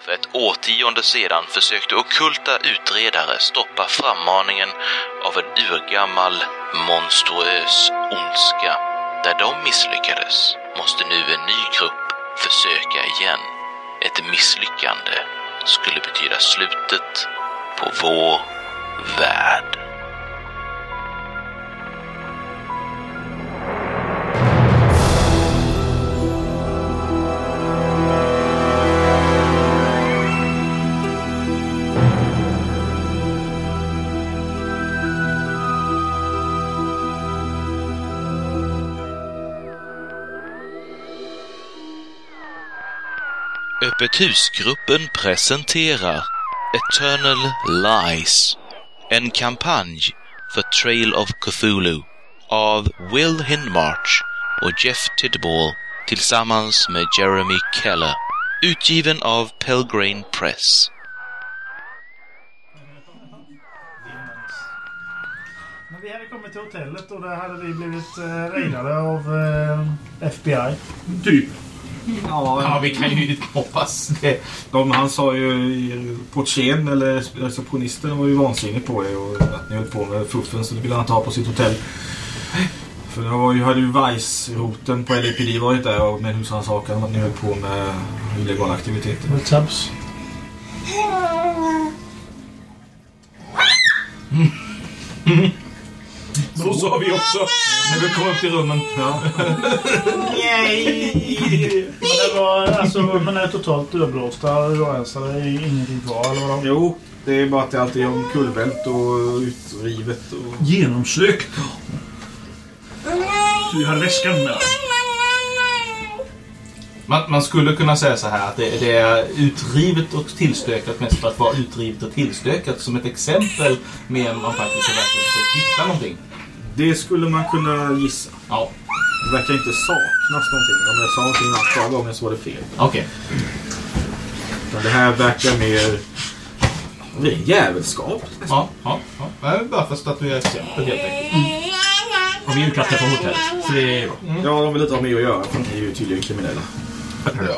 för ett årtionde sedan försökte ockulta utredare stoppa frammaningen av en urgammal monstruös ondska. Där de misslyckades måste nu en ny grupp försöka igen. Ett misslyckande skulle betyda slutet på vår värld. Öppet husgruppen presenterar Eternal Lies. En kampanj för Trail of Cthulhu av Will Hindmarch och Jeff Tidball tillsammans med Jeremy Keller. Utgiven av Pelgrane Press. Men vi hade kommit till hotellet och där hade vi blivit eh, raidade av eh, FBI. Typ. Ja, vi kan ju inte hoppas det. De, han sa ju, portieren eller receptionisten var ju vansinnig på er och att ni höll på med fuffen så det ville han inte ha på sitt hotell. För det var ju, hade ju Vice-roten på LAPD varit där och med husrannsakan om att ni höll på med illegala aktiviteter. Med tabs. Så sa vi också. När vi kom upp till rummen. Ja. Men det var alltså, men är totalt överblåsta och rensade. Det är ingenting kvar eller vad de... Jo, det är bara att det alltid är omkullvält och utrivet. Och... Genomsökt. Du hade väskan med. Man, man skulle kunna säga så här att det, det är utrivet och tillstökat mest för att vara utrivet och tillstökat som ett exempel mer än man faktiskt har verkligen försökt hitta någonting. Det skulle man kunna gissa. Ja, Det verkar inte saknas någonting. Om jag sa någonting annat förra gången så var det fel. okej. Utan det här verkar mer... Ren jävelskap. Ja, ja, ja. Det är bara för att statuera exempel helt enkelt. Och vi är utkastade från hotellet. Så det är bra. Ja, de vill inte ha med att göra för ni är ju tydligen kriminella.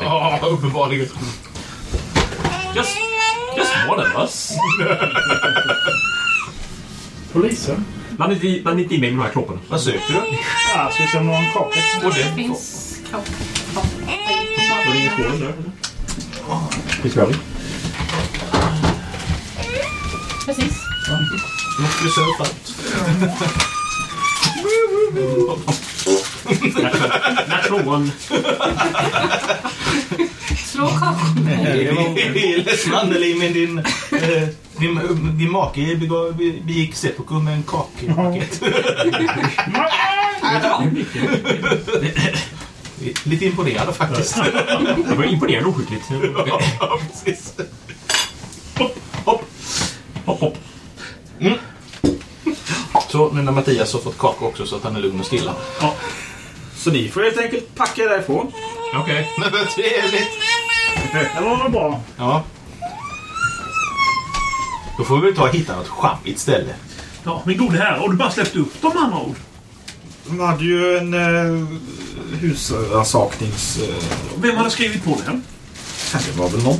Ja, uppenbarligen. Just, just one of us. Polisen? Bland inte, bland inte in mig med de här kropparna. Vad söker du? Ja, ska vi se om de har en kaka? Och det? Finns kropp. Var det inget hål där? Precis. Måste du surfa ut? Natural one. Slå kropp. Det är ledsen Anneli, men din, eh, din, din make begav- begick seppuku med en kakpaket. Lite imponerad faktiskt. Det var imponerande oskickligt. Ja, precis. Hopp, hopp. Mm. Så nu när Mattias har fått kaka också så att han är lugn och stilla. Så ni får helt enkelt packa därifrån. Okej. Men vad trevligt! Det var väl bra. Ja. Då får vi väl ta och hitta något sjabbigt ställe. Ja, men gode herre. Har du bara släppt upp dem med andra ord? De hade ju en eh, husrannsaknings... Eh, Vem hade skrivit på den? det var väl någon.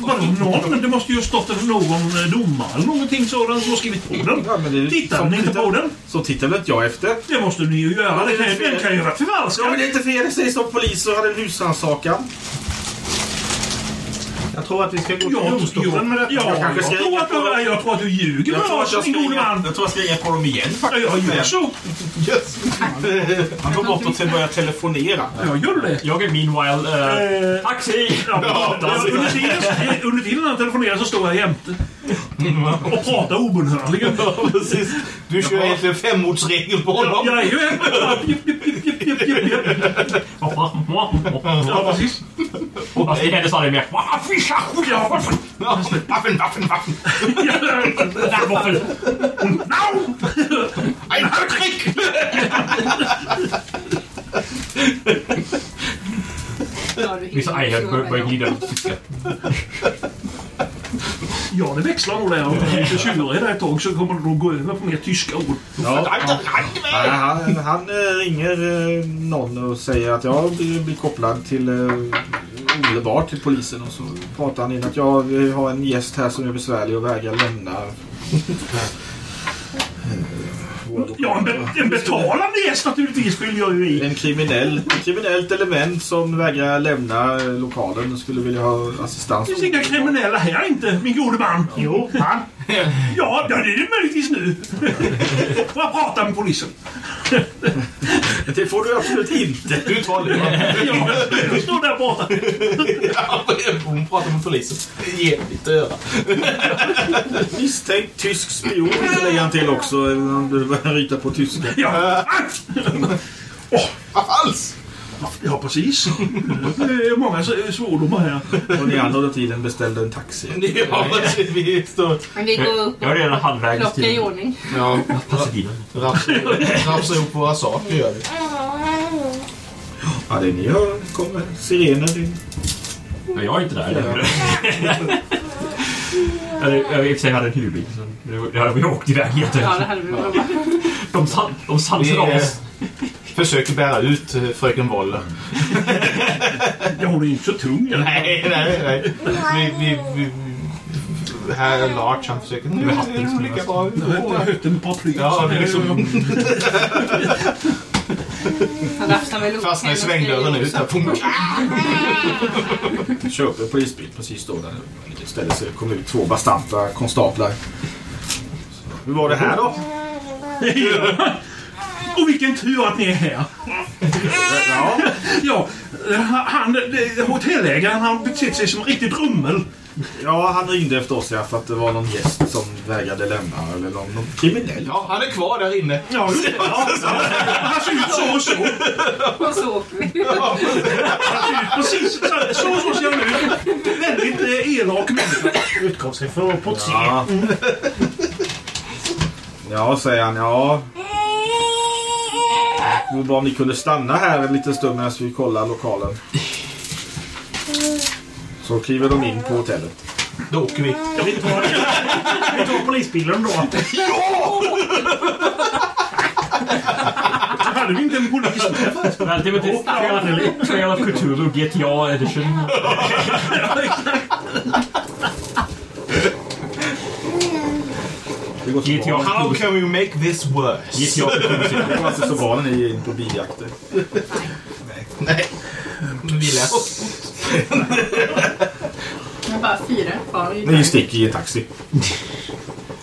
Vadå någon? Det måste ju ha stått en- någon eh, domare eller någonting sådant som har skrivit på den. Ja, men det är ju- Tittar som ni inte på den? Så tittar väl inte jag efter. Det måste ni ju göra. Det kan, ju- den kan ju vara Ja, men förfalskad. det är inte fel. Det sägs att poliser hade en husrannsakan. Jag tror att vi ska gå till Jag, domstolen med jag, detta. jag, Jag kanske ska tror att, du- jag tror att du ljuger med oss, min gode man. jag tror jag ska ringa på dem igen Ja, jag gör så. Yes. Han går bort och sen börjar telefonera. Jag gör det. Jag är meanwhile... eh, Eh, taxi! Ja, under, tiden, under tiden han telefonerar så står jag jämte. Och pratar obönhörligen. Precis. Du kör egentligen femordsregeln på honom. Jag är ju en... Ja, precis. Fast det hände aldrig mer. Affischa! Ja, Waffen, waffen, waffen! varför? Ein Höckrick! Vissa eier börjar glida ut. Ja, det växlar nog där. Om jag är 20 år där ett tag så kommer det nog gå över på mer tyska ord. Nej, han, han eh, ringer eh, någon och säger att jag blir, blir kopplad till eh, omedelbart till polisen och så pratar han in att jag eh, har en gäst här som är besvärlig och vägrar lämna. Eh, Ja, en, be en betalande gäst naturligtvis vill jag ju i. En kriminell, ett kriminellt element som vägrar lämna eh, lokalen och skulle vilja ha assistans. Det finns inga kriminella här inte, min gode man. Jo, han. Ja, det är det möjligtvis nu. Får jag prata med polisen? Det får du absolut inte. Du tar luren. Ja, jag står där borta. Hon pratar med polisen. Ge ditt öra. Misstänkt tysk spion lägger han till också. Han börjar ryta på tyska. Ja. Alls! ja, precis. Det är många s- svordomar här. Och ni andra under tiden beställde en taxi. Ja, precis. Vi står... Men vi går upp Jag är och redan halvvägs plockar i till ordning. Ja, Pasadena. rafsar- rafsar ihop våra saker gör vi. Ja, det ni hör kommer sirener. i- Men jag är inte där. Ja. Eller, Jag i och för sig hade en hyrbil. så det var- Det hade vi åkt iväg Ja, det jätte... hade vi bra. De, san, de Vi sansade eh, oss. försöker bära ut eh, fröken Woller. Ja, hon är ju inte så tung. eller? Nej, nej, nej. Vi, vi, vi, vi, här Lars han försöker... Nu är de lika bra ut. Hötten med paraplyet. Ja, det är liksom Han rafsar väl upp fastnar i henne och svängdörren säger ut. Här. Pum. Köper en polisbil precis då. Där det ställer sig kom ut två bastanta konstaplar. Hur var det här då? Och vilken tur att ni är här. Ja, Ja, eh, han, det- hotellägaren han betett sig som en riktig rummel. ja han ringde efter oss ja, för att det var någon gäst som vägrade lämna. Eller någon, någon kriminell. Ja, han är kvar där inne. Ja, just det. ja, han ser ut så och så. Och så åker vi. Precis, så- så och så ser han ut. Väldigt eh, elak människa. Utkom sig från Potsi. Ja. ja, säger han. Ja. Det vore bra om ni kunde stanna här en liten stund medan vi kollar lokalen. Så kliver de in på hotellet. Då åker vi. Vi tar, vi tar polisbilen då. Hade vi inte en polis då? Välkommen till Trail of- Trail of Cthulhu GTA edition. Det går så bra. GTA How can we make this worse? GTA Det går alltså så bra när ni är inne på biljakter. Nej. Vi läser. Jag har bara fyra kvar. i Ni bilen. sticker i en taxi.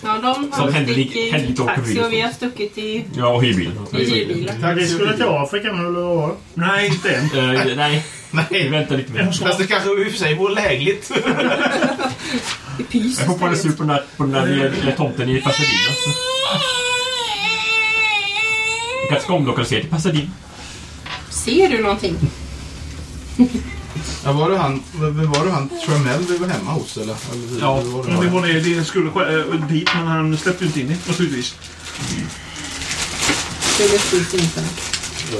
Ja, de Som har Henrik- stuckit i Henrik åker taxi bil. och vi har stuckit i Ja, och hyrbilen. i hyrbilen. Vi skulle till Afrika nu eller vad var det? Nej, inte än. Eh, nej, vi Nej. väntar lite mer. Fast det kanske i och för sig vore lägligt. I pys. Jag hoppades ju på den där, på den där lilla tomten i Pasadena. Vi kanske ska omlokalisera till Pasadena. Ser du någonting? Ja, var det han, vem var det han Tremell vi var hemma hos eller? eller Ja, var det Men det han? var det, det skulle ske- eh, dit, men han släppte ju inte in det naturligtvis. Det är fullt inte.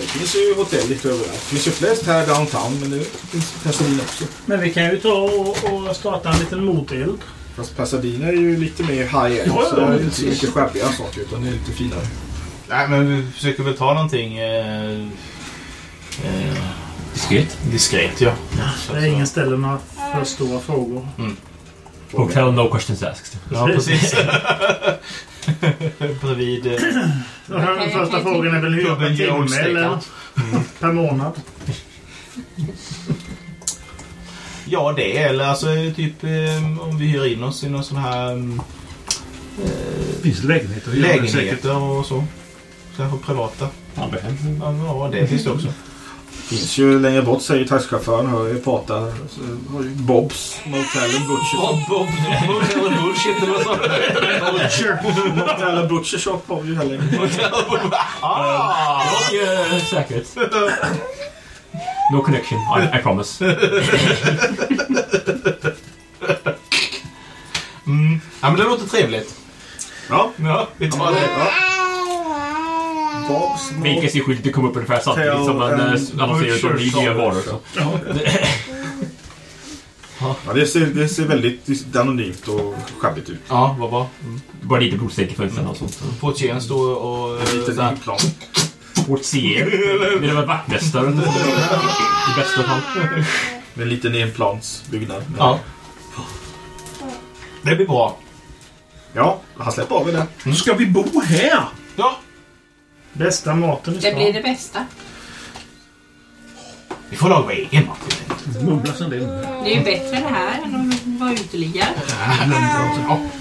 Det finns ju hotell lite överallt. Det finns ju flest här downtown men det finns Pasadena också. Men vi kan ju ta och, och starta en liten moteld. Fast Pasadena är ju lite mer high-end Ja, ja, så det är ja, inte så mycket skärpiga saker utan det är lite finare. Nej, men vi försöker väl ta någonting eh, eh, Diskret. diskret, ja. Det är ingen ställer några för stora frågor. Hotel No Questions Asked. Ja, precis. Bredvid... Eh, Och här, den första frågan är väl hur Klubben mycket Jones timme eller Steakhouse. per månad? ja, det eller alltså typ eh, om vi hyr in oss i någon sån här mm, eh, Det finns lägenheter. att göra säkert. lägenheter och så. Kanske privata. Ja, ja, det finns det också. finns ju längre bort säger taxichauffören. Hör ju pratar. Så har ju Bobs Motel and Butcher. Bob, eller bullshit eller sånt. Motel and Butcher Shop har vi ju här längre bort. Ah! Och eh, säkerhet. No connection, I, I promise. Mm. Ja, men det låter trevligt. Ja. Ja, vi tar det. Bobs Motel. Vikas i skylten kom upp ungefär samtidigt som man eh, annonserade ut om nya varor. Så. Ja, det, ser, det ser väldigt anonymt och sjabbigt ut. Ja, vad bra. Bara lite blodstänk i fönstren och sånt. Portieren står och... En eh, liten så här- flygplan. Portier. Det var vaktmästaren. I bästa fall. En liten enplansbyggnad. Men- Ja. Det blir bra. ja, han släpper av er där. Mm. Ska vi bo här? Ja, Bästa maten i Det blir stan. det bästa. vi får laga vår egen mat. Mumlas en del. Det är ju bättre det här än att vara uteliggare.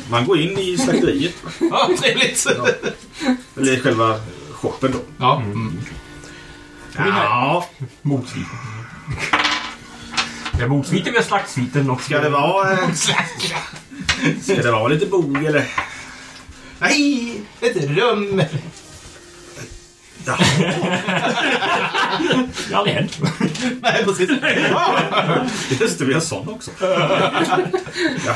Man går in i slakteriet. Ja, trevligt. eller i själva shoppen då. Ja. Mm. Ja, Motsviten. Det är motsviten med slaktsviten också. ska det vara... eh, Ska det vara lite bog eller? Nej, ett rum. Ja. Det har aldrig hänt. Nej, precis. Just det, vi har sån också. Jaha,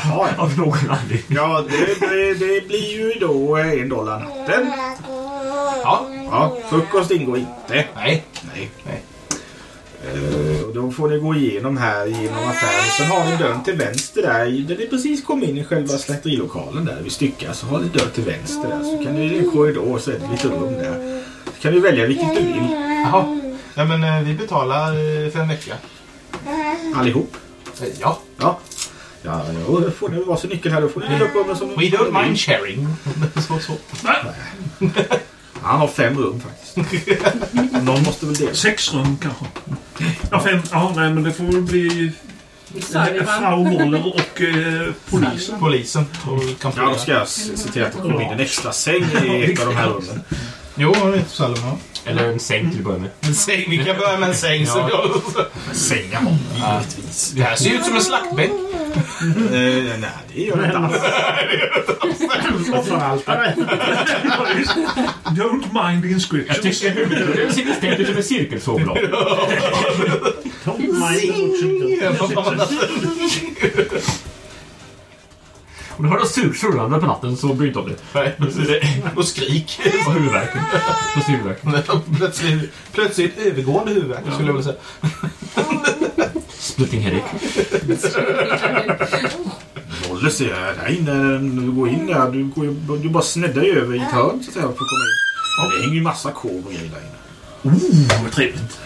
ja. Av någon anledning. ja det, det, det blir ju då eh, en dollar natten. Ja. Ja, frukost ingår inte. Nej. Nej. Nej. Eh, och då får ni gå igenom här genom affären. Sen har ni dörren till vänster där. i- Där ni precis kom in i själva slakterilokalen där vid Stycka. Så har ni dörr till vänster där. Så kan ni i en korridor så är det lite rum där. Så kan du välja vilket du vill. Jaha. Ja, men eh, vi betalar eh, för en vecka. Allihop. Eh, Ja. Ja. Ja, ja, då får ni varsin nyckel här. Då får ni dela upp rummen som We don't mind sharing. så, så. Han har fem rum faktiskt. Någon måste väl dela. Sex rum kanske? Ja, fem. Ja, nej, men det får väl bli Servan. Frau Moller och eh, polisen. Polisen och Ja, kampanjen. då ska jag se se till att det kommer in en extra säng i ett av de här rummen. Jo, det är inte så allvarligt. Eller en säng till att börja med. En säng. Vi kan börja med en säng. Så Sängar har vi givetvis. Det här ser ju ut som en slaktbänk. Eh, nej, det gör det inte alls. Offeraltare. Don't mind the Jag inscriptions. tycker huvudet ser bestämt ut som en cirkelsågblad. Don't mind Om du hör något surt surrande på natten så bry dig inte om det. Nej, och skrik. På huvudvärken. På huvudvärken. Plötsligt, plötsligt övergående huvudvärk skulle jag vilja säga. Splitting headache. Bolle ser jag. Nej, när du går in där. Du, går, ju- du bara sneddar ju över i ett hörn så att säga för att komma in. Ja, det hänger ju massa korv och grejer där inne. Oh, Vad trevligt.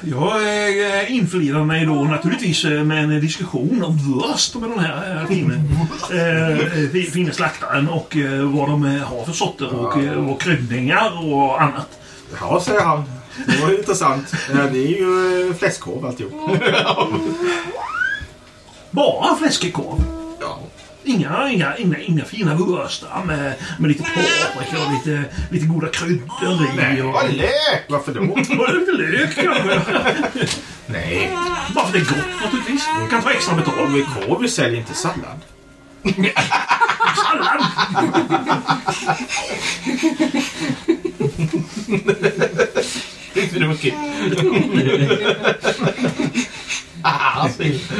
Jag eh, införlivar mig då naturligtvis eh, med en diskussion om Wurst med den här eh, fine, eh, fi- fine slaktaren och eh, vad de eh, har för sorter och, eh, och kryddningar och annat. Ja, säger han. Det var ju intressant. Ja, det är ju eh, fläskkorv alltihop. Bara fläskekorv. Ja. Inga, inga, inga, inga fina Wurstar med, med lite paprika och lite, lite goda kryddor i. Och, Vad lök! Varför då? och lite lök kanske. Nej, Bara för det är gott naturligtvis. Kan ta extra betalt. korv är korv. Vi säljer inte sallad. Sallad! Det var kul. Ah, snyggt.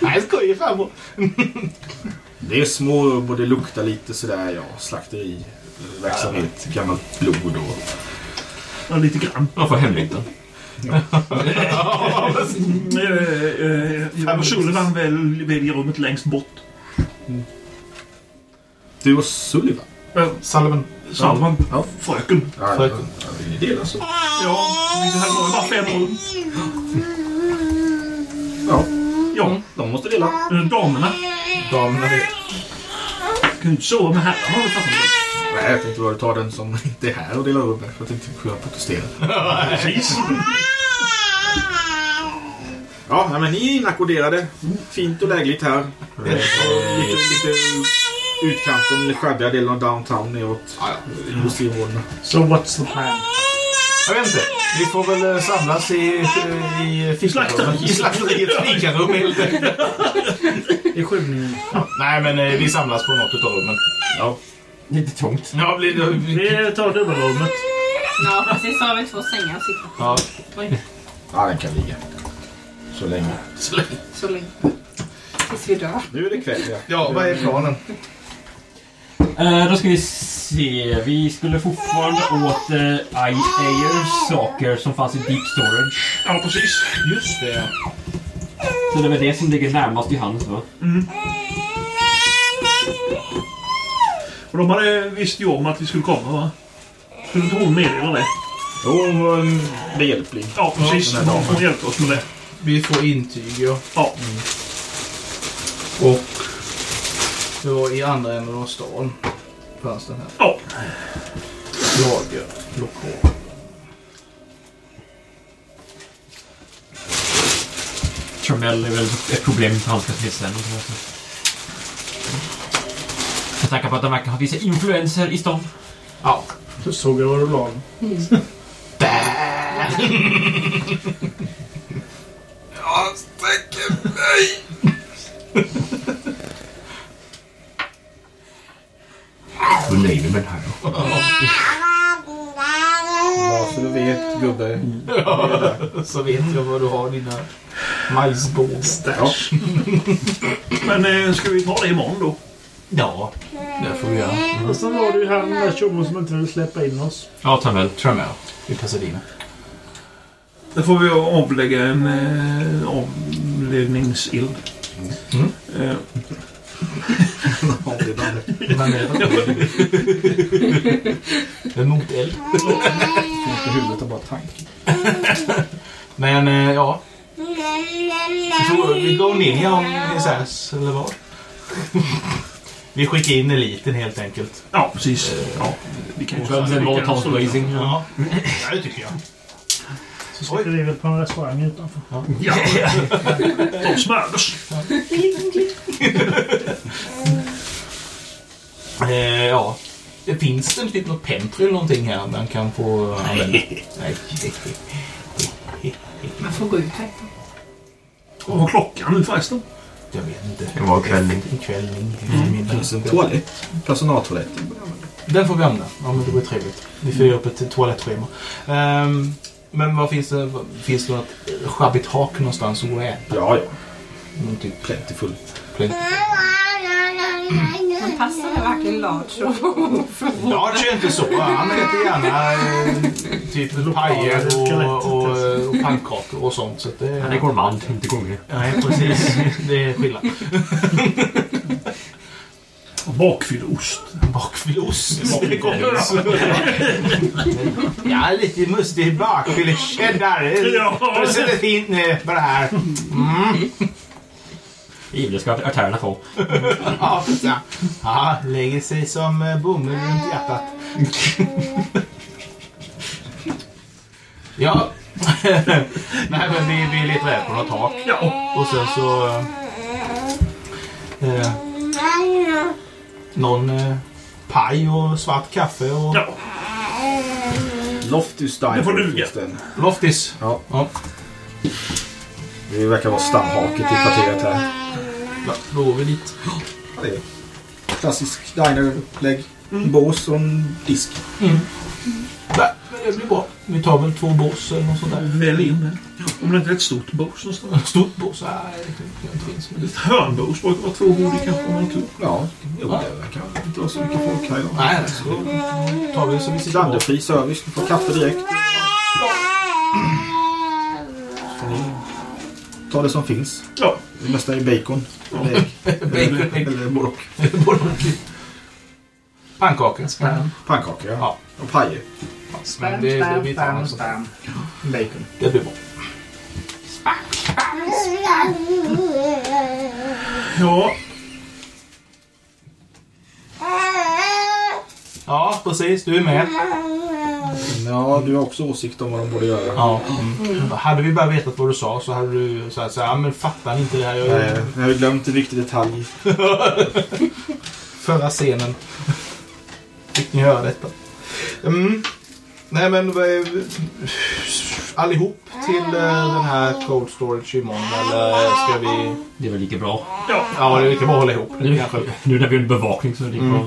Nej, jag skojar farbror. Det är små rum och det luktar lite sådär, ja, slakteri. eh, Verksamhet, gammalt blod och... Ja, lite grann. Man får hemlängtan. Eh, eh, eh, Sullivan väl, väljer rummet längst bort. Du och Sullivan? Salomon. Salman, Ja. fröken. Ja, ja, ja, det är det alltså. Ja, det här var ju bara fem rum. Ja, Ja, de måste dela. eh, damerna Damerna vet. kan ju inte sova med herrarna. har vi pratat om. Nej, jag tänkte bara ta den som inte är här och dela upp här. för Jag tänkte kunna protestera. Precis. Ja, nej, men ni är inackorderade. Fint och lägligt här. Och Lite, lite utkanten, eller skärdiga delen av downtown neråt eh, industriområdena. So what's the plan? Jag vet inte. Vi får väl eh, samlas i, eh, i fikarummet. I slakteriets fikarum helt enkelt. I skymningen. Nej, men eh, vi samlas på något utav rummen. Lite trångt. Ja, blir det... Vi tar dubbelrummet. Ja, precis. Så har vi två sängar att sitta på. Ja. Oj, Ja, den kan ligga. Så länge. så länge. Tills vi dör. Nu är det kväll, ja. Ja, vad är planen? Eh, då ska vi se. Vi skulle fortfarande åt eh, I- Ayers saker som fanns i Deep Storage. Ja, precis. Just det. Så det är väl det som ligger närmast i hands va? Och de hade visst ju om att vi skulle komma, va? Skulle inte hon meddela det? Jo, hon var en behjälplig. Ja, precis. den här damen. Hon hjälpte oss med det. Vi får intyg, ja. Ja. Och det var i andra änden av stan. Fanns den här. Ja. Lager. Lokal. Trumell är väl ett problem för hans katekesen. och sådär. Med tanke på att han verkar ha vissa influenser i stan. Ja. Du såg jag vad du la den. Hur lever med den här då? Ja, så du vet gubbe. Så vet jag vad du har dina majsbågar. Stash. Men eh, ska vi ta det imorgon då? Ja, det får vi göra. Och sen var det ju han den där tjommen som inte ville släppa in oss. Ja, Trumell. Tremel i Pasadena. Då får vi avlägga en eh, avledningsild. Eh, En moteld. Inte huvudet och bara tank. Men eh, ja, vi får vi går ninja om SS eller vad? Vi skickar in eliten helt enkelt. ja, precis. Ja, vi kan ju Sen var Tomsblazing. Ja, ja det tycker jag. Så sitter vi väl på en restaurang utanför. Ja. De smördes. Eh, ja. Det finns det typ något pentry eller någonting här man kan få använda? Nej. Man får gå ut härifrån. Vad var klockan nu förresten? Jag vet inte. Det var kvällning. En kvällning. Mm. Alltså, Toalett. Personaltoalett. Den får vi använda. Ja, men det var ju trevligt. Vi får göra upp ett toalettschema. Ehm, men vad finns det? vad- Finns det något sjabbigt hak någonstans att gå och äta? Ja, ja. Någon typ Plentiful. plent- Man passar här verkligen large och Lars är inte så. Han äter gärna eh, typ pajer och, och, och pannkakor och sånt. Så att det, Han är gourmand, inte gunglig. Nej, precis. Det är skillnad. Bakfylleost. Bakfylleost. ja, lite mustig bakfylle cheddar. Ja. Det sätter fint nu på det här. Mm. Givetvis ska artärerna få. Ja, ja. ja, lägger sig som eh, bomull runt hjärtat. Ja. Nej, men vi, vi letar rätt på något tak. Ja. Och sen så... eh, Eh, någon eh, paj och svart kaffe och ja. Loftus Diner. Det får duga. finns den. Loftis. Ja. Ja. Det verkar vara stamhaket i kvarteret här. Ja, då går vi dit. Det är klassisk diner-upplägg. Bås och en disk. Nej, men det blir bra. Vi tar väl två bås eller något sånt där. Välj in den. Om det inte är ett stort bås någonstans. Stort bås? Nej, det tycker jag inte finns. Men... Ett hörnbås brukar vara två bord i kanske om man har tur. Ja, jo, det verkar inte vara så mycket folk här idag. Nej, så Ừ, då tar vi så vi sitter på. Klanderfri service. Du får kaffe direkt. Ta det som finns. Ja. Det mesta är bacon. Eller ägg. Bacon, ägg, Eller både och. både och. Pannkakor. Spam. Pannkakor, ja. Ja. Och pajer. Men det, det, vi tar något sånt. Bacon. det blir bra. Ja. Ja, precis. Du är Mm. med. Ja, du har också åsikt om vad de borde göra. Ja. Mm. Hade vi bara vetat vad du sa så hade du sagt så här, "Ja, men fattar ni inte det här? Jag Nej, jag Eh, har ju glömt en viktig detalj. förra scenen. Fick ni höra detta? Mm. Nej men vad är- allihop till eh, den här cold storage imorgon eller ska vi? Det är väl lika bra. Ja det är lika bra att hålla ihop det Nu, kanske. nu när vi är under bevakning så är det lika bra.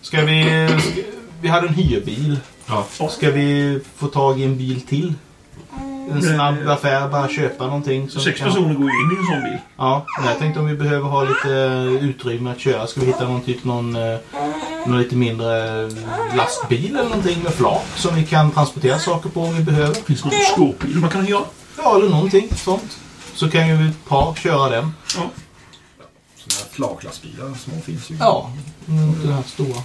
Ska vi? Ska, vi hade en hyrbil. Ja. Ska vi få tag i en bil till? En snabb affär, bara köpa någonting. som vi Sex kan ha. personer går in i en sån bil. Ja, men jag tänkte om vi behöver ha lite eh, utrymme att köra. Ska vi hitta någon typ någon, eh, någon lite mindre eh, lastbil eller någonting med flak som vi kan transportera saker på om vi behöver. Finns det någon skåpbil man kan hyra? Ja, eller någonting sånt. Så kan ju ett par köra den. Såna här flaklastbilar, små finns ju. Ja, mm, inte den här stora.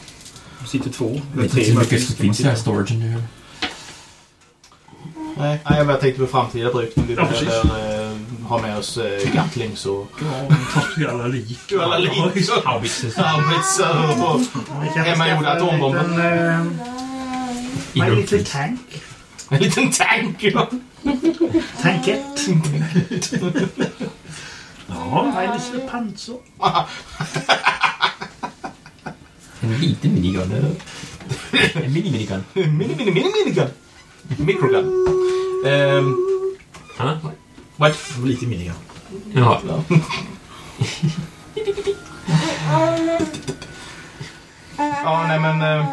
Det sitter två Jag eller vet inte tre hur möjligtvis mycket som som finns i man här sitter. storagen nu. Nej, nej jag bara tänkte på framtida bruk när vi Ja, precis. behöver eh, ha med oss eh, Gatlings och alla lik. Duala Links och Haubitses. haubitsar och hemmagjorda atombomber. En liten tank. En liten tank! Tankett. Ja, En liten pansar. En liten minigun. En mini-minigun. Mini, mini, mini, minigun! Microgun. Um, Ha? what? Lite minigun. Jaha. Ja, nej men... Eh,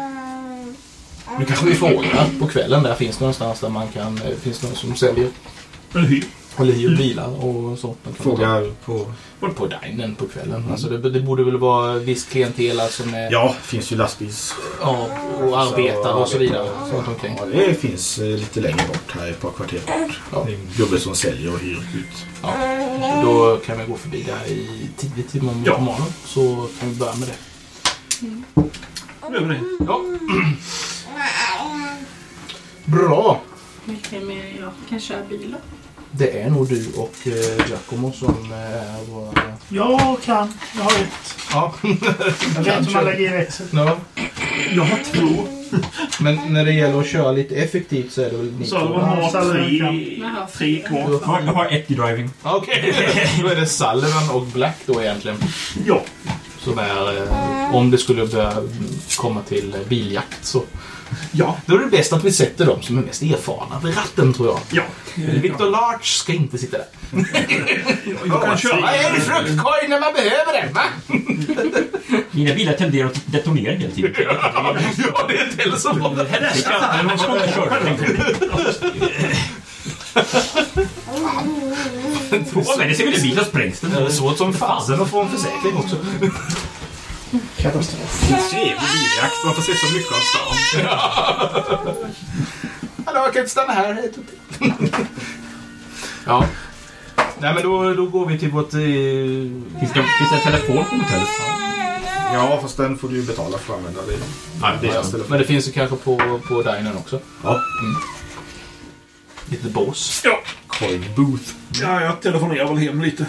nu kanske vi frågar på kvällen. Där finns det någonstans där man kan... Eh, finns det någon som säljer men hur? eller hyr bilar och sånt? Man kan Frågar på... ta- På dinen på kvällen. Alltså det, det borde väl vara viss klientel alltså med... Ja, det finns ju lastbils... Ja, och arbetare och så vidare. Sånt omkring. Ja, det finns eh, lite längre bort här, ett par kvarter bort. Ja. Det är en gubbe som säljer och hyr ut. Då kan vi gå förbi där i tidigt till morgon Ja. på morgonen. Så kan vi börja med det. Nu gör vi det. Ja. Bra! Vilken mer jag kan köra bilen. Det är nog du och eh, Giacomo som eh, är våra... Jag kan. Jag har ett. Ja. Jag vet hur man lägger i växeln. ja. Jag har två. Men när det gäller att köra lite effektivt så är det väl ni två? Salomon Ja, har Salomon tre, tre kvar. Jag har- jag har ett i driving. Okej, då är det Sullivan och Black då egentligen. Ja. Som är, eh, om det skulle börja komma till eh, biljakt så. Ja. Då är det bäst att vi sätter dem som är mest erfarna vid ratten tror jag. Ja. Victor Larch ska inte sitta där. Jag kan köra. en fruktkorg när man behöver den va? Mina bilar tenderar att detonera hela tiden. Ja, det är inte heller så bra. Sverige ser väl en bil och sprängs den. Det är svårt som fasen att få en försäkring också. Trevlig biljakt. Man får se så mycket av stan. Hallå, jag kan inte stanna här. Hej, Tutti. ja. Nej, men då, då går vi till vårt... Eh... Finns det, finns det en telefon på hotellet? Ja, fast den får du ju betala för att använda. Det är deras telefon. Men det finns ju kanske på, på dinern också. Ja. Lite bås. Ja. Coin booth. ja, jag telefonerar väl hem lite.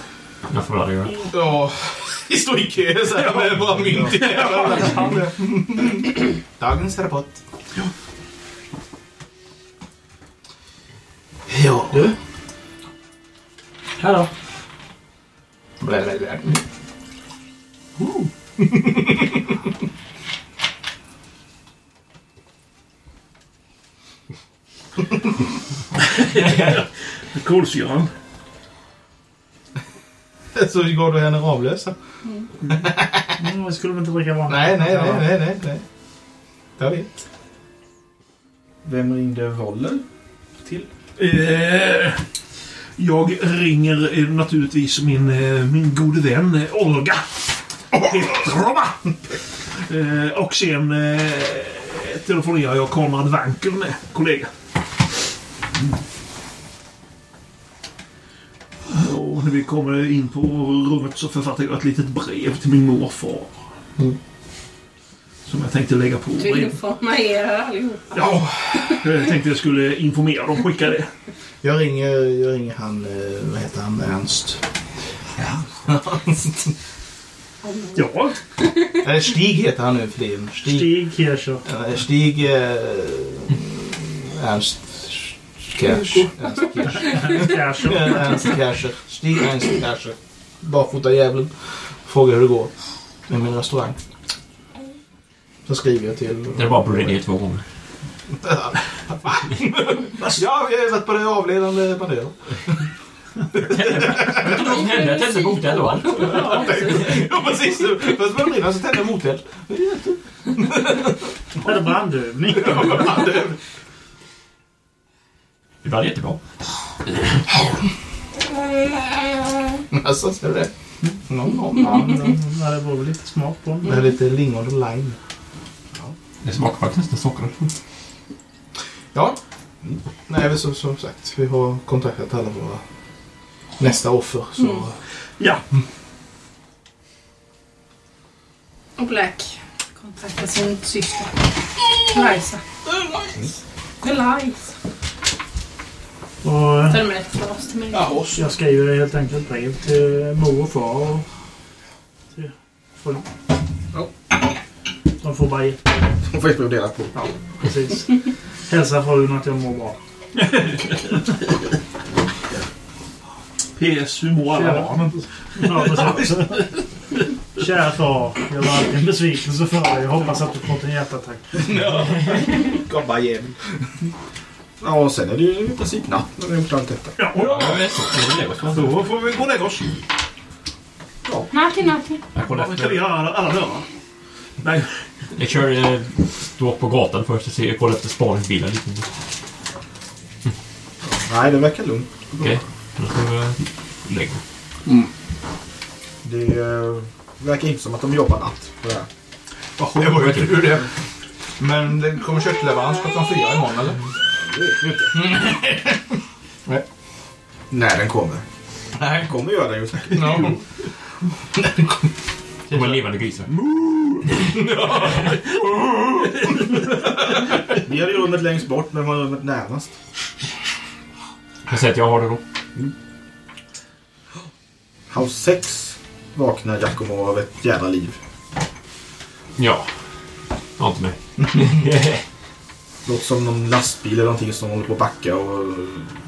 Jag får aldrig göra. Ja, vi står i kö så här med våra mynt i händerna. Dagens rapport. Ja. Ja, du. Hallå. Blä, blä, blä. Kolsyran. Så går du henne Ramlösa? Mm, det skulle de inte dricka vanligt. Nej, nej, nej, nej, nej, nej. Jag vet. Vem ringde Woller till? Eh, jag ringer eh, naturligtvis min, eh, min gode vän eh, Olga Petrova. Eh, och sen eh, telefonerar jag Konrad Wankel med, kollega. Mm. Och när vi kommer in på rummet så författar jag ett litet brev till min morfar. Som jag tänkte lägga på Du brev. informerar allihopa. Ja, jag tänkte jag skulle informera dem, skicka det. Jag ringer, jag ringer han, eh, vad heter han, Ernst? Ernst. Ja, Eller Stig heter han nu för tiden. Stig, Stig. Stig Kircher. Stig eh, Ernst Cash. Ernst Cash. Kircher. Ernst Cash. Stig Ernst Cash. Barfota jäveln. Frågar hur det går med min restaurang. Så skriver jag till... Det är bara brunnit ner två gånger. Ja, vi Alltså, har varit på det avledande bandet. Vet du vad som hände? Jag tände på hotellet. Ja, precis. Ja, precis. Fast med brinna så tände jag moteld. Eller brandövning. Det var jättebra. Alltså, ser du det? No, no, no. Ja, det var väl lite smak på Det är den. lite lingon och lime. Det smakar faktiskt nästan socker. Ja. Nej, men som, som sagt, vi har kontaktat alla våra nästa offer. Så Mm. ja. Och Black kontaktar sin Mm. syster. Eliza. Eliza. Och eh, Ta med ett glas till mig. Ja, oss. jag skriver helt enkelt brev till mor och far. Och till folk. Ja. De får bara ett. Hon får inte dela på. Precis. Hälsa frun att jag mår bra. PS, hur mår alla Kära- barnen? Ja, precis. Kära far, jag var alltid en besvikelse för dig. Jag hoppas att du fått en hjärtattack. Gobba igen. Ja, och sen är det ju i princip natt när vi har gjort allt detta. Då får vi gå och lägga oss. Natti, natti. Jag kollar Vad kan vi efter. göra alla, alla dörrar? Nej, Jag kör eh, stå på gatan först och ser. Jag kollar efter spaningsbilar lite. Nej, det verkar lugnt. Okej. Då ska vi eh, lägga. Det eh, verkar inte som att de jobbar natt. på det här. Det var ju tur det. Men det kommer köttleverans klockan fyra imorgon eller? Det vet vi ju inte. Nej. När den kommer. Nej. Kommer göra den ju säkert. No. De är levande grisar. Vi hade ju rummet längst bort, men var rummet närmast? Jag säger att jag har det då. House 6 vaknar Giacomo av ett jävla liv. Ja. Jag har inte med. Låter som någon lastbil eller någonting som håller på att backa och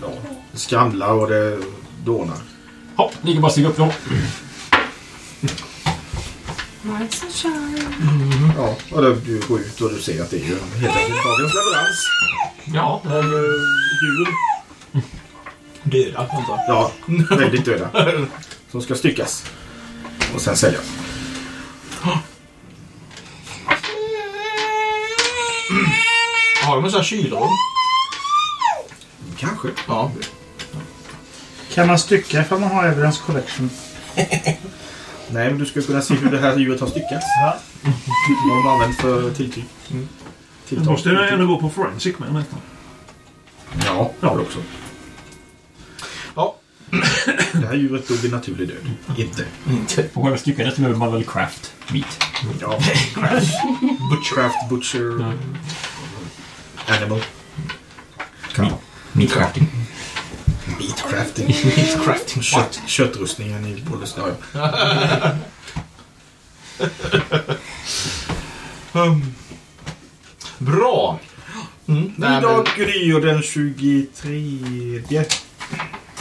ja, det skramlar och det dånar. Hopp, ni kan bara stiga upp då. Nice and shine. Ja, och då, du går ut och du ser att det är ju helt enkelt dagens leverans. Ja. djur. Dyra antar jag. Ja, väldigt döda. Som ska styckas. Och sen säljas. Har de en sån här kylrum? Kanske. Ja. Kan man stycka ifall man har Evidence Collection? Nej, men du ska kunna se hur det här djuret har styckats. Ja. Vad de använt för tilltyg. Då Tilltag. måste jag ändå gå på forensic med nästan. Ja, ja. också. Ja. Det här djuret dog en naturlig död. Inte. Inte. På själva styckandet behöver man väl craft meat. Ja. Craft. Butcher. Craft butcher. Animal. Meat, meat crafting. Meat crafting. Crafting shop. Kött, köttrustningen i Bollnäs. Ja, ja. Um. Bra. Mm. Nej, men, Idag gryr den 23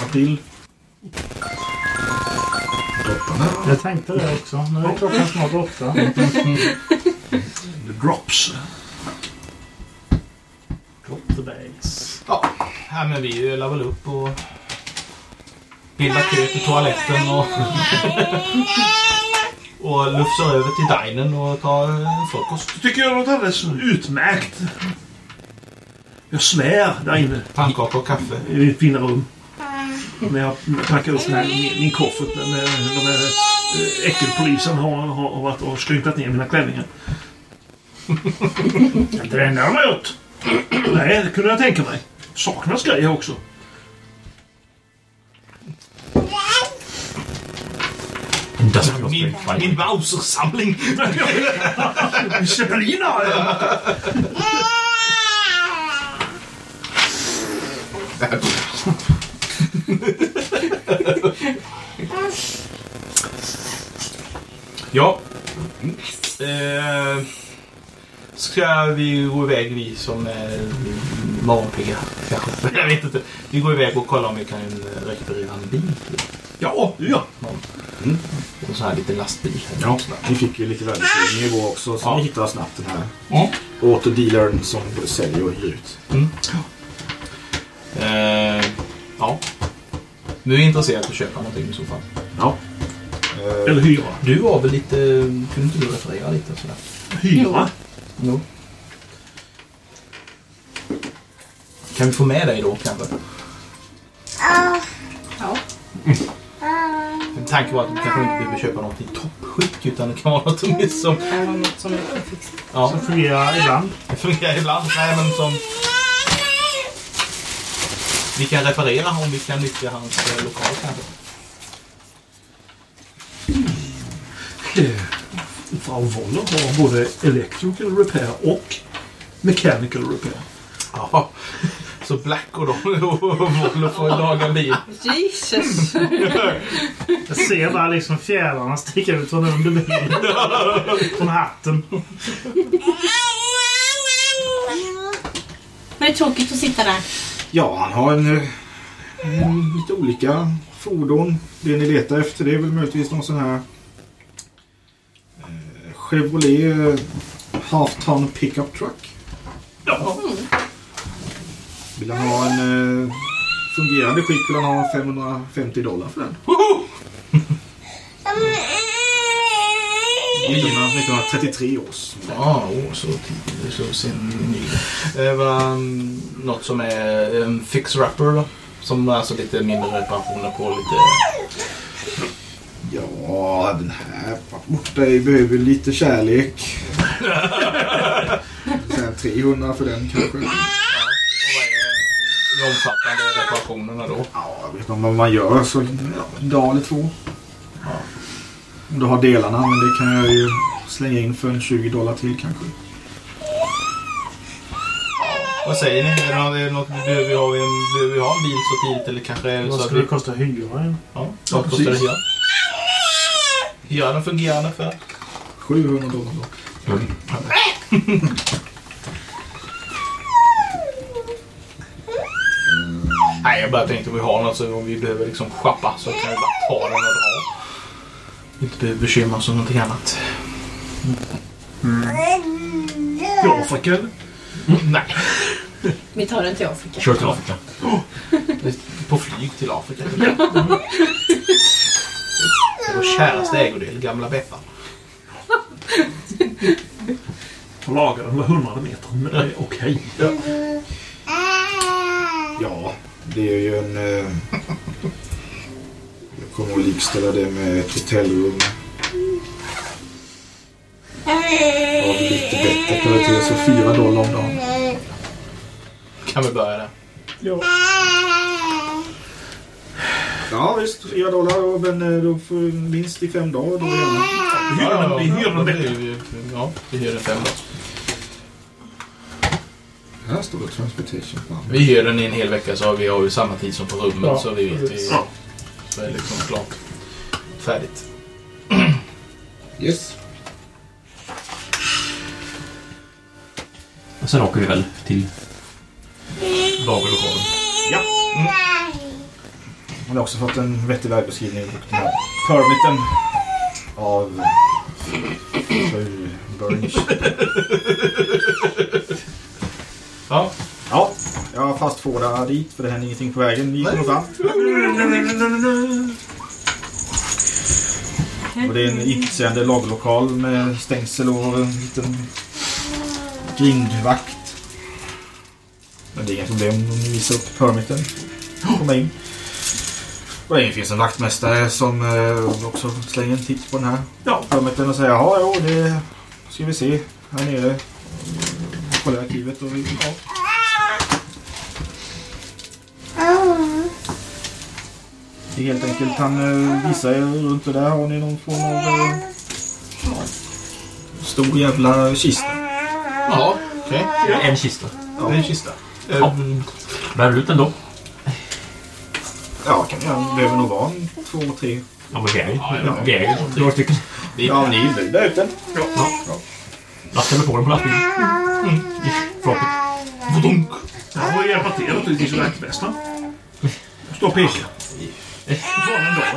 april. Dropparna. Jag tänkte det också. Nu är klockan snart åtta. The drops. Drop the bags. ja. Nej, men vi lär väl upp och bildar kö till toaletten och, och lufsar över till dinen och tar eh, frukost. tycker jag låter alldeles utmärkt. Jag svär där inne Pannkakor och kaffe. i mitt fina rum. När jag packar upp den här, min, min koffert. När, när de här eh, äckelpolisen har, har, har varit och skrynklat ner mina klänningar. Det är inte det enda de har gjort. Nej, det kunde jag tänka mig. Saknas grejer också. Industrial Min, strength min fighting. Bowser-samling. Zeppelin har jag. Ja. Eh, ska vi gå iväg vi som är morgonpigga? Kanske. Jag vet inte. Vi går iväg och kollar om vi kan eh, rekvirera en bil. Ja, ja. En sån här liten lastbil. Ja, vi fick ju lite värdeskrivning igår också, så Ja. vi hittade snabbt den här. Ja. Åt dealern som både säljer och hyr ut. Eh, ja. Nu är jag intresserad av att köpa någonting i så fall. Ja. Eller hyra. Du var väl lite... Kunde inte du referera lite sådär? Hyra? Jo. Kan vi få med dig då kanske? Ja. Min tanke var att du kanske inte behöver köpa något i toppskick utan det kan vara något som, som Det var något som jag fick fixa. ja, Fungerar ibland. fungerar ibland. Nej, men som... Vi kan referera om vi kan nyttja hans eh, lokal kanske. Eh, Frau Woller har både electrical repair och mechanical repair. Ja. Så Black och de och Volvo får laga bil. Jesus! Mm. Jag ser bara liksom fjädrarna sticka ut från under bilen. Från hatten. Men det är tråkigt att sitta där. Ja, han har en, eh, en, lite olika fordon. Det ni letar efter det är väl möjligtvis någon sån här eh, Chevrolet eh, Half Ton Pickup Truck. Ja. Vill han ha en eh, fungerande skick vill han ha 550 dollar för den. Givna 1933 års. Ja, åh, så tidigt. Så sen eh, men, um, Något som är en fix wrapper då. Som är alltså lite mindre reparationer på lite... Ja, den här borta behöver lite kärlek. Sen 300 för den kanske. De eh, omfattande reparationerna då. Ja, jag vet inte vad man gör så ja, en dag eller två. Om du har delarna, men det kan jag ju slänga in för en 20 dollar till kanske. Vad säger ni? Är det något- Är det något, behöver, vi ha en, behöver vi ha en bil så tidigt eller kanske är det Vad så att skulle vi... det kosta att hyra en? Ja, vad kostar det precis. hyra? Hyran är fungerande för? 700 dollar då. Nej, jag bara tänkte om vi har något så om vi behöver liksom schappa så kan vi bara ta den och dra. Inte behöver bekymra oss om någonting annat. Mm. I Afrika eller? Nej, Vi tar den till Afrika. Kör till Afrika. på flyg till Afrika. Det var käraste ägodel, gamla Beppa. Och lagar den var 100 meter. Men det är okej. Ja, det är ju en... Eh, jag kommer att likställa det med ett hotellrum. Av lite bättre kvalitet, så 4 dollar om dagen. Kan vi börja där? Ja visst, 4 dollar, och- men eh, då får du minst i fem dagar. Då är det Vi hyr den- Vi hyr den bättre. Ja, vi hyr den fem då. Här står det transportation. Vi hyr den i en hel vecka så har vi har ju samma tid som på rummet Ja, så vi vet ju. Ja. Så är det liksom klart. Färdigt. Yes. Och sen åker vi väl till Babelshowen. Han har också fått en vettig vägbeskrivning och den här permiten av fru Burns. Ja. Ja, jag fastfårar dit för det händer ingenting på vägen. Vi kommer fram. Och det är en intetsägande lagerlokal med stängsel och en liten grindvakt. Men det är inga problem om ni visar upp permiten. Komma in. Och det finns en vaktmästare som eh, också slänger en titt på den här Ja. permiten och säger ja, jo, det ska vi se här nere. Kolla i arkivet och vi, ja. Det är helt enkelt, han eh, visar er runt och där har ni någon form av... eh, ja, Stor jävla kista. Ja, okej. En kista. Det är en kista. Ehm, Bär du ut den då? Ja, kan jag. Behöver nog vara en två, tre. Ja, men vi är ju- vi är ju några stycken. Ja, ni är nöjda ut den. Lastar vi på den på lastbilen? Jag får hjälpa till naturligtvis. Vaktmästaren. Stå och peka.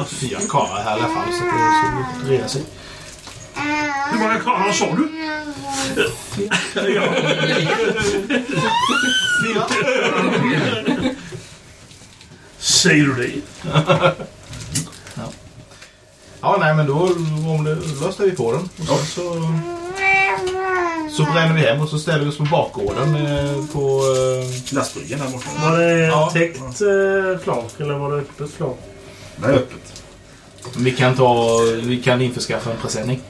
Fyra karlar här i alla fall så det är så reda sig. Hur många karlar sa du? Fyra. Säger du det? Ja, nej men då om det, löste vi på den. Och sen så, så bränner vi hem och så ställer vi oss på bakgården eh, på... Eh, Lastbryggan där borta. Var det Ja. täckt eh, flak eller var det öppet flak? Det är öppet. vi kan ta... Vi kan införskaffa en presenning.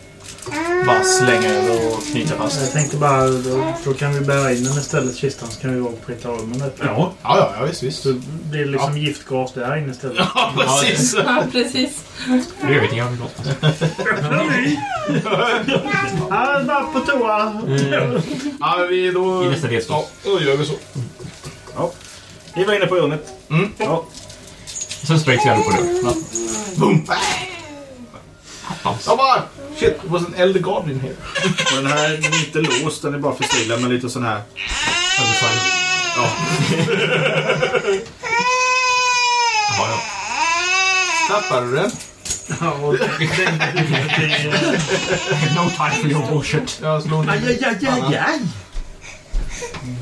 Bara slänga över och knyta Jag fast. tänkte bara, då, då kan vi bära in den istället, kistan, så kan vi bara pricka av med det. Ja. Ja, ja, ja visst, visst. Så blir det liksom giftgas där inne istället. Ja, precis. Ja, precis. Det gör ingenting om vi låter. Ja, bara på toa! Mm. Ja, men vi då... I nästa delstat. Ja, då gör vi så. Ja. Vi var inne på rummet. Mm. Ja. Sen sprängs jag på dörren. Boom! Ah! Jag bara... Shit, it was an elder god in here. Och den här den är inte låst, den är bara försilad med lite sån här... Tappade du den? No time for your bullshit. Jag slog ner Aj, aj, aj, aj.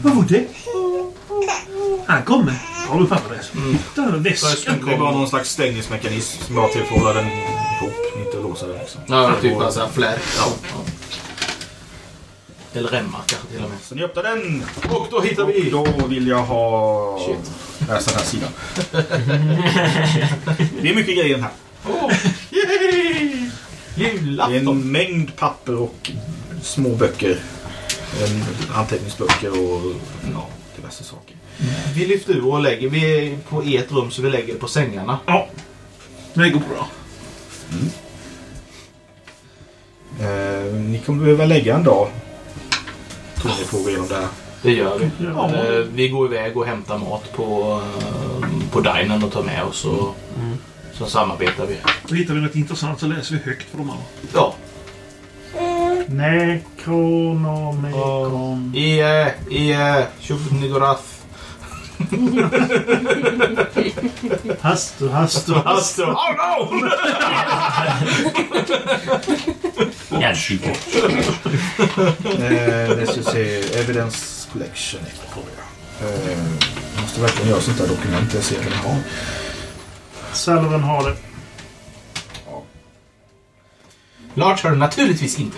Vad var det? Han kommer. Har du papper där? Där har du väskan. Rösten Det är bara kom. någon slags stängningsmekanism som jag har till för att hålla den ihop, inte låsa den. Liksom. Ja, typ bara såhär flärp. Eller remmar kanske till och med. Så ni öppnar den Och då hittar och vi... då vill jag ha... Shit. Läsa den här sidan. det är mycket grejer här. Det är Julafton. en mängd papper och små böcker. En- Anteckningsböcker och ja, diverse saker. Vi lyfter ur och lägger. Vi är på ert rum så vi lägger det på sängarna. Det går bra. Eh, ni kommer behöva lägga en dag. Tror ni får gå igenom det här. Det gör vi. Eh, Vi går iväg och hämtar mat på, eh, på dinen och tar med oss. Och, Så samarbetar vi. Och Mm. hittar vi något intressant så läser vi högt för de andra. Ja, Necronomicon. i... eh, i... eh, Tjofnidorath. Hastu, hastu. Astro. Oh no! Gäddkika. Eh, det ska vi se. Evidence Collection heter det. Eh, måste verkligen göra sånt här dokument. Jag ser vad ni har. Sullivan har det. Lars har det naturligtvis inte.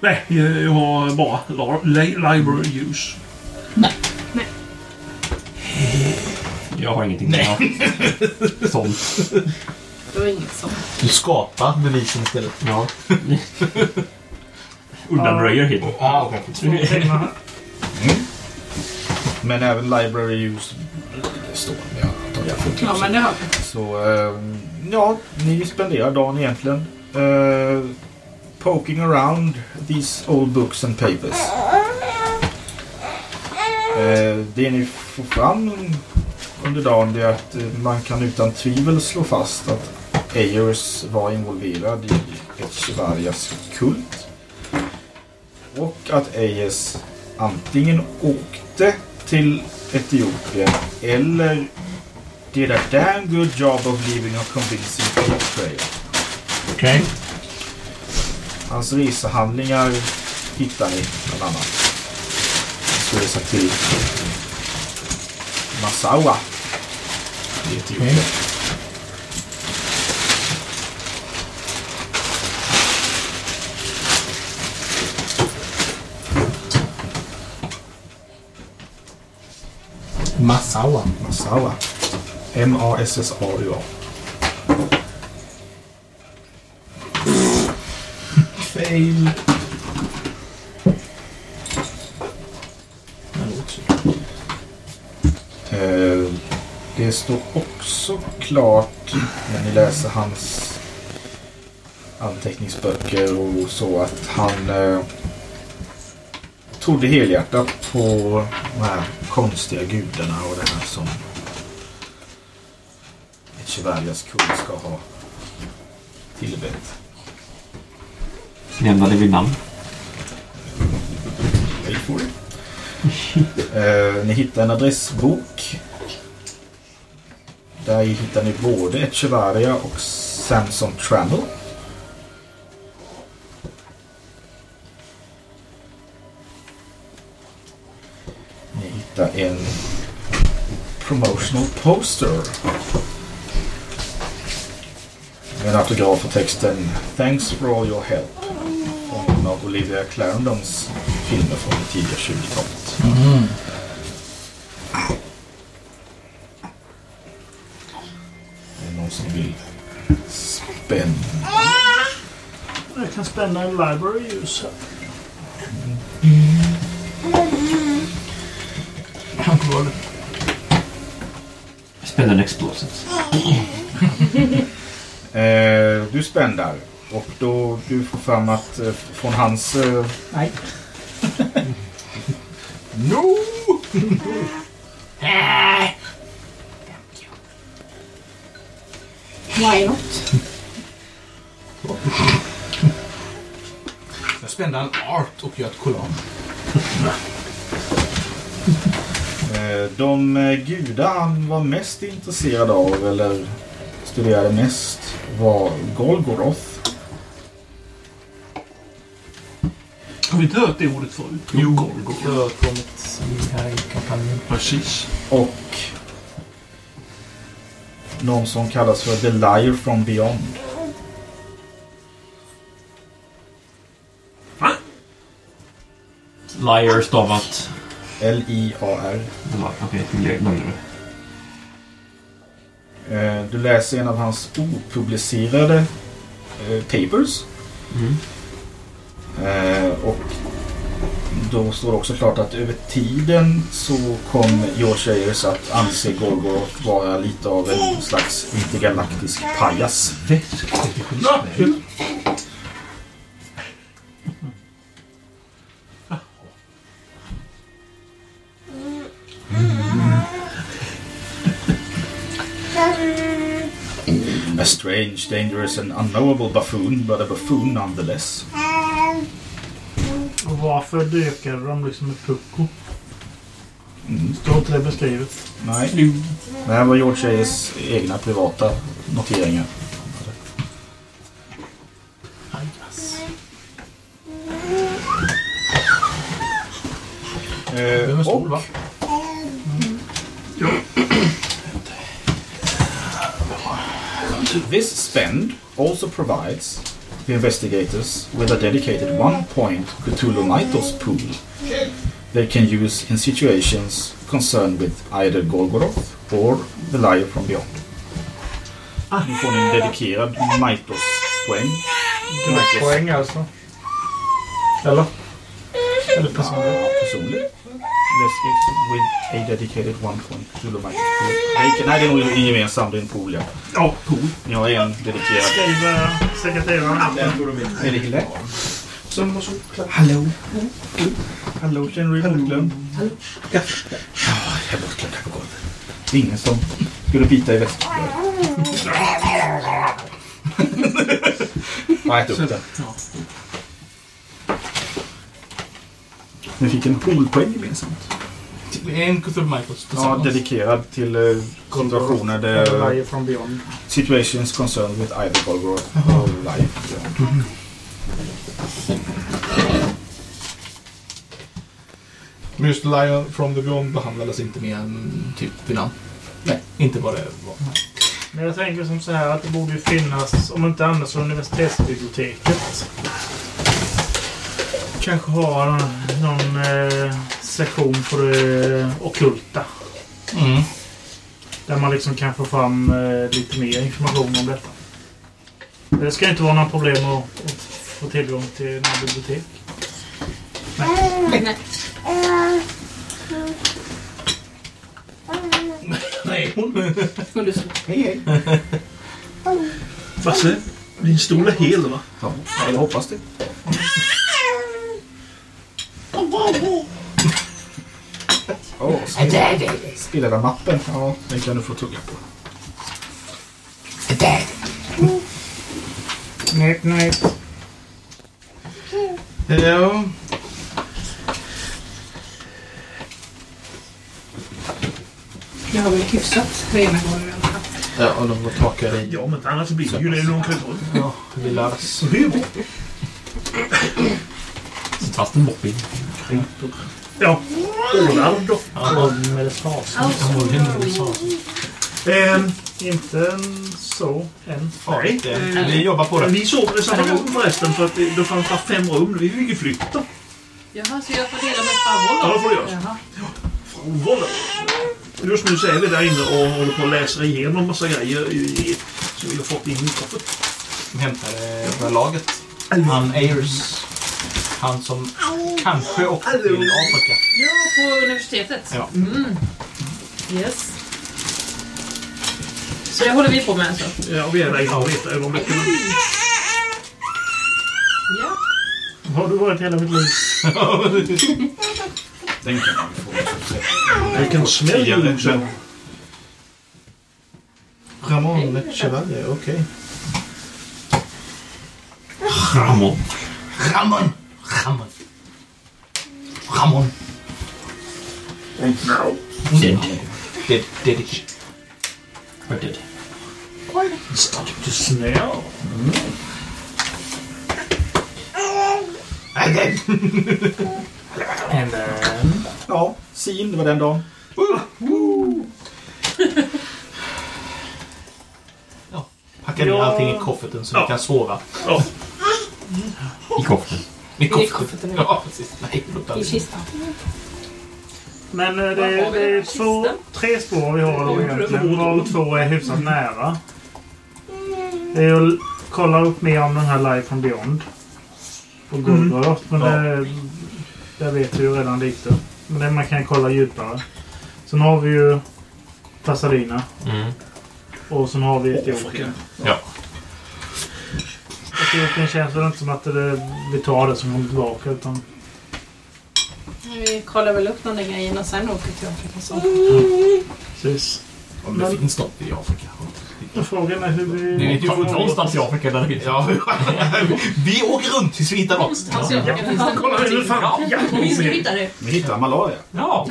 Nej, jag jag har bara la- la- library use. Jag har ingenting. Nej. Sånt. Det var inget sånt. Du skapar bevisen istället. Ja. Undanröjer helt. Ah, okay. Men även Library Use det står det. Jag antar jag får Ja, men det har Så eh, ja, ni spenderar dagen egentligen. Eh, poking around these old books and papers. Eh, det ni får fram under dagen det är att eh, man kan utan tvivel slå fast att Ayers var involverad i Echevarrias kult. Och att Ayers antingen åkte till Etiopien eller did a damn good job of leaving a convincing plot trail. Okej. Hans resehandlingar hittar ni bland annat. Han ska resa till Massawa. i Etiopien. Massawa. Massawa. M-A-S-S-A-U-A. Fail. Eh, Det står också klart när ni läser hans anteckningsböcker och så att han eh, trodde helhjärtat på de här konstiga gudarna och det här som Echevalias kung ska ha tillbett. Nämnde det vid namn. Hej på er. Eh, ni hittar en adressbok. Där hittar ni både Echevarria och Samson Trammell. Ni hittar en promotional poster. Med en autograf och texten Thanks for all your help. Från en av Olivia Clarendons filmer från det tidiga 20-talet. Är det någon som vill spänna? Jag kan spänna en library use här. Spänn en explosive. Eh, du spänner och då du får fram att eh, från hans... Eh, Nej. no! Why not? Jag spände en art och göt kolon. Eh, De eh, gudar han var mest intresserad av eller studerade mest var Golgoroth. Har vi inte hört det ordet förut? Jo, Golgor. Jag har kommit i här i kampanjen. Precis. Och någon som kallas för The Liar from Beyond. Liar stavat... L-I-A-R. Okej, okay, glömde det. Eh, Du läser en av hans opublicerade eh, papers. Mm. Eh, och då står det också klart att över tiden så kom George Ayers att anse Gorgoroth vara lite av en slags intergalaktisk pajas. A strange, dangerous and unknowable buffoon, but a buffoon nonetheless. Och varför dökade de liksom med pucko? Mm. Står inte det beskrivet? Nej. Det här var George Ayers egna privata noteringar. Det är Eh, en och stol va? This spend also provides the investigators with a dedicated one point Cthulhu Mythos pool they can use in situations concerned with either Golgoroth or the Liar from Beyond. Nu får ni en dedikerad Mythos-poäng. Poäng alltså. Eller? Eller personer. Ja, personlig. Läskigt. With a dedicated one point Cthulhu Mythos pool. Nej, inte- Nej, det är nog en gemensam. Det är en pool, ja. Ja, cool. Ni har en dedikerad. Skriver sekreteraren. Är det lätt? Hallå. Mm. Hallå, känner du dig bortglömd? Ja, Ja, jag är bortglömd här på golvet. Det är ingen som skulle bita i väskan. Jag äter upp den. Ni fick en poolpoäng gemensamt. En Cthulhu Michaels Ja, tillsammans. dedikerad till eh, situationer Eller där... Lion from Beyond. Situations concerned with either Golgoroth or life. Ja. Men just Lion from the Beyond behandlades inte mer än typ vid namn. Nej, inte vad det var. Men jag tänker som så här att det borde ju finnas, om inte annat så universitetsbiblioteket. Kanske ha någon, någon eh, sektion för det ockulta. Mm. Där man liksom kan få fram eh, lite mer information om detta. Det ska ju inte vara några problem att, att få tillgång till några bibliotek. Nej. Nej, hon... Hon lyssnar. Basse, din stol är hel va? Ja, jag hoppas det. Åh, oh, spillade mappen. Ja, den kan du få tugga på. Nej, nej. Ja. Jag har väl hyfsat rena gånger i alla fall. Ja, och de var takade i Ja, men annars blir det ju det någon kontroll. lilla... Sitt fast en mopping. Ja. Ålar då. Ehm, Inte en så än. nej. Vi jobbar på Men det. vi sov i samma rum förresten för att det, det fanns bara fem rum. Vi fick ju flytta. Jaha, så jag får dela med Ja, det farbror får du göra. Jaha. från Volley. Just nu så är vi där inne och håller på att läsa igenom massa grejer i, i, som vi har fått in i koffert. Vi hämtade från eh, laget. Han Ayers. Han som kanske åkte till Afrika. Ja, på universitetet. Ja. Mm. Yes. Så det håller vi på med alltså? Ja, vi är där inne och letar ögonblicken. Ja. Har du varit hela mitt liv? Den kan man få. Vilken smäll Ja, det också. Ramon Chevalier, okej. Ramon. Ramon! Ramon! Ramon! Dead. Dead, dead We're dead. Du snäll. And then... Ja, sin, det var den dagen. Packa ner Ja. allting i kofferten så vi kan sova. I koften. I I kofferten? kofferten. eller? Ja, precis. Nej, låt I aldrig. kistan. Men eh, det är, det är två, tre spår vi har då egentligen. Varav två är hyfsat nära. Det är att kolla upp mer om den här Life from Beyond. På Mm. Google Earth, Men det, där vet vi ju redan lite. Men det man kan kolla djupare. Sen har vi ju Pasadena. Mm. Och sen har vi Etiopien. Ja. Etiopien känns väl inte som att det, vi tar det som kommer tillbaka. Utan Vi kollar väl upp de där grejerna och sen åker till Afrika. Så. precis. Om det finns något i Afrika. Och Frågan är hur vi... Det är ju fortfarande någonstans i Afrika där det finns. Ja, vi åker runt tills vi hittar något. Alltså, jag kan inte kolla hur fan. Vi ska hitta det. Vi hittade malaria. Ja!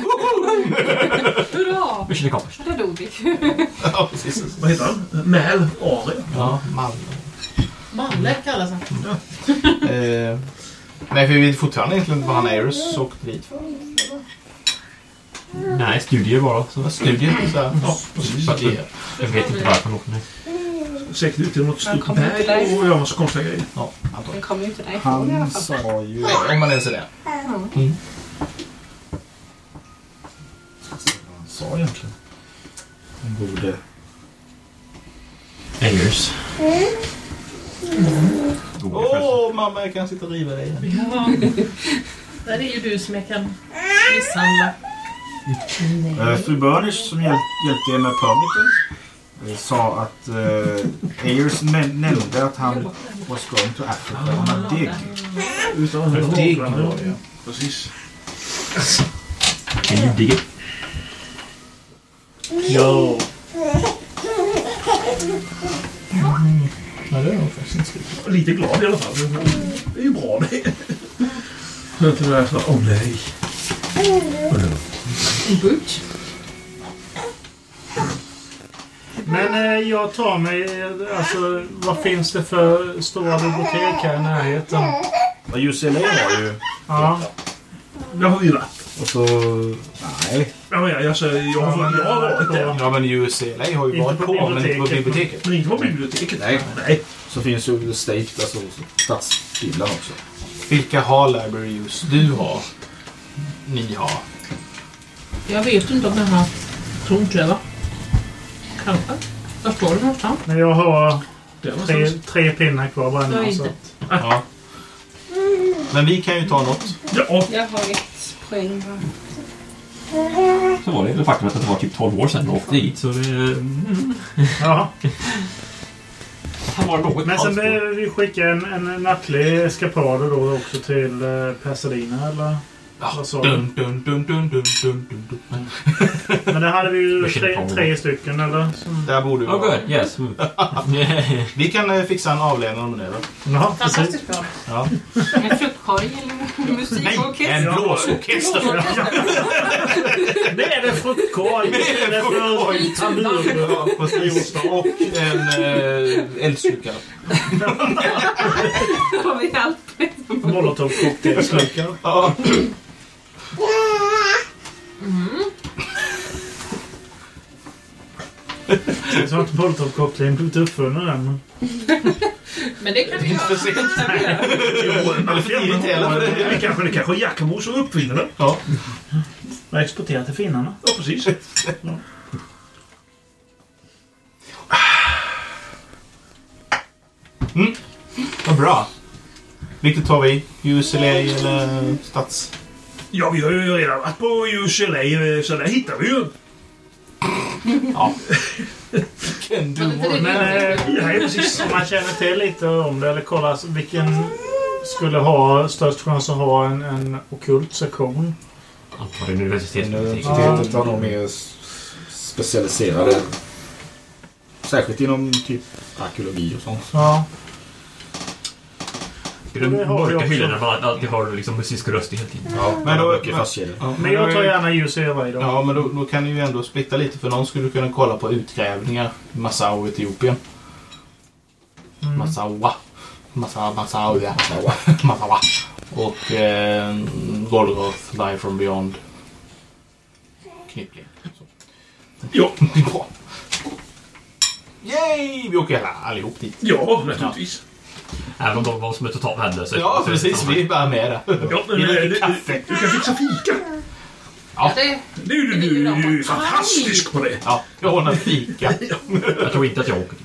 Hurra! Mission accomplished. Där dog vi. Ja, precis. Vad heter han? Mäl Ari. Ja, Malmö. Malle kallas han. Eh, nej, för vi vet fortfarande egentligen inte vad han Ares åkte dit för. Nej, studier bara. Det var studier. Så här. Ja, precis. Jag vet inte varför han åkte ner. Säkert ut till något Han stort kommer inte berg där. och gör en massa konstiga grejer. Ja, antagligen. Den kommer ju inte därifrån i alla Han fall. sa ju... Om man ens är det. Vad han sa egentligen? Han borde... Ayers. Åh, mamma, jag kan sitta och riva dig igen. Där är ju du som jag Mm. kan misshandla. Eh, fru Burners som hjäl hjälpte er med permiten eh, sa att eh, Ayers nä- nämnde att han was going to Africa on a dig. Utan den här Dig åkran. var det, ja. Precis. Can you dig it? Yo. Nej, det är nog faktiskt inte skrivet. Lite glad i alla fall. Det är ju bra det. Hör inte det där så åh nej. Butch. Men eh, jag tar mig... eh, Alltså, vad finns det för stora bibliotek här i närheten? Och UCLA var ju... Ja. Det har vi varit. Och så... Nej. Ja, men jag, alltså, jag, har, jag har varit där. Ja, men UCLA har ju Inte varit på på, men inte på biblioteket. biblioteket. Men inte på biblioteket. Nej. nej. Så finns ju The State, alltså stadsbibblan också. Vilka har library use? Du har. Ni har. Jag vet inte om den här... Tror inte det va? Kanske. Var står det någonstans? Men jag har Där tre, någonstans. tre pinnar kvar bara nu. alltså. Så. Ja. Men vi kan ju ta något. Ja, Jag har ett poäng bara. Så var det. Det faktum att det var typ 12 år sedan de åkte dit. Så det... Mm. Ja. Han var något Men sen halvspår. behöver vi skicka en, en nattlig eskapade då också till eh, Pasadena eller? Ja, Vad sa du? dun, dun, dun, dun, dun, dun, dun, dun. Men det hade vi ju Jag känner tre, på- tre stycken eller? Där borde vi Oh vara. good, yes. Mm. Vi kan eh, fixa en avledande om det. va? Ja, precis. Fantastiskt bra. Ja. En fruktkorg eller musik och En orkester. blåsorkester! Det är det fruktkorg! Det är det för tambur! Ja, precis. Och en eh, eldslukare. Då har vi allt. Molotovcocktailslukare. Ja. Jag har inte molotovcocktailn blivit uppfunnen än. men- Men det kan vi göra. För sent. Det kan vi göra. Eller för tidigt heller. det kanske, det kanske är Jackamo som uppfinner den. Jag har exporterat till finnarna. Ja, precis. Vad bra. Vilket tar vi? UCLA eller Stats? Ja, vi har ju redan varit på UCLA, eh, så där hittar vi ju. Men inte det- Men eh, Ja, precis. om man känner till lite om det eller kollar alltså, vilken skulle ha störst chans att ha en, en okult sektion? Antar det är en Mm. universitetsbibliotek. Universitetet har nog mer s- specialiserade Särskilt inom typ arkeologi och sånt. Ja. I de Det har vi mörka också. hyllorna man alltid har liksom musik och röst i hela tiden. Ja, Men då- böcker fastkedjade. Ja, Men jag då- tar gärna ljus över idag. Ja, men då, då kan ni ju ändå splitta lite för någon skulle kunna kolla på utgrävningar. Massau, Etiopien. Massawa. Massa, Mm. Massawa. Massawa. Massawa. Och eh, Golgoth, Live from Beyond. Knippling. Så. Ja. Det är bra. Yay! Vi åker alla, allihop dit. Ja, naturligtvis. Även om de var som är totalt värdelösa. Ja, precis. Vi är bara med där. Ja, men, eh, du, du, du kan fixa fika. Det, Du, du, du, du är ju fantastisk på det. Ja, jag ordnar fika. Jag tror inte att jag åker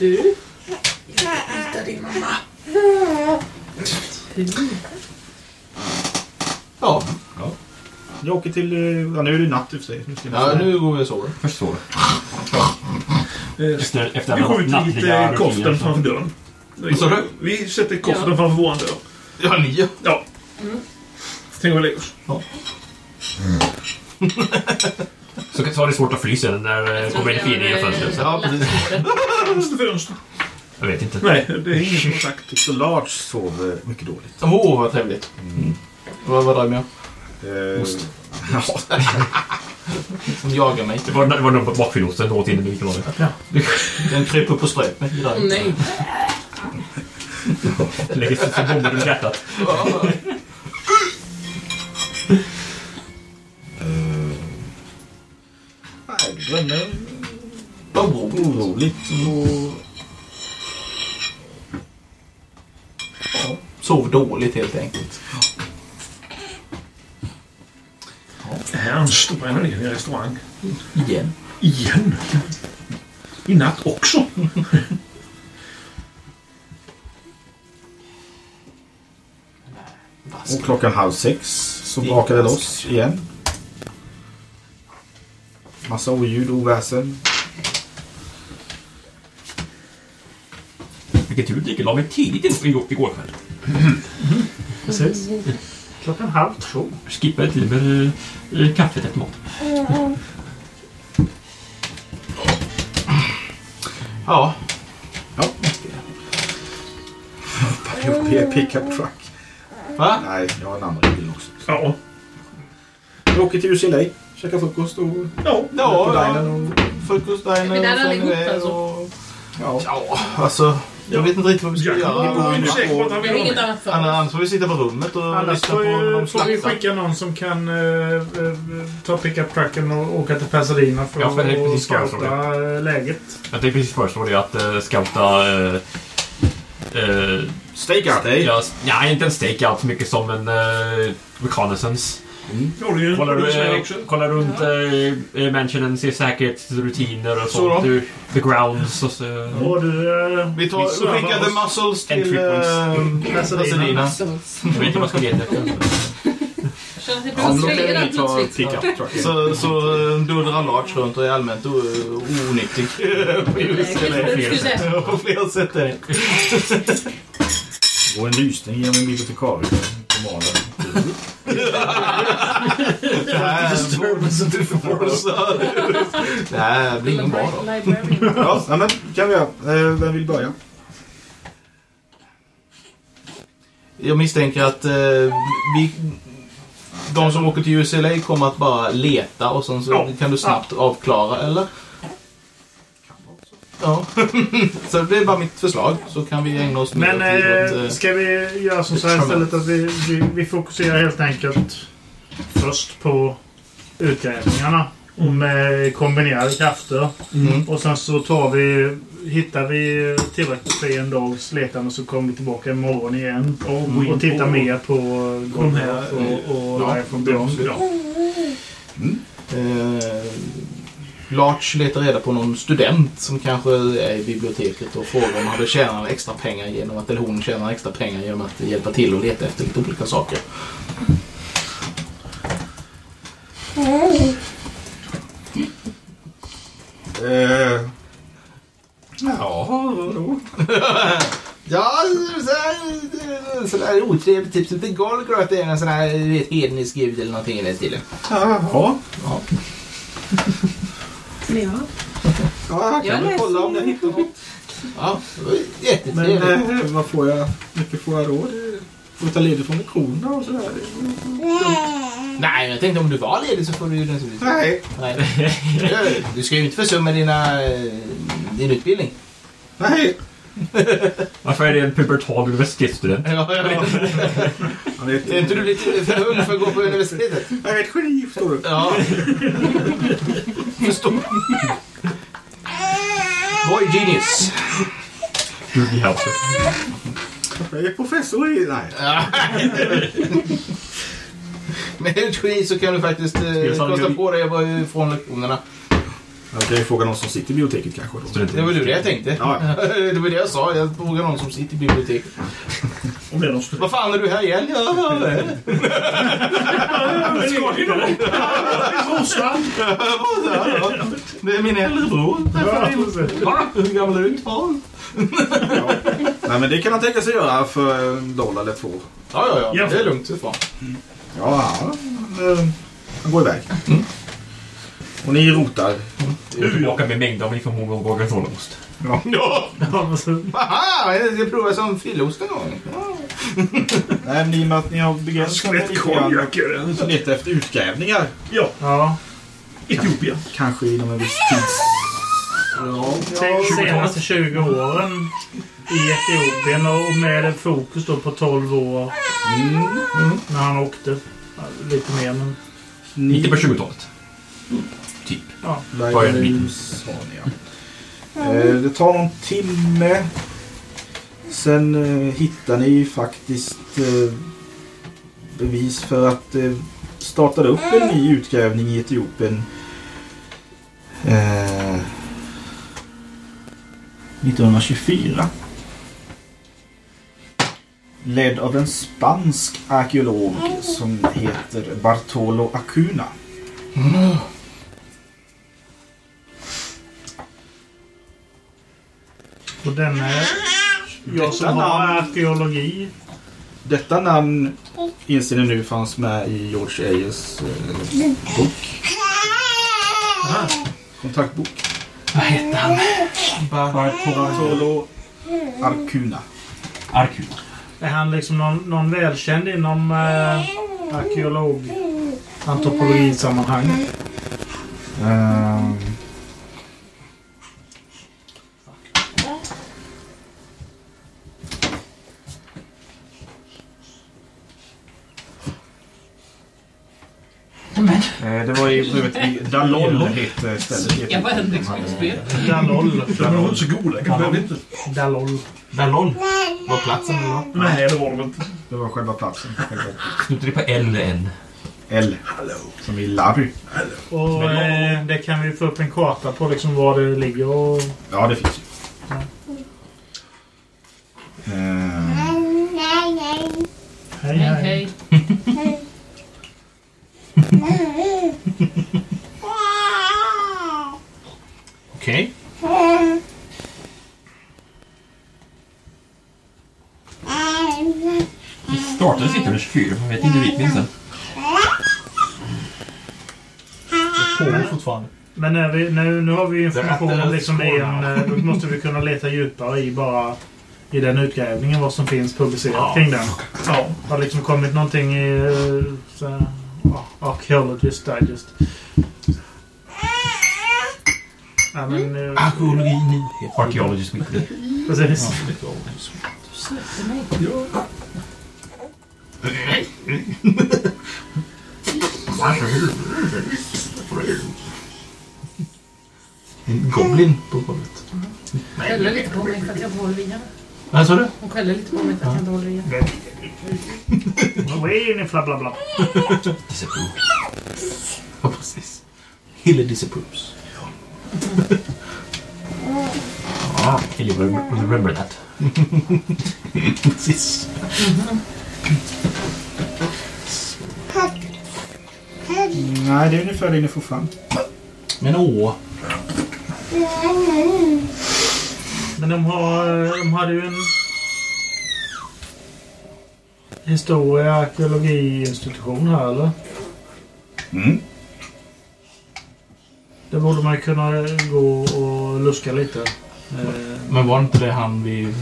dit. Ja, Jag åker till... eh, Ja, nu är det natt i och för sig. Nu ska jag- ja nu går vi och sover. Först sover. Eh, Efter, efter Vi alla skjuter lite nattliga eh, rutiner koften så- framför dörren. sa du? Vi sätter koften framför våran dörr. Ja, ni gör. Ja. Tänk vad vi lägger oss. Så så har det svårt att fly sen när det eh, kommer en fin genom fönstret. Ja, precis. Fönster, fönster. Jag vet inte. Nej, det är ingen som har sagt. Så Lars sover mycket dåligt. Åh, oh, vad trevligt. Vad, vad drömmer jag? Eh, Ost. Som jagar mig. typ. Det var, det var någon på bakfyllosten åt in i mikrofonen. Den kröp upp och ströp mig. i drömmen. nej. Lägger sig som bomber runt hjärtat. Nej, du drömmer Oh, oroligt och... Sov dåligt helt enkelt. Det här är en stor energi i restaurang. Igen. Igen. I natt också. Och klockan halv sex så brakar det loss igen. Massa oljud, oväsen. Vilken tur Dick la mig tidigt igår, igår kväll. Precis. Klockan halv två. Skippade till och med eh, kaffet efter mat. Ja. Ja. Hoppar pickup truck. Va? Nej, jag har en annan bil också. Ja. Vi åker till UCLA, käkar frukost och... Ja. Ja, ja. ja. Frukostdiner Är vi där och sen allihop, iväg alltså? och... Ja. Ja, alltså. Jag vet inte riktigt vad vi ska Jack göra. bor ju säkert på att han Vi har vill ha inget med. annat för oss. Annars får vi sitta på rummet och Annars lyssna på får, när ju, de får vi slaktar. skicka någon som kan eh, eh, ta pickup trucken och åka till Pasadena för Ja, för det är att precis vad jag scouta eh, läget. Jag tänkte precis föreslå det att uh, scouta... eh, eh, Stakeout, eh? ja, s- nej, inte en stake allt så mycket som en uh, reconnaissance. Ja, det är ju en Kollar, polis du, med eh, också. kollar runt ja. mansionen, ser säkerhetsrutiner och sånt. då? Du, the grounds och så. Mm. Och du... eh, Vi tar, servar vi skickar The oss Muscles entry till eh, Pasadena. Jag vet inte vad jag ska leta efter. Känns det Ja, bra att då kan svälja vi ta plötsligt? pickup trucken. Så, så eh, dundrar Lars runt och är allmänt o- onyttig. på UCLA. Ja, På flera sätt är det. Och en lysning genom en bibliotekarie på malen. Det här Det här blir ingen bra då. Librarian. Ja, nej, men kan vi göra. Eh, vem vill börja? Jag misstänker att eh, vi, de som åker till UCLA kommer att bara leta och sen så Ja. kan du snabbt avklara, eller? Ja. så det är bara mitt förslag. Så kan vi ägna oss mer Men åt... eh, eh, ska vi göra som så här istället att vi, vi, vi fokuserar helt enkelt först på utgrävningarna och Mm. med kombinerade krafter. Mm. Och sen så tar vi, hittar vi tillräckligt för en dags letande så kommer vi tillbaka imorgon igen Och gå in och tittar på- mer på de här, eh, Golgoth och, och ja, Life from Beyond. Ja. Eh, Lars letar reda på någon student som kanske är i biblioteket och frågar om han vill tjäna extra pengar genom att, eller hon tjänar extra pengar genom att hjälpa till och leta efter lite olika saker. Eh, ja, vadå? Ja, sådär otrevligt tips. Inte Golgrot är en sån här hednisk gud eller någonting i den stilen. Ja. Ja. som jag har. Ja, jag Jag kan väl läser kolla om jag ju. hittar något. Ja, det var jättetrevligt. Men eh, vad får jag? mycket får jag råd? Får jag ta ledigt från lektionerna och sådär? Nej, jag tänkte om du var ledig så får du ju naturligtvis. Nej. Nej. Du ska ju inte försumma dina, eh, din utbildning. Nej. Varför är det en pubertal universitetsstudent? Ja, jag vet inte. Är inte du lite för ung för att gå på universitetet? Jag är ett geni, förstår du. Ja. Förstår du? Boy genius. Gud i hälsa. Jag är professor i... Nej. Med ett geni så kan du faktiskt eh, Spelsam- kosta på dig att vara från lektionerna. Jag kan ju fråga någon som sitter i biblioteket kanske. Då. Det var ju det jag tänkte. Ja, ja. Det var det jag sa. Jag frågade någon som sitter i biblioteket. Om det är någon som... Vad fan är du här igen? Ja, jag är här. Skoj då! Morsan! Det är min äldre bror. Va? Hur gammal är du? Tolv. Nej, men det kan han tänka sig göra för en dollar eller två. Ja, ja, ja. Ja. Det är lugnt. Det är fan. Ja, eh, han går iväg. Och ni rotar. Jag är tillbaka med mängder av information om gorgonzolaost. Ja! Aha! Jag ska prova som fylleost någon gång. Nej, men i och med att ni har begränsat er lite grann Skvättkonjak är det. och letar efter utgrävningar. Ja, Ja. Etiopien. Kanske inom en viss tids... Ja, De senaste 20 åren i Etiopien och med ett fokus då på 12 år Mm. när han åkte. Ja, Lite mer men... Inte på 20-talet. Typ. Vad är det? Lajsania. Eh, det tar någon timme. Sen eh, hittar ni faktiskt eh, bevis för att det startade upp en ny utgrävning i Etiopien. Eh, 1924. Ledd av en spansk arkeolog som heter Bartolo Acuna. Och denna... Jag som Detta har namn. arkeologi. Detta namn inser ni nu fanns med i George Ayers eh, bok. Kontaktbok. Vad hette han? Bartolo Arcuna. Arkula. Är han liksom någon, någon välkänd inom eh, arkeolog... Antropologisammanhang? Ehm. Eh, Det var ju för övrigt i Dalol heter stället. i Jag var Etiopien. ändå liksom inte spel. Dalol. De var inte så goda. Jag behövde inte. Dalol. Ballon. Var platsen eller något? Nej, det var de inte. Det var själva platsen. själva Slutar det på L eller N? L. Som i Larry. Och eh, det kan vi få upp en karta på liksom var det ligger och... Ja, det finns ju. Ehm. Hej, Hej, hej. hej. Okej. Vi startade sitter under 24, man vet inte vilken sen. Pågår fortfarande. Men när vi, nu, nu har vi ju information om liksom i en... Där är eh, Då måste vi kunna leta djupare i bara... I den utgrävningen, vad som finns publicerat kring den. Ja. Har det liksom kommit någonting i... eh, Så, här, ja, Archaeologist Digest. Ja, men... eh, Arkeologi nyhet. Arkeologisk nyhet. Precis. En goblin på golvet. Skäller lite på mig för att jag inte håller i henne. Vad sa du? Hon skäller lite på mig för att jag inte håller i henne. Wayne, bla bla bla. Ja, precis. Hille disapproves. Ah, Kelly, remember remember that. precis. Nej, det är ungefär det ni får fram. Men åh. Men de, har, eh, de hade ju en historia och arkeologiinstitution här, eller? Mm. Det borde man kunna gå och luska lite. Eh, Men var inte det han vid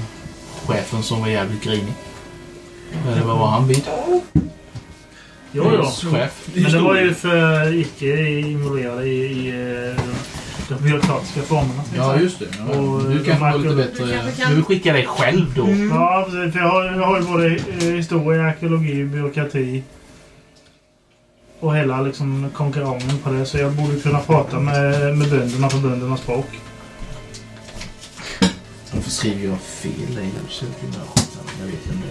chefen som var jävligt grinig? Eller vad var han vid? Jo, jo. Chef. Men det var ju för icke involverade i, i eh, de byråkratiska formerna. Ja, just det. eh, Ja. Du kanske har lite bättre... Du skickar dig själv då. Ja, precis. För jag har, jag har ju både eh, historia, arkeologi, byråkrati och hela liksom, konkurrensen på det. Så jag borde kunna prata med, med bönderna på böndernas språk. Varför skriver jag fel i huset? Jag vet inte.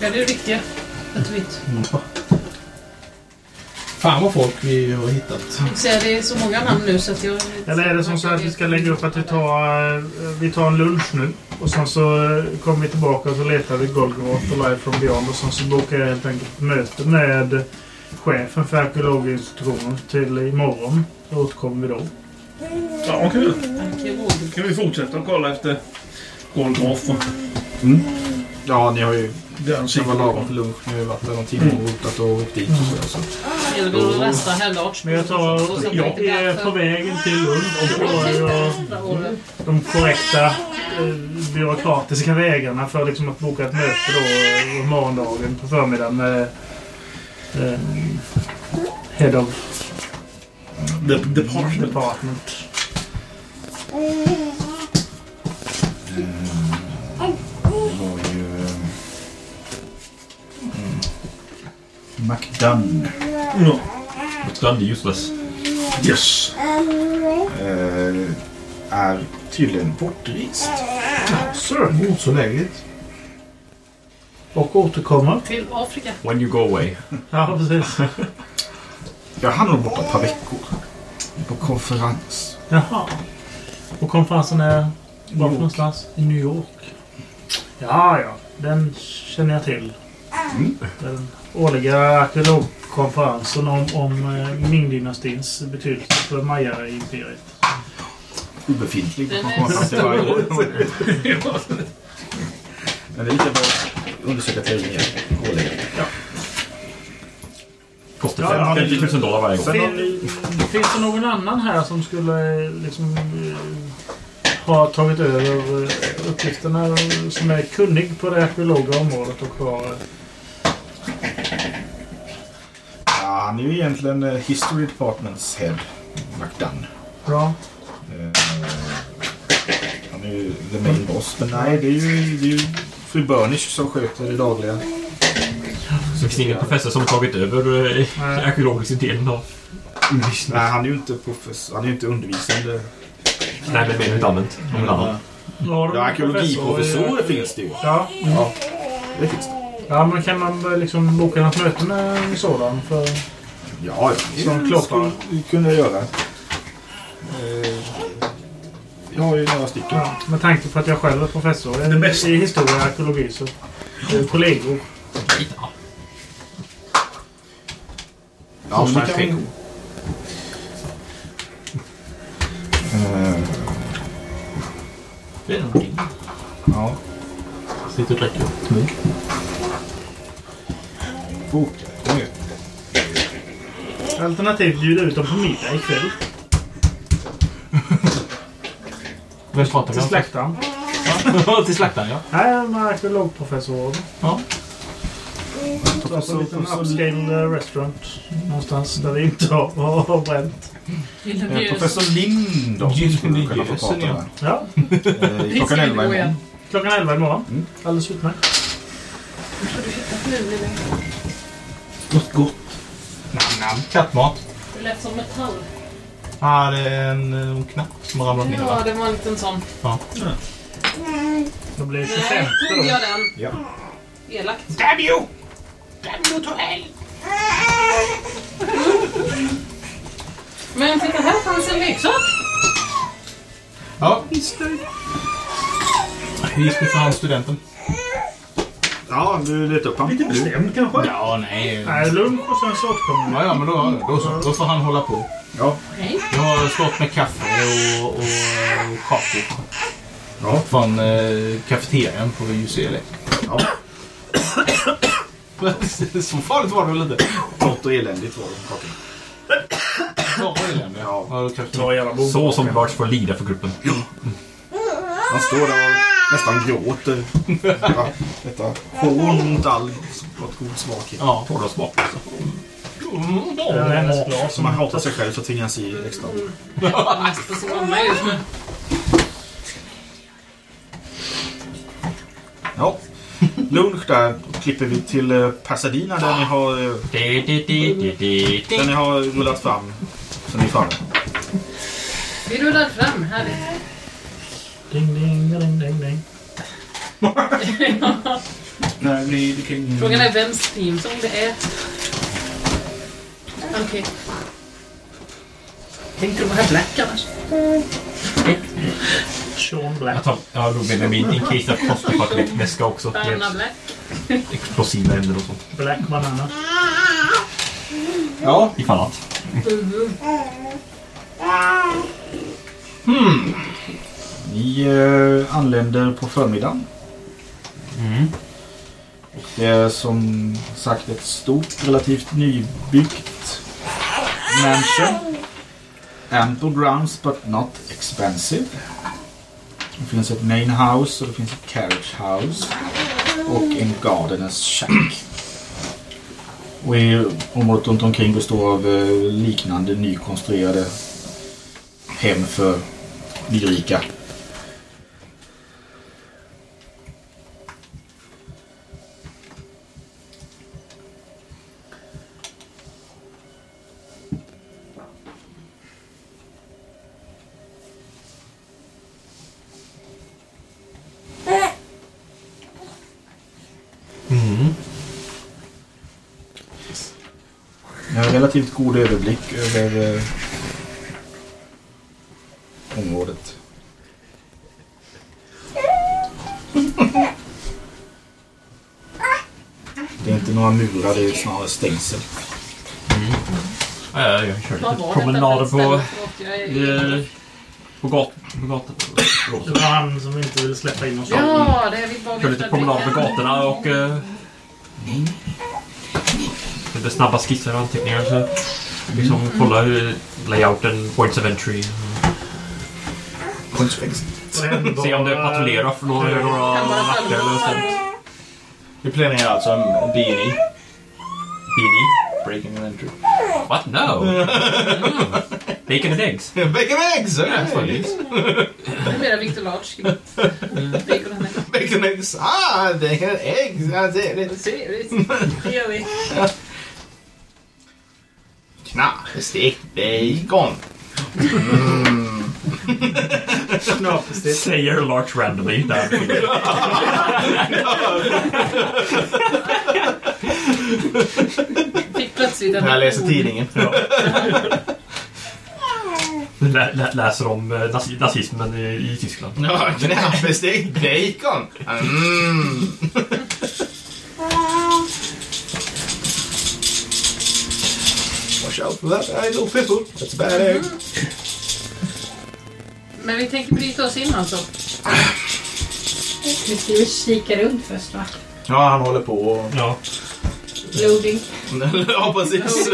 Ja, det är viktigt att du vet. Ja. Fan vad folk vi har hittat. Jag säger, Det är så många namn nu så att jag... Eller är det som så att vi ska lägga upp att vi tar, eh, vi tar en lunch nu och sen så eh, kommer vi tillbaka och så letar vi Golgoth och Life from Beyond och sen så bokar jag helt enkelt möte med chefen för arkeologinstitutionen till imorgon. Så återkommer vi då. Ja, kul. kan vi fortsätta att kolla efter Golgoth och Ja, ni har ju... den Det var sidan. lagom för lunch. Ni har ju varit där någon timme och rotat och åkt dit och sådär. Så. Eller vill du resta Hellart? Men jag tar... Jag är på vägen till Lund och då har jag de korrekta eh, byråkratiska vägarna för liksom att boka ett möte då eh, morgondagen på förmiddagen med eh, Head of The Department. Department. Det var ju... eh, Mm. McDunn. Ja. McDunn är useless. Yes. Eh, är tydligen bortrest. Sir. Så lägligt. Och återkommer. Till Afrika. When you go away. Ja, precis. Jag hann nog borta ett par veckor. På konferens. Jaha. Och konferensen är var någonstans? I New York. Ja, ja. Den känner jag till. Den årliga arkeologkonferensen om, om eh, Ming-dynastins betydelse för Maya-imperiet. Obefintlig. Den Man är kommer fram till varje år. Men det är lika bra att undersöka teorin igen. Årligen. Kostar Ja, ja, 50 000 dollar varje gång. Fin, finns det någon annan här som skulle eh, liksom, eh, ha tagit över eh, uppgifterna och som är kunnig på det arkeologiska området och har... Ja, han är ju egentligen eh, History Departments head. McDunn. Bra. Eh, han är ju the main boss. Men nej, det är ju, det är ju fru Burnish som sköter det dagliga. Så det finns ingen professor som har tagit över eh, arkeologiska delen av undervisningen. Nej, han är ju inte, professor, han är ju inte undervisande. Nej, men menar inte allmänt. Om en annan. Ja, Ja, arkeologiprofessorer professor i- finns det ju. Ja. Ja, det finns det. Ja, men kan man väl liksom boka något möte med en sådan? För... Ja, ja. Som kloppar. skulle vi kunna göra. Eh, Jag har ju några stycken. Ja, med tanke på att jag själv är professor i- i historia och arkeologi så eh, kollegor. Ja, så det kan vi... Eh, Det är någonting. Ja. Sitter och dricker mugg. Boka ett möte. Alternativt bjuda ut dem på middag ikväll. Vem pratar vi Till om? slaktaren. Ja, Till slaktaren, ja. Nej, med arkeologprofessorer. Ja. Ta på en liten upscale eh, restaurant någonstans där vi inte har, har, har bränt. Eh, Professor Lind då, Gylden skulle vi i kunna få ljusen, prata med. Ja, Eh, Klockan 11 imorgon. klockan 11 imorgon. Alldeles utmärkt. Något gott. Namn, Kattmat. Det lät som metall. Ah, det är en, en knapp som har ramlat ner. Ja, va? det var en liten sån. Ja. Då blir det 25 Nej, tog jag den. Ja. Elakt. Damn you! Damn you to hell! Men titta här fanns en leksak. Ja, hur gick det för han studenten? Ja, du letar upp honom. Lite bestämd kanske? Ja, nej. Nej, lunch och sen så återkommer vi. Ja, ja, men då, då, så, då får han hålla på. Ja. Nej. Jag har stått med kaffe och, och, och kakor. Ja. Från eh, kafeterian på UCLA. Ja. Så farligt var det väl inte? Gott och eländigt var det. kakan. Bara elände. Ja, då kanske Dra jävla bomb. Så som Lars får lida för gruppen. Han står där och nästan gråter. Ja, Detta hån mot all gott god smak. Ja, torra smak. Som man hatar sig själv så tvingas i extra. Mest på sin mamma just nu. Ja. Lunch där klipper vi till eh, Pasadena där ni har, eh, där ni har rullat fram. Så ni är framme. Vi rullar fram, härligt. Ding, ding, ding, ding, ding. Nej, ni, det kan, Frågan är vems team som det är. Okej. Tänkte du vara black annars? Sean Black. Jag tar jag drog med mig min in case kostar för att väska också. Det Banana är black. Explosiva ämnen och sånt. Black Banana. Ja. Ifall att. Hmm. Ni eh, anländer på förmiddagen. Och det är som sagt ett stort, relativt nybyggt mansion. Ample grounds but not expensive. Det finns ett main house och det finns ett carriage house. Och en gardeners shack. Och i området runt omkring består av eh, liknande nykonstruerade hem för nyrika. Jag har relativt god överblick över eh, området. Det är inte några murar, det är snarare stängsel. Ja, ja, jag körde Vad var lite detta promenader för på, ställe? eh, på, gat, på gatan. Det var han som inte ville släppa in oss. Ja, det är vi bara Körde lite promenader på gatorna och... Eh, lite snabba skisser och anteckningar. Så, liksom Mm. kolla hur layouten, points of entry. Points of exit. Se om det patrullerar för några, några vakter eller sånt. Vi planerar alltså en BNI. BNI? Breaking and entry. What? No! Bacon and eggs. Bacon and eggs! Yeah, for eggs. Numera Victor Large. Bacon and eggs. Bacon and eggs. Ah, bacon and eggs. Ah, det är det. Trevligt. Det gör vi. Knappt stekt bacon. Mm. Säger Larch randomly. Där. Fick plötsligt en... Jag läser tidningen. Lä, lä, läser om eh, nazi- nazismen i, i Tyskland. Ja, knäppestekt bacon. Mm. Watch out for that idle fizzle. That's a bad egg. Men vi tänker bryta oss in alltså. Vi ska ju kika runt först va? Ja, han håller på och... Ja. Loading. ja, precis.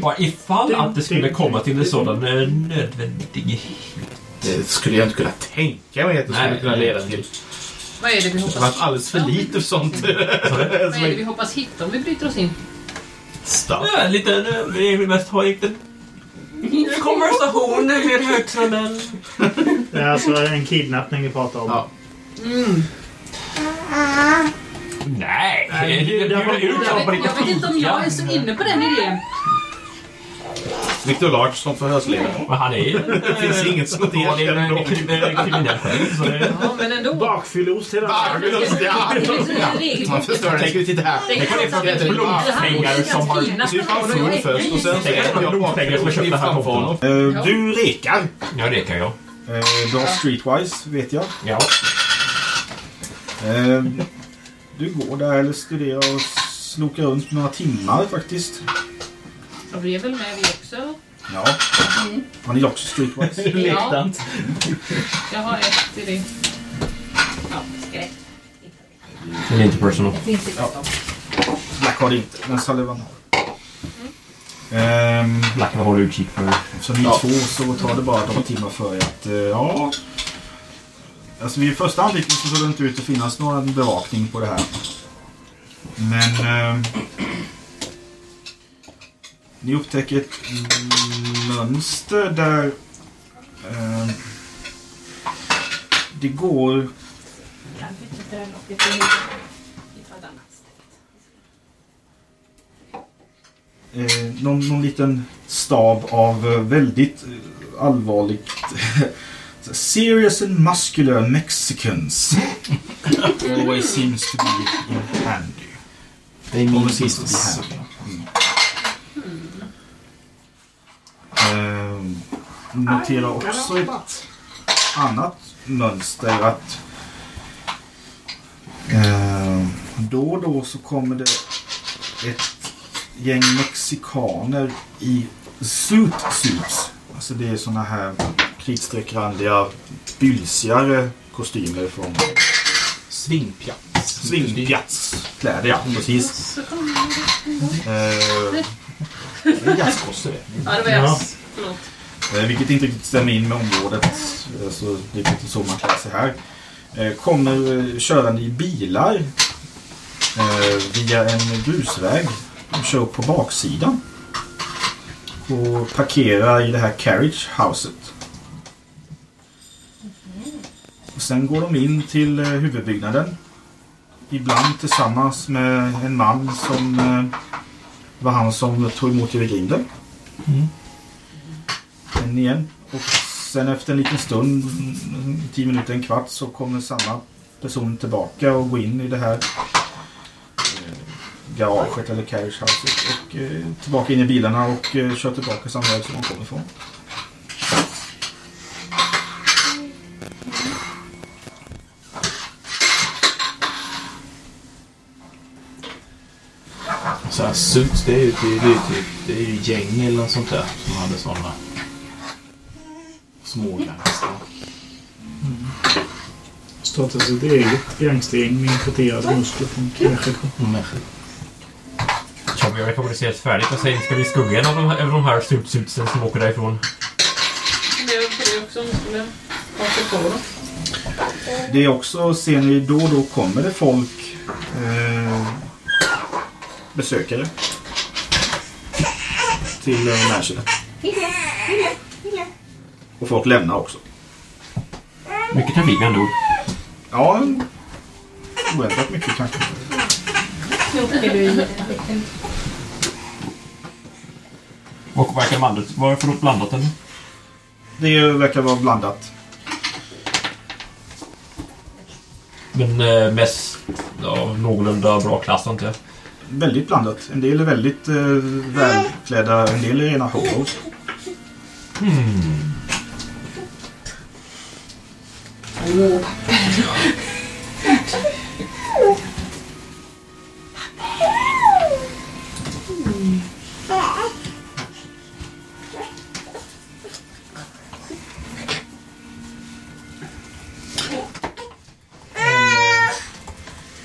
Bara ifall att det skulle komma till en sådan eh, nödvändighet. Det skulle jag inte kunna tänka mig att det skulle Nej. kunna leda till. Vad är det vi Det har varit hoppas... alldeles för lite för sånt. Vad är det vi hoppas hitta om vi bryter oss in? Stuff. Ja, en liten... eh, Vi vill mest ha en liten konversation med högsta män. Det är alltså en kidnappning vi pratar om. Ja. Mm. Nej! Nej, det- det- bjuder ut Jag, dem vet, på riktigt. jag vet inte om jag är så inne på den idén. Victor Larch som förhörsledare. Men han är ju... Det finns inget som inte erkänner Han är dem. ju kriminell själv. så det- Ja, men ändå. Bakfylleost hela Det finns ju en Man regel. förstör det. Tänk ut det här. Det kan Det är Det här Pengar vore ju som har- den finaste Du var full regeln. först och sen så Tänk är att jag blodpengar som har köpt det här framför tomten. honom. Eh, Du rekar. Ja, det kan jag. Eh, Du har streetwise, vet jag. Ja. Eh, Du går där eller studerar och slokar runt några timmar faktiskt. Ja, Vi är väl med vi också? Ja. Har ni också streetwise? Ja. Jag har ett i det. Ja, skräck. Det är inte personal. Finns det Black har det inte, men Sullivan har. Ehm, Blacken håller utkik för... Eftersom ni är två så tar det bara några timmar för er att... eh, ja. Alltså vid första anblicken så ser det inte ut att finnas någon bevakning på det här. Men... ehm, ni upptäcker ett mönster där... ehm, det går... eh, någon, någon liten stab av eh, väldigt eh, allvarligt så här, Serious and muscular Mexicans always seems to be in handy. They mean Always seems to be business. handy. Mm. Eh, notera också ett annat mönster att eh, då och då så kommer det ett gäng mexikaner i suit suits. Alltså det är såna här kritstreckrandiga, bylsigare kostymer från Svingpjats. Svingpjatskläder, ja precis. Eh, det är jazzkosse det. Ja, det var jazz. Förlåt. Eh, Vilket inte riktigt stämmer in med området. Eh, Så det är inte så man klär sig här. Eh, Kommer eh, körande i bilar eh, via en grusväg. De kör upp på baksidan. Och parkerar i det här carriage-huset. Och sen går de in till eh, huvudbyggnaden. Ibland tillsammans med en man som eh, var han som tog emot er vid grinden. In igen. Och sen efter en liten stund, mm, tio minuter, en kvart, så kommer samma person tillbaka och går in i det här eh, garaget eller carriagehouset och eh, tillbaka in i bilarna och eh, kör tillbaka samma väg som de kom ifrån. Så här, suits, det är ju det är, ju typ, det är ju gäng eller något sånt där som hade sådana. Små gangster. Startade sitt eget gangstergäng med importerade muskler från Mexiko. Mm. Ja, men jag har improviserat färdigt. Jag säger, ska vi skugga en av de här, av de här suitsutsen som åker därifrån? Funderar på det också om vi skulle haka på dem. Det är också, ser ni, då och då kommer det folk, eh, besökare till eh, Mansionet. Och folk lämnar också. Mycket trafik med andra ord. Ja, oväntat mycket kanske. Och verkar blandat. Varför då blandat eller? Det verkar vara blandat. Men eh, mest ja, någorlunda bra klass antar jag. Väldigt blandat. En del är väldigt eh, välklädda, en del är rena horos.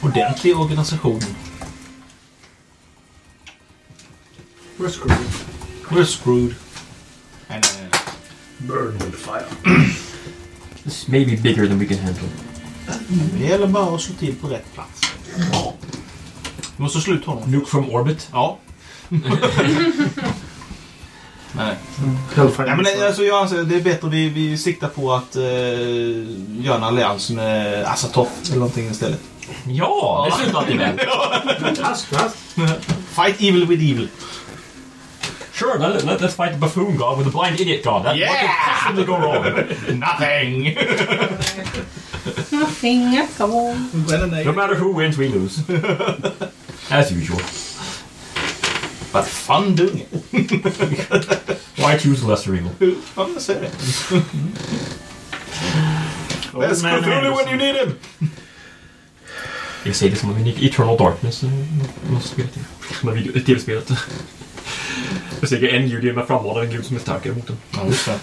Ordentlig organisation. We're screwed. We're screwed. eh, Burn with fire. This may be bigger than we can handle. Det gäller bara att slå till på rätt plats. Du måste slå ut honom. Nuke from orbit? Ja. Nej. Nej, men alltså, jag anser det är bättre vi, vi siktar på att eh, göra en allians med Asatoff eller någonting istället. Ja, det slutar alltid med. Fight evil with evil. Sure, let, let, let's fight the buffoon god with the blind idiot god. That, What could possibly go wrong? Nothing! Nothing at all. No matter who wins, we lose. As usual. But fun doing it. Why choose lesser evil? Ja, jag säger det. Let's go through it when you need him! Jag säger det som om vi gick Eternal Darkness. eh, något- Något spel till. Som är video- tv-spelet. Jag säger en gud med frammanar en gud som är starkare mot den. Ja, just det.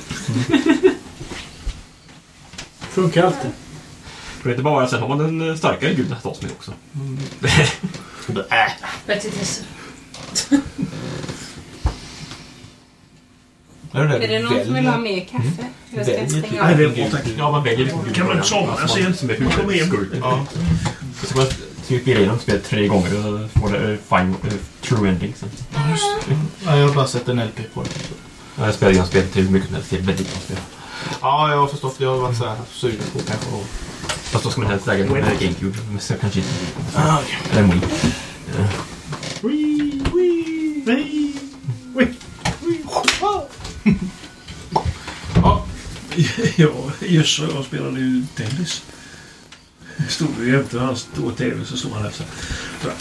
Mm. Funkar alltid. För det är inte bara sen har man den eh, starkare guden att slåss med också. Blä. Bättre tester. Är det någon som vill ha mer kaffe? Jag ska stänga av. Ja, man väljer liksom Kan man inte somna sent? Som är huvudskurken. Så ska man typ spela igenom spelet tre gånger och få det eh, fine, eh, true ending sen. Nej, jag har bara sett en LP på det. Ja, Jag spelar igenom spelet hur mycket som helst. Det är väldigt bra spel. Ja, jag har förstått. Jag har varit så här sugen på kanske att... Fast då ska man helst äga en eh, GameCube. Men så kanske inte. Ah, Eller en Wii. Eh, Ja, Jösse och jag spelade ju tennis. Stod ju jämte hans stora tv så stod han efter. Sådär.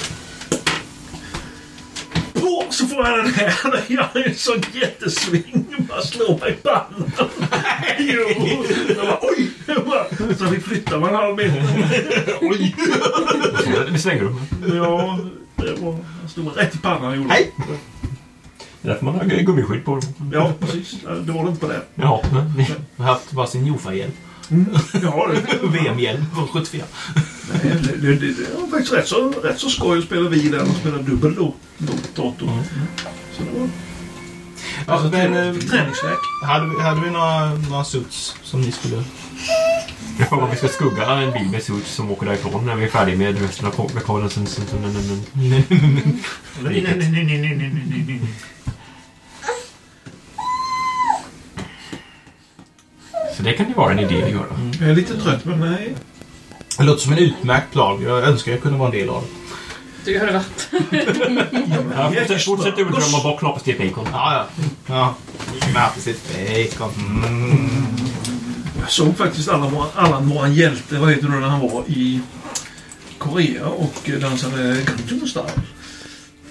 På, så får jag den här. Jag gör en sån jättesving. Bara slår mig i pannan. Jo. Jag bara, oj! Jag bara, så vi flyttar man en halv meter. Oj! Det blir svängrum. Ja, det var... Han stod rätt i pannan. gjorde han. Det är därför man har gu- gummiskydd på dem. Ja, precis. Det var det inte på det. Jaha. Ni har haft varsin Jofa-hjälm. Ja, det. VM-hjälm från 74. Nej, det, det, det, det var faktiskt rätt så, rätt så skoj att spela vi där och spela dubbel då. mot datorn. Mm. Så det var... Ja, men, eh, träningsvärk. Hade vi, hade vi några, några suits som ni skulle... Jag frågar om vi ska skugga en bil med suits som åker därifrån när vi är färdiga med resten av ko- med kollen. Sen- sen- sen- sen- sen- Nej, nej, nej, nej, nej, nej, nej, nej, nej. Så det kan ju vara en idé att göra. Jag är lite trött men nej. Det låter som en utmärkt plan. Jag önskar jag kunde vara en del av det. Du har det varit. Fortsätt- Fortsätt överdrömma och bara knappa till bacon. Ja, ja. ja. Knappt sitt bacon. Mm. Jag såg faktiskt Allan vara- Allan var en hjälte, vad heter det, när han var i Korea och eh, dansade Gangnam Style.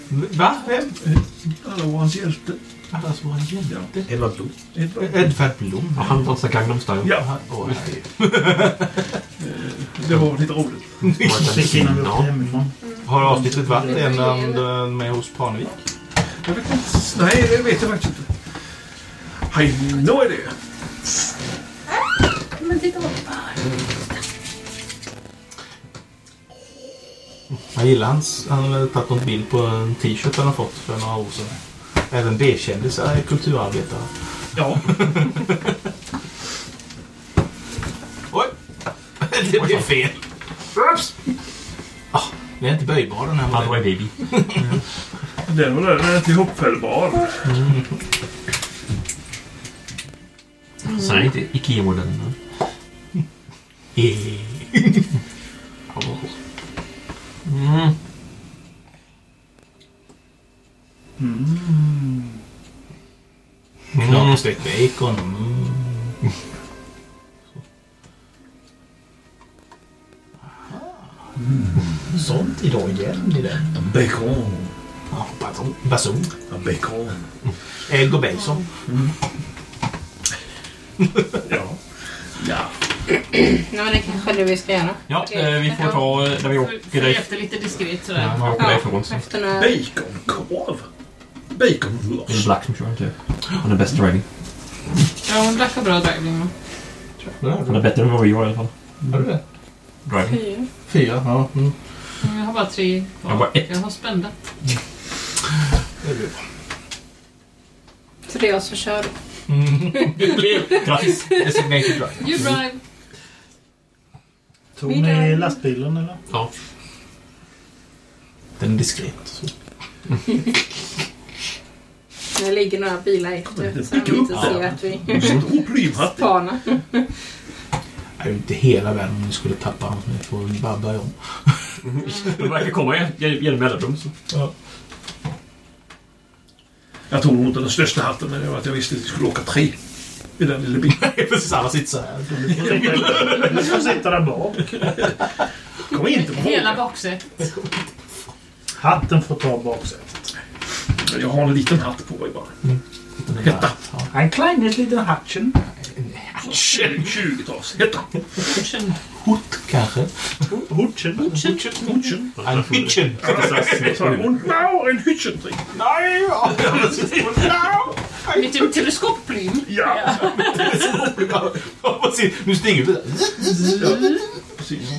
Va? Vem? Allan var hans hjälte. Alla som var en hjälte. Edvard Blom. Edvard. Edvard Blom. Ja, Han dansar Gangnam style. Ja, Åh, herregud. det var lite roligt. Precis innan vi åkte hemifrån. Har avsnittet varit en eh, med hos Parnevik? Jag vet inte. Nej, det vet jag faktiskt inte. I no idea. Men titta vad Jag gillar hans. Han har tagit någon bild på en t-shirt han har fått för några år sedan. Även B-kändisar är kulturarbetare. Ja. Oj! Det blev fel. Oops! Ah, den är inte böjbar den här Han var en baby. Den var den är ihopfällbar. Så den är inte Ikea-modellen. Eh. Ja, vad gott. Mm. Mm. Knapstekt bacon. Mm. Mm. Sånt idag igen i den. Bacon. Ja, bason. Bason. Bacon. Elg och Bengtsson. Ja. Ja. Nej men det kanske är det vi ska göra. Ja, eh, vi får ta eh, när vi åker Följ därifrån. efter lite diskret Ja, sådär. när vi åker därifrån så. Efter några... Baconkorv. Det är Baconlås. Black som kör inte. Han är bäst driving. Ja, hon verkar bra driving. va? Han är bättre än vad vi var i alla fall. Har du det? Driving. Fyra. Fyra, ja. Mm. Mm, Jag har bara tre Jag har bara ett. Jag har spända. Det är bra. Så det är jag som kör. Grattis! Designated driver. You drive. Tog ni lastbilen eller? Ja. Den är diskret. Så. Det ligger några bilar efter så de inte ser att vi Stor plymhatt. spanar. Det är ju inte hela världen om vi skulle tappa honom. Vi får babba om. Det verkar komma igen- genom mellanrum. så. Jag tog nog inte den största hatten men det var att jag visste att vi skulle åka tre. I den lilla bilen. Precis, alla sitter så här. Ni får sitta där bak. Kom inte på Hela baksätet. Hatten får ta baksätet. Mm. Jag har en liten hatt på mig bara. Hetta. En kleines liten hatchen. Tjugo- 20-tals. Hetta. Hot kanske? Hutchen. Hutchen. En hitchen. Sa hon. No, en hutchen. Nej! ja. Med typ teleskopplym. Ja, Ja, precis. Nu stiger vi. precis.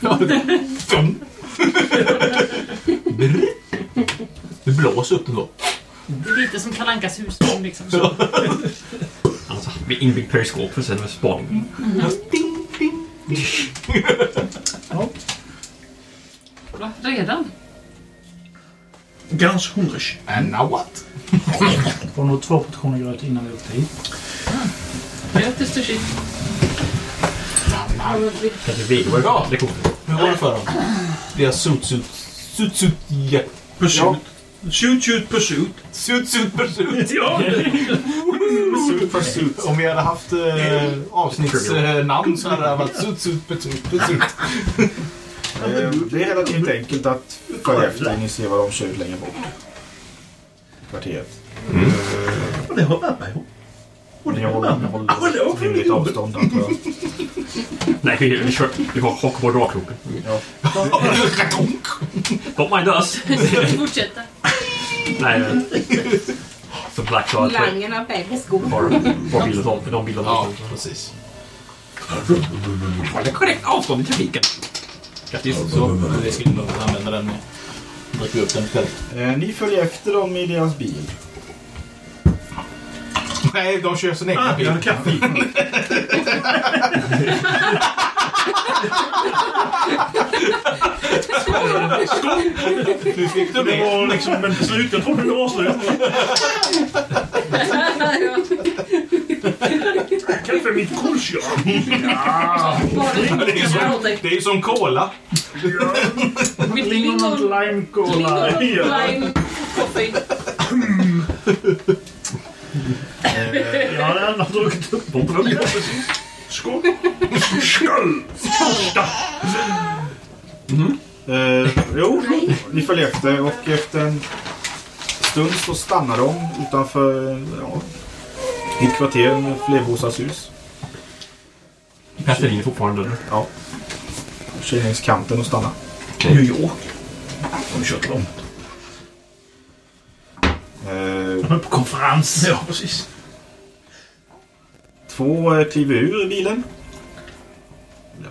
Ja, det- blåser upp den då. Det är lite som Kalle Ankas husbond liksom. Så. Alltså, med inbyggd periskop för sen med spaning. Ding, ding, ding. Va? Redan? Ganz hungrig. And now what? Får nog två portioner gröt innan vi åkte hit. Grattis till shit. Kanske vegoer Ja. lektioner. Hur var det för dem? Deras suit-suit... Suit-suit... Ja. Pursuit. Suit-suit pursuit. Suit-suit pursuit. Ja. Suit pursuit. Om vi hade haft eh, avsnittsnamn så hade det varit suit-suit pursuit. pursuit. Eh, Det är relativt enkelt att följa efter. Ni ser vad de kör ut längre bort. Kvarteret. Eh, Det har mamma ihop. Ni håller, ni håller ett rimligt avstånd antar jag. Nej, vi, vi kör... Vi har hockey på dragkroken. Don't mind us. Ska vi fortsätta? Nej, men... Så Black Cloud... Langen av Bengals skor. Var bilen om? De bilarna Ja, precis. Det är korrekt avstånd i trafiken. Grattis. Så, det skulle nog använda den. Dricker upp den själv. Eh, Ni följer efter dem i deras bil. Nej, de kör sin egna bil. Du fick det var liksom en slut. Jag trodde det var slut. Kaffe mitt kors, ja. Det är som, det är som cola. Lingon och lime cola. Lime, coffee. Jag hade ändå druckit upp dem. Skål! Skål! Eh, jo, ni följer efter och efter en stund så stannar de utanför ja, ett kvarter med flerbostadshus. Kastar in fortfarande. Ja. Kör längs kanten och stannar. New York. De kört långt. Eh, De är på konferens. Ja, precis. Två eh, kliver ur bilen. Ja,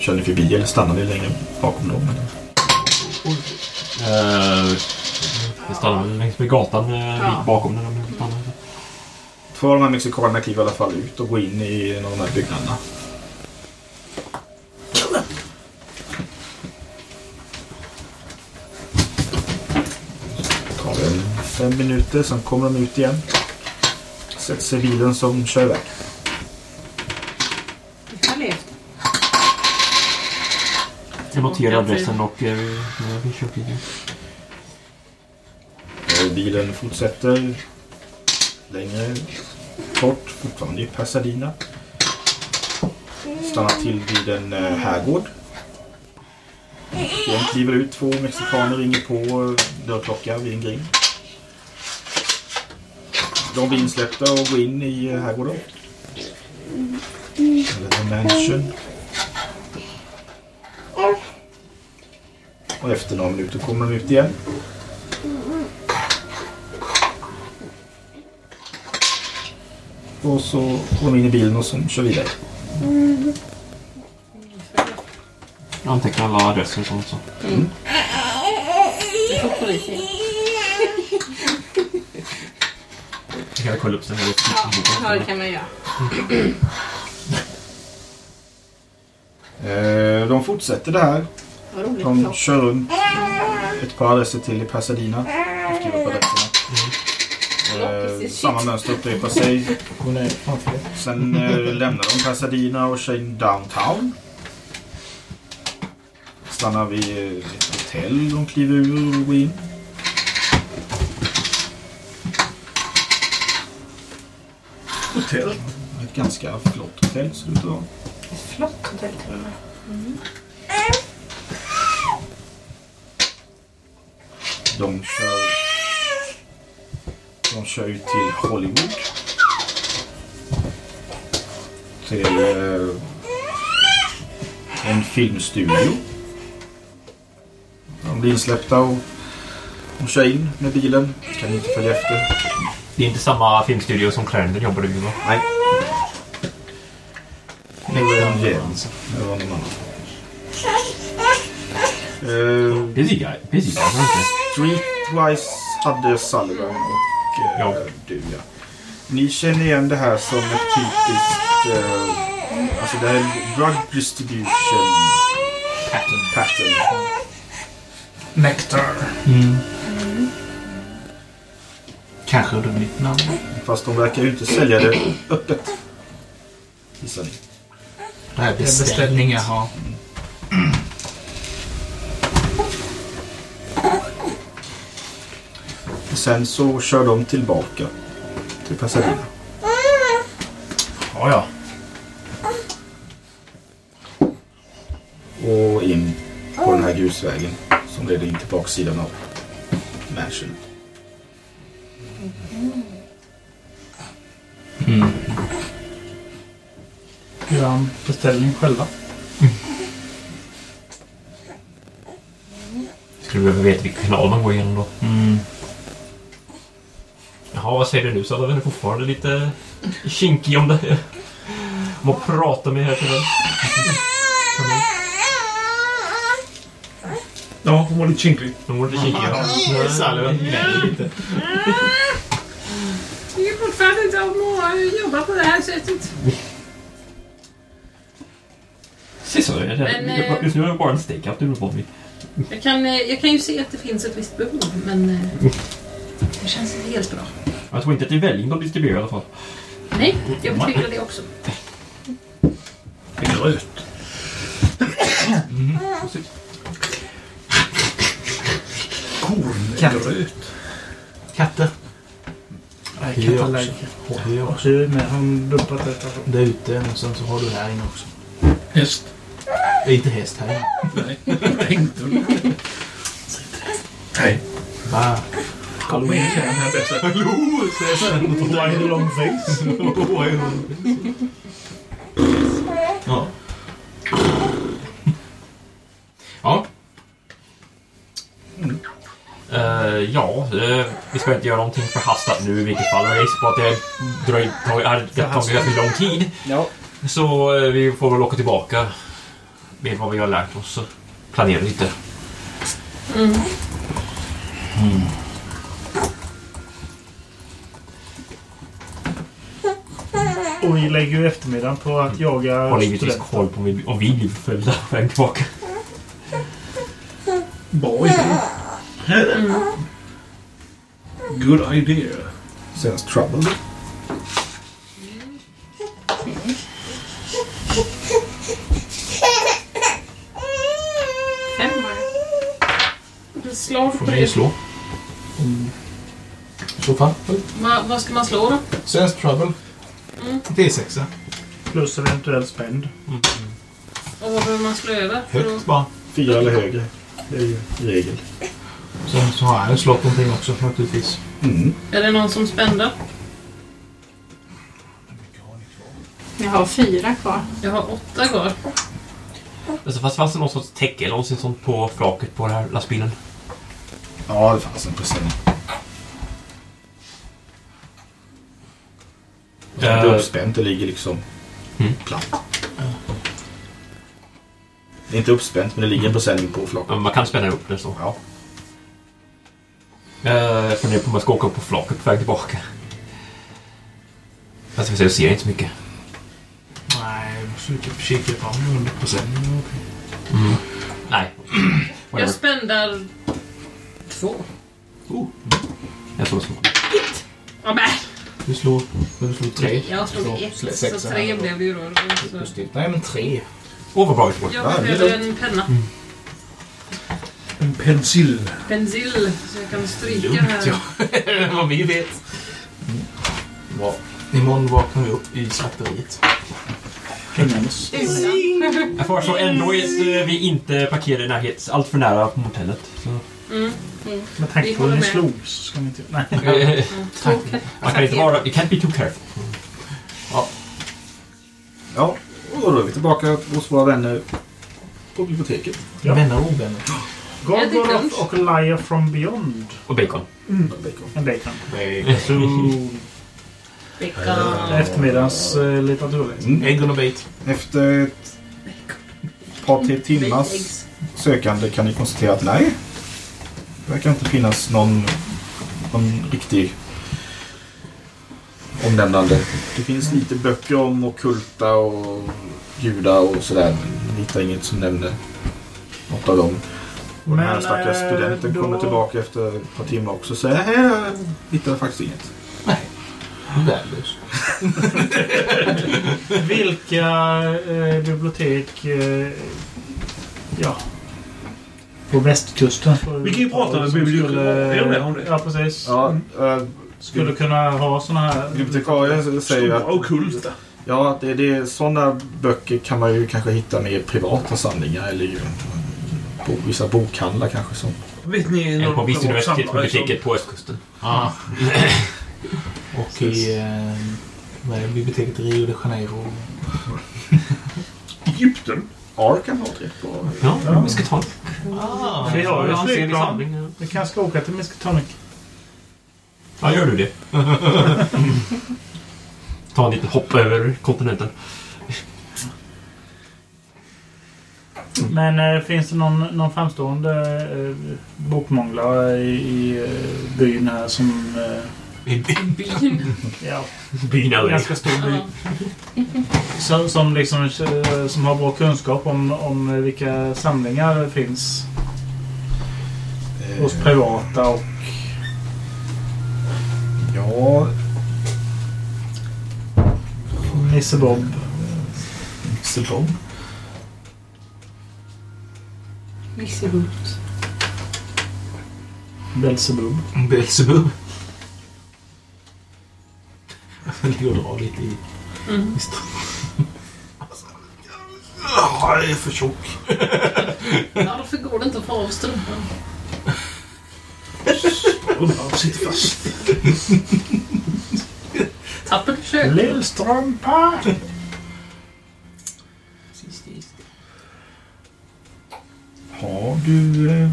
kör ni förbi eller stannar ni längre bakom dem? Uh, jag stannar väl längs med gatan, eh, en bit bakom den. om jag stannar. Två av de här mexikanerna kliver i alla fall ut och går in i någon av de här byggnaderna. Det tar väl fem minuter, sen kommer de ut igen. Sätter sig i bilen som kör iväg. Vi har levt. Jag noterar adressen och eh, när vi kör bilen. Eh, Bilen fortsätter längre bort, fortfarande i Pasadena. Stannar till vid en eh, herrgård. De kliver ut, två mexikaner ringer på eh, dörrklocka vid en grind. De blir insläppta och går in i eh, herrgården. Eller The Mansion. Och efter några minuter kommer de ut igen. Och så går de in i bilen och sen kör vidare. Jag antecknar alla adresser och sånt. Så. Vi får polisen. Jag kan kolla upp den här Ja, det kan man göra. Eh, De fortsätter det här. Vad roligt. De kör runt ett par adresser till i Pasadena. De skriver på adresserna. Eh, Samma mönster upprepar sig. Sen eh, lämnar de Pasadena och kör in downtown. Stannar vid eh, ett hotell de kliver ur och går in. Hotell. Ett ganska flott hotell ser det ut att vara. Ett flott hotell till och med. De kör... De kör ut till Hollywood. Till euh, eh, en filmstudio. De blir insläppta och de kör in med bilen. Kan inte följa efter. Det är inte samma filmstudio som Clarendon jobbade vid va? Nej. Det var en Jens. Det var någon annan. Eh, Euh, Busy guy. Busy guy. Streetwise hade Sullivan och eh, du ja. Ni känner igen det här som ett typiskt... Eh, alltså det här är drug distribution pattern. pattern. Nectar. Kanske under mitt namn. Fast de verkar ju inte sälja det öppet. Gissar ni. Det här är beställningar. Ja. Och Sen så kör de tillbaka till Pasadena. Ja, ja. Och in på den här grusvägen som leder in till baksidan av mansion. Gör en beställning själva. Skulle behöva veta vilken kanal man går igenom då. Jaha, vad säger du nu? Sallaren är fortfarande lite kinkig om det här. Om att prata med här till Ja, hon var lite kinklig. Hon var lite kinkig, ja. Ja, Sallaren gnäller lite. Det är fortfarande inte om att jobba på det här sättet. Se så, det Men, är eh, Just nu är det bara en stakeout du vill på mig. Jag kan, eh, jag kan ju se att det finns ett visst behov, men eh, det känns inte helt bra. Jag tror inte att det är välling de distribuerar i alla fall. Nej, jag betvivlar det också. Gröt. Korngröt. Katter. Nej, Det är också. katalajka. Det är också. Och så är det med. Hon dumpat detta. Där ute och sen så har du här inne också. Häst. Det är inte häst här inne. Nej, jag tänkte väl inte. Nej. Va? Kom igen, den här bästa. Hallå, säger Sven. Wine long face. Ja. Ja. Eh, ja, eh, vi ska inte göra någonting förhastat nu i vilket fall. Jag gissar på att det dröjt- har har- det har tagit ganska lång tid. Så eh, vi får väl åka tillbaka med vad vi har lärt oss. och Planera lite. Mm. Och vi lägger ju eftermiddagen på att jaga Håller givetvis koll på om vi- om vi blir förföljda på vägen tillbaka. Bra idé. Good idea. Sounds trouble. Fem var det. Slag på Får ni det. slå? I så fall. Va, vad ska man slå då? Sense trouble. Mm. D6. Plus eventuell spänd. Och vad behöver man slå över? För att- bara. Fyra eller högre. Det är ju regel. Sen så har jag slått någonting också naturligtvis. Mm. Är det någon som spände? Jag har fyra kvar. Jag har åtta kvar. Alltså, fast fanns det någon sorts täcke eller något sånt på flaket på den här lastbilen? Ja, det fanns en presenning. Det är Eh. inte uppspänt, det ligger liksom platt. Det är inte uppspänt, men det ligger en presenning på flaket. Man kan spänna upp det så. Ja. Eh, Jag funderar på om jag ska åka upp på flaket på väg tillbaka. Fast jag vill säga, jag ser inte så mycket. Nej, jag måste ju kika fram under presenningen. Nej. Jag Whatever. spändar två. Jag slår slå. Ja, men. Du slår, du slår tre. Jag slog ett, så tre blev det ju då. Så- Nej, men tre. Åh, vad bra vi slår. Jag behöver en penna. Mm. En pensil. Pensil, så jag kan stryka här. Vad vi vet. Bra. Imorgon vaknar vi upp i slakteriet. Hängandes. Utan. Jag föreslår ändå att eh, vi inte parkerar i närhet, allt för nära på motellet. Så. Mm. Mm. Med tanke Vi på hur håller ni med. slog så ska ni inte... Nej. Eh, Två Man kan inte vara... You can't be too careful. Ja. Ja, och då är vi tillbaka hos våra vänner på biblioteket. Ja. Vänner och ovänner. Gorgoroth och Liar from Beyond. Och bacon. Bacon. En bacon. Bacon. Äh, Eftermiddagens eh, litteraturläsning. Mm. Ägg och bait. Efter ett par till timmars sökande kan ni konstatera att nej, det verkar inte finnas någon någon riktig omnämnande. Det finns lite böcker om ockulta och judar och sådär. men Hittar inget som nämner något av dem. Och den här Men, stackars eh, studenten då- kommer tillbaka efter ett par timmar också och säger "Hej, jag hittade faktiskt inget. Värdelös. Vilka eh, bibliotek... Eh, ja. På västkusten. Vi kan ju prata med bibliotekarier med om det. Ja, precis. Ja, eh, Skulle kunna ha såna här... Bibliotekarien säger ju att... Stora ockulta. Ja, det, det är sådana böcker kan man ju kanske hitta mer i privata samlingar eller ju på vissa bokhandlar kanske som... Vet ni Eller någon på privat samlare Visuniversitetsbiblioteket som- på östkusten. Ja. Och i eh, vad är det, biblioteket i Rio de Janeiro. Egypten? Arkan har ett rätt bra... Ja, vi ska ta Ah, vi har ju Ja, ett han ser i flygplan. samling, Vi kanske ska åka till Miskatonic. Ja, gör du det. Ta en liten hopp över kontinenten. Mm. Men eh, finns det någon, någon framstående eh, bokmånglare i, i eh, byn här som... Eh, I byn? Ja. Byn eller? Ganska stor by. Som, som, liksom, eh, som har bra kunskap om, om vilka samlingar det finns. Hos privata och... Ja... Nisse Bob. Nisse Bob? Missebult. Belzebub. Belzebub. Jag ligger och drar lite i... Mm. Visst. Alltså, jag är för tjock. Ja, varför går det inte att få av strumpan? Strumpan sitter fast. Tappade du köket? Lillstrumpa! Har du... Eh...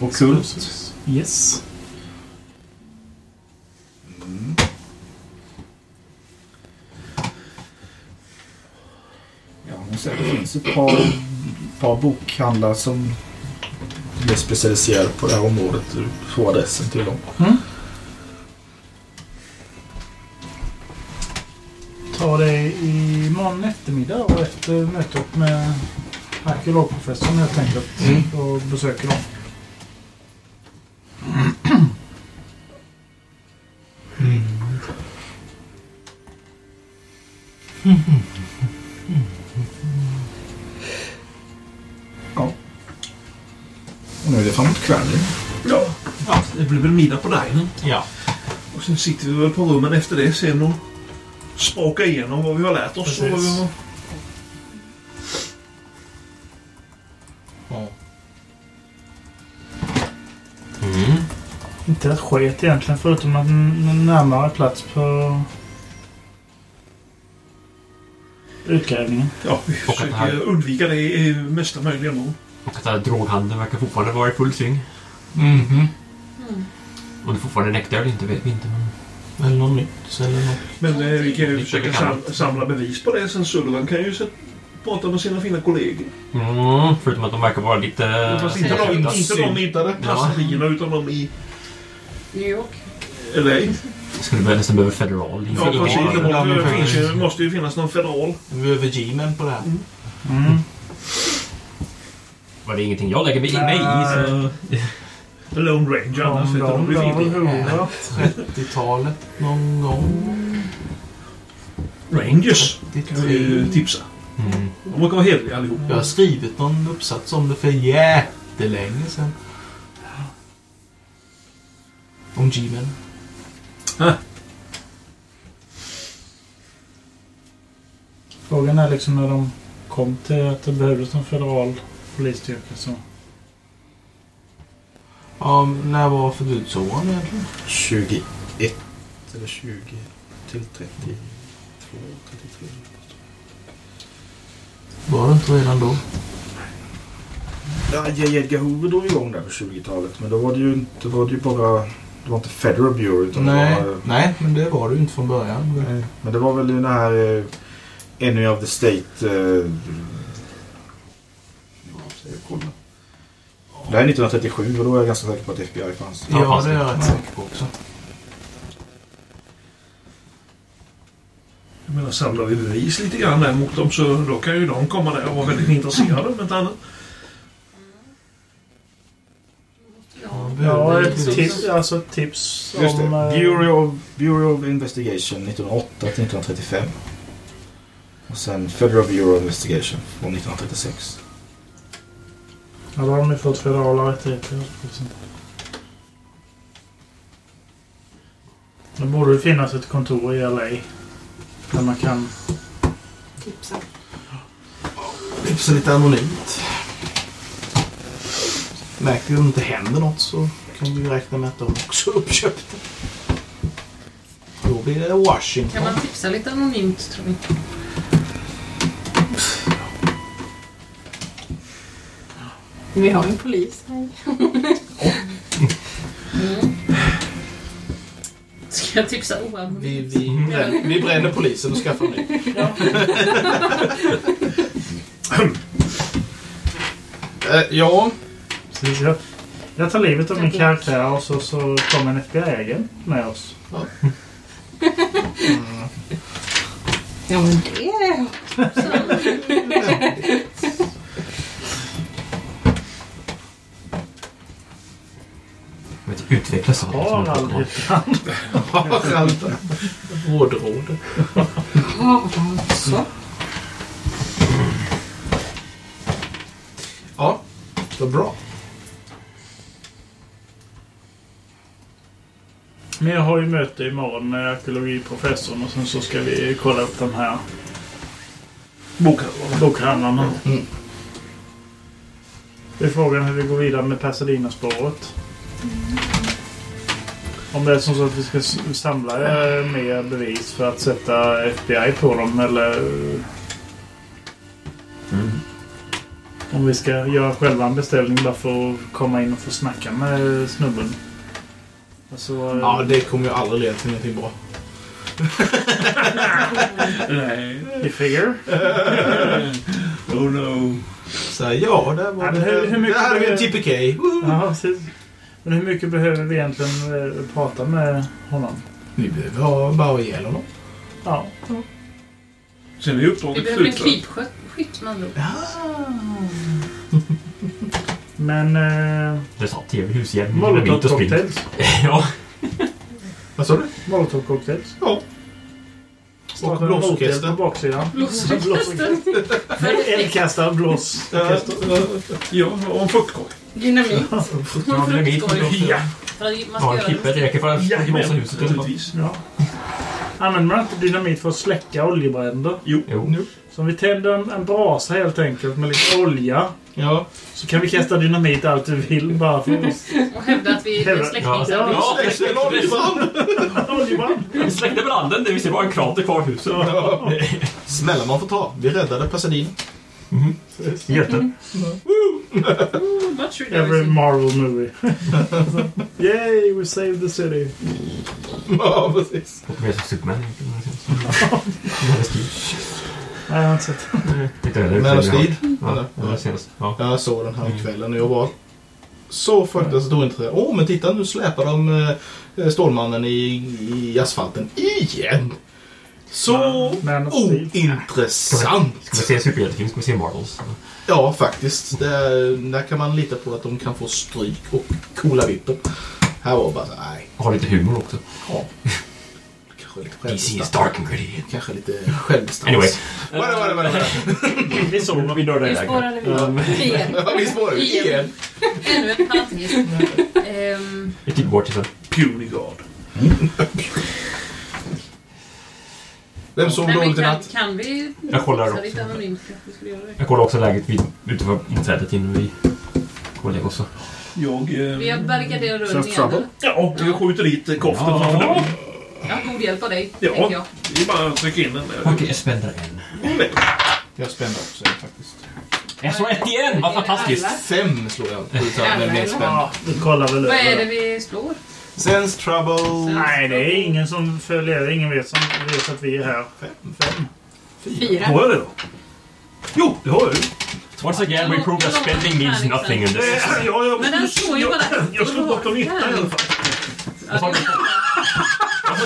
Ockult? Yes. Ja, hon säger att det finns ett par, par bokhandlar som är specialiserade på det här området. Du får adressen till dem. Ta det imorgon eftermiddag och efter mötet med arkeologprofessorn helt enkelt. Och besöker dem. Och nu är det framåt kvällen. Ja. ja, det blir väl middag på dinen. Ja. Och sen sitter vi väl på rummen efter det sen och sprakar igenom vad vi har lärt oss. Och vad vi har... Inte ett sket egentligen förutom att n- n- närmare plats på utgrävningen. Ja, vi Och att det här- försöker undvika det i i mesta möjliga mån. Och att den här droghandeln verkar fortfarande vara i full sving. Mm. Om det fortfarande är en äkta eller inte vet vi inte. Eller något nytt. Eller något. Men eh, vi kan ju försöka kan sam samla bevis på det sen. Sullivan kan ju se- prata med sina fina kollegor. Mm, förutom att de verkar vara lite... Fast inte de, inte de i passagerarna utan de i New York. LA. Skulle väl nästan behöva federal. Ja, precis. Det måste, det finns ju, det måste ju finnas någon federal. Du är virginen på det Mm. här. Var det ingenting jag lägger mig i? Nej! så- The Lone Ranger annars. Om Vet du, de de blir drar fina. huvudet. 30-talet någon gång. Rangers kan vi ju tipsa. De brukar vara hederliga allihop. Jag har skrivit någon uppsats om det för jättelänge sedan. Om G-Men. Frågan är liksom när de kom till att det behövdes en federal polisstyrka. Så. Ja, när var förbudsåren egentligen? 21 eller 20 till 32, 33. Var det inte redan då? Ja, J. Edgar Hoover drog igång där på 20-talet. Men då var det ju inte, var det ju bara... Det var inte Federal Bureau utan Nej, det var... nej, men det var det ju inte från början. Nej, Men det var väl den här eh, Enemy of the State eh, Jag kollar. Det här är 1937 och då är jag ganska säker på att FBI fanns. Ja, det är jag rätt säker på också. Jag menar, samlar vi bevis lite grann där mot dem så då kan ju de komma där och vara väldigt intresserade om inte annat. Ja, ett tips, alltså ett tips Just det. om... eh, Bureau of, Bureau of Investigation 1908 till 1935. Och sen Federal Bureau of Investigation från 1936. Ja, då har de ju fått federala rättigheter. Det borde det finnas ett kontor i LA. Där man kan... Tipsa. Tipsa lite anonymt. Märker vi om det inte händer något så kan vi räkna med att de också är uppköpta. Då blir det Kan Washington. man tipsa lite anonymt tror ni? Vi har ju en polis här. Mm. Ska jag tipsa oanonymt? Vi, vi, bränner, vi bränner polisen och skaffar en ny. Eh, ja. Precis, jag, jag tar livet av min karaktär och så, så kommer en FBI-agent med oss. Ja, men det är Men det utvecklas av Harald Hyttrand. Harald. Vårdrådet. Ja, alltså. Ja, vad bra. Men jag har ju möte imorgon med arkeologiprofessorn och sen så ska vi kolla upp de här bokhandlarna. bokhandlarna. Det är frågan hur vi går vidare med Pasadena-spåret. Om det är som så att vi ska s- samla eh, mer bevis för att sätta FBI på dem eller om vi ska göra själva en beställning bara för att komma in och få snacka med snubben. Alltså, eh, Ja, det kommer ju aldrig leda till någonting bra. You figure? oh no. Så här, ja, där var Ja, det. men hur, hur mycket där hade vi behöver- en tippekej. Ja, precis. Men hur mycket behöver vi egentligen eh, prata med honom? Vi behöver ha bara ihjäl honom. Ja. Sen är Vi uppdraget behöver en slut. va? krypskytt med andra ord. Men... Eh, Det sa tv-hus igen. Molotov-cocktails? ja. Vad sa du? Molotov-cocktails? Ja. Och blåsorkester. På baksidan. Nej, Eldkastare och blåsorkester. Ja, och en fuktkorg. Dynamit. Ja, det är mitt. Ja. För att man ska Ja, göra en det. klippa räcker för att Jajamän, blåsa huset. naturligtvis. Ja. Använder man inte dynamit för att släcka oljebränder? Jo. Jo. Så om vi tänder en, en brasa helt enkelt med lite olja. Ja. Så kan vi kasta dynamit allt vi vill bara för oss. Och hävda att vi är släktingar. Ja, släck- släck- Oljebrand! Vi släckte branden. Det vi ser bara en krater kvar i huset. Smällar man får ta. Vi räddade Pasadena. Göte. Not sure there Every is- Marvel movie. Yay, we saved the city. Ja, precis. Låter mer som Superman. Nej, jag har inte sett. Man of Steel. Ja, Eller? det var senast. Ja. Jag såg den här kvällen och jag var så fruktansvärt ointresserad. Åh, men titta nu släpar de eh, Stålmannen i, i asfalten igen. Så Oh, Man of Steel. ointressant. Ska vi se superhjältefilm ska vi se Marvels. Ja, faktiskt. Det, är- där kan man lita på att de kan få stryk och coola vippen. Här var det bara så, nej. Har lite humor också. Ja. Kanske lite DC is självdistans. dark and gritty. Kanske lite självdistans. Anyway. Vänta, vänta, vänta, vänta. Vi såg Vi drar det Vi iväg. spårade vidare. Igen. Ja, Vi spårar ju Igen. igen. Ännu en parentes. Ehm, Vi tittar bort till sen. Puny God. Vem sov men vi dåligt i kan- natt? Kan vi Jag kollar tipsa också. lite anonymt? kanske vi skulle göra det. Jag kollar också läget vid, utanför inträdet innan vi går och lägger oss. Jag... Vi Eh, har barrikaderat dörren Sounds igen. trouble. eller? ja, jag skjuter dit eh, koften Ja. framför dörren. Jag har god hjälp av dig, Ja. tänker jag. Det är bara att trycka in den där. Okej, jag spänner en. Jag spände också faktiskt. Jag slår Äh, ett igen! Vad fantastiskt! Fem slår jag. Utan Jävlar, med mer eller? spänn. Vi kollar väl Vad är det över. vi slår? Sense trouble. Nej, det är ingen som följer. Ingen vet, som vet att vi är här. Fem, fem. Fyra. Har jag det då? Jo, det har jag ju. Once again, we prove that spending means nothing in this. Eh, ja, jag- Men den slår ju bara... Jag slog bort dem i ettan i alla fall.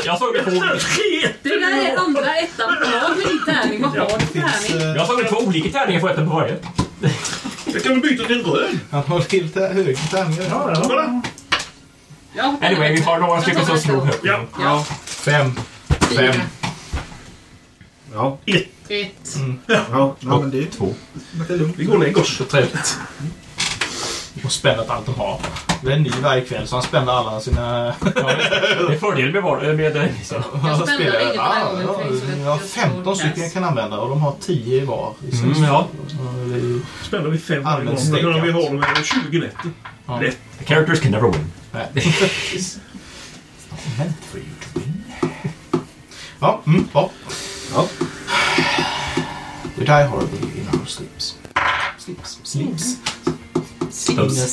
Jag såg det på... Det där är andra ettan på rad med din tärning. Vad har du för tärning? Jag såg det två olika tärningar på ettan på varje. Jag kan väl byta till en röd? Han har lite högre tärningar. Ja, ja. Kolla. Ja. Anyway, vi tar några stycken som slog högt. Ja. Ja. Fem. Fem. Ja. Ett. Ett. Ja, ja men det är två. Det är lugnt. Vi går och lägger oss. Trevligt. Och spännat allt de har. Det är en ny varje kväll så han spänner alla sina... Det är fördel med, var- med eh, så. alla spänner spelare. inget varje Ja, gång, ja, det finns jag har 15 stycken jag kan använda och de har 10 var. i sin Mm, ja. stol. Det är ju Spänner vi fem varje gång. Allmänt Då kan vi stekat. ha dem över 20 nätter. Ja. Lätt. The characters can never win. Nej. It's not meant for you to win. Ja, mm, ja. Ja. You die horribly in our sleeps. Sleeps. Mm. Sleeps. Those-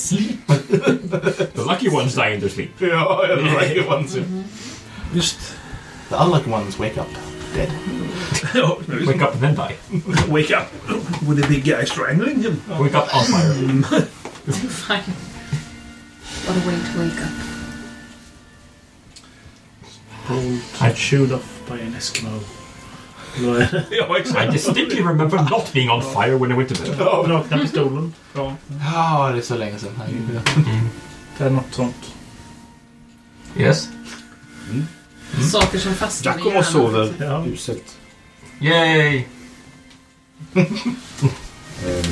The lucky ones die in their sleep. Ja, the lucky ones. Mm-hmm. Just. The unlucky ones wake up dead. Ja, Wake up and then die. Wake up with the big guy strangling Mm. him. Wake up on fire. Fine. What a way to wake up. Hold and shoot off by an Eskimo. Eller vad är det? Ja, I exakt. distinctly remember not being on fire when I went to bed. Nakna pistolen. Ja. Ja, det är så länge sedan. Herregud. Det är något sånt. Yes. Saker som fastnar i Giacomo hjärnan. sover Ja. uselt. Yay! Ehm, Eh,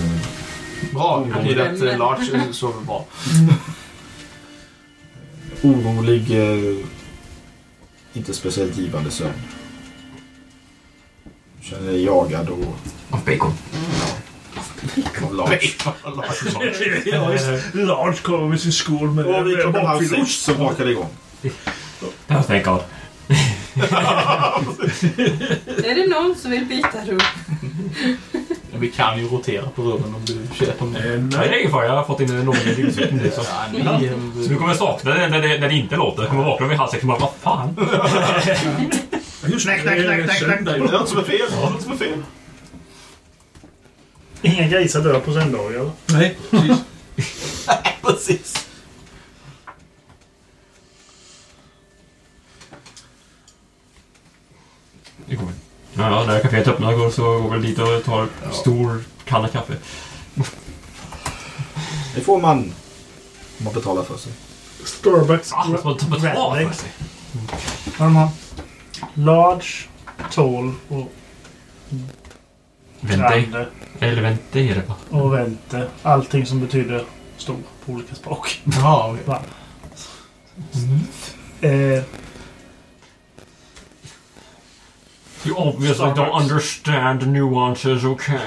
Bra, det betyder att eh, Lars eh, sover bra. orolig. Eh, inte speciellt givande sömn. Känner dig jagad och... Of bacon. och lat. Ja, visst. Lars kommer med sin skål med Och vid klockan halv sex bakfyllost. så brakar det igång. Oh, thank God. Är det någon som vill byta rum? Vi kan ju rotera på rummen om du köper om det. Eh, Nej, det Nej. är ingen fara. Jag har fått in en ordentlig ljusrytm nu. er Så. Ja, Ja. ni, eh, så nu kommer jag sakna det när det, när det inte låter. Jag kommer vakna vid halv sex och bara, vad fan? Just det. knack, knack, knack, knack. Söndag, Det ja. är något som är fel. Det är något som är fel. Inga grisar dör på söndagar eller? Nej, precis. Precis. Det er går. Ja, ja, när kaféet öppnar går så går vi dit och tar en stor kanna kaffe. Det får man om man betalar för sig. Starbucks Ah, man tar betalt för sig. Vad de har. Large, tall och Vente. grande. Eller vente är det va? Och vente. Allting som betyder stor på olika språk. Ja, okej. Va? Eh, You obviously don't understand nuances, okay?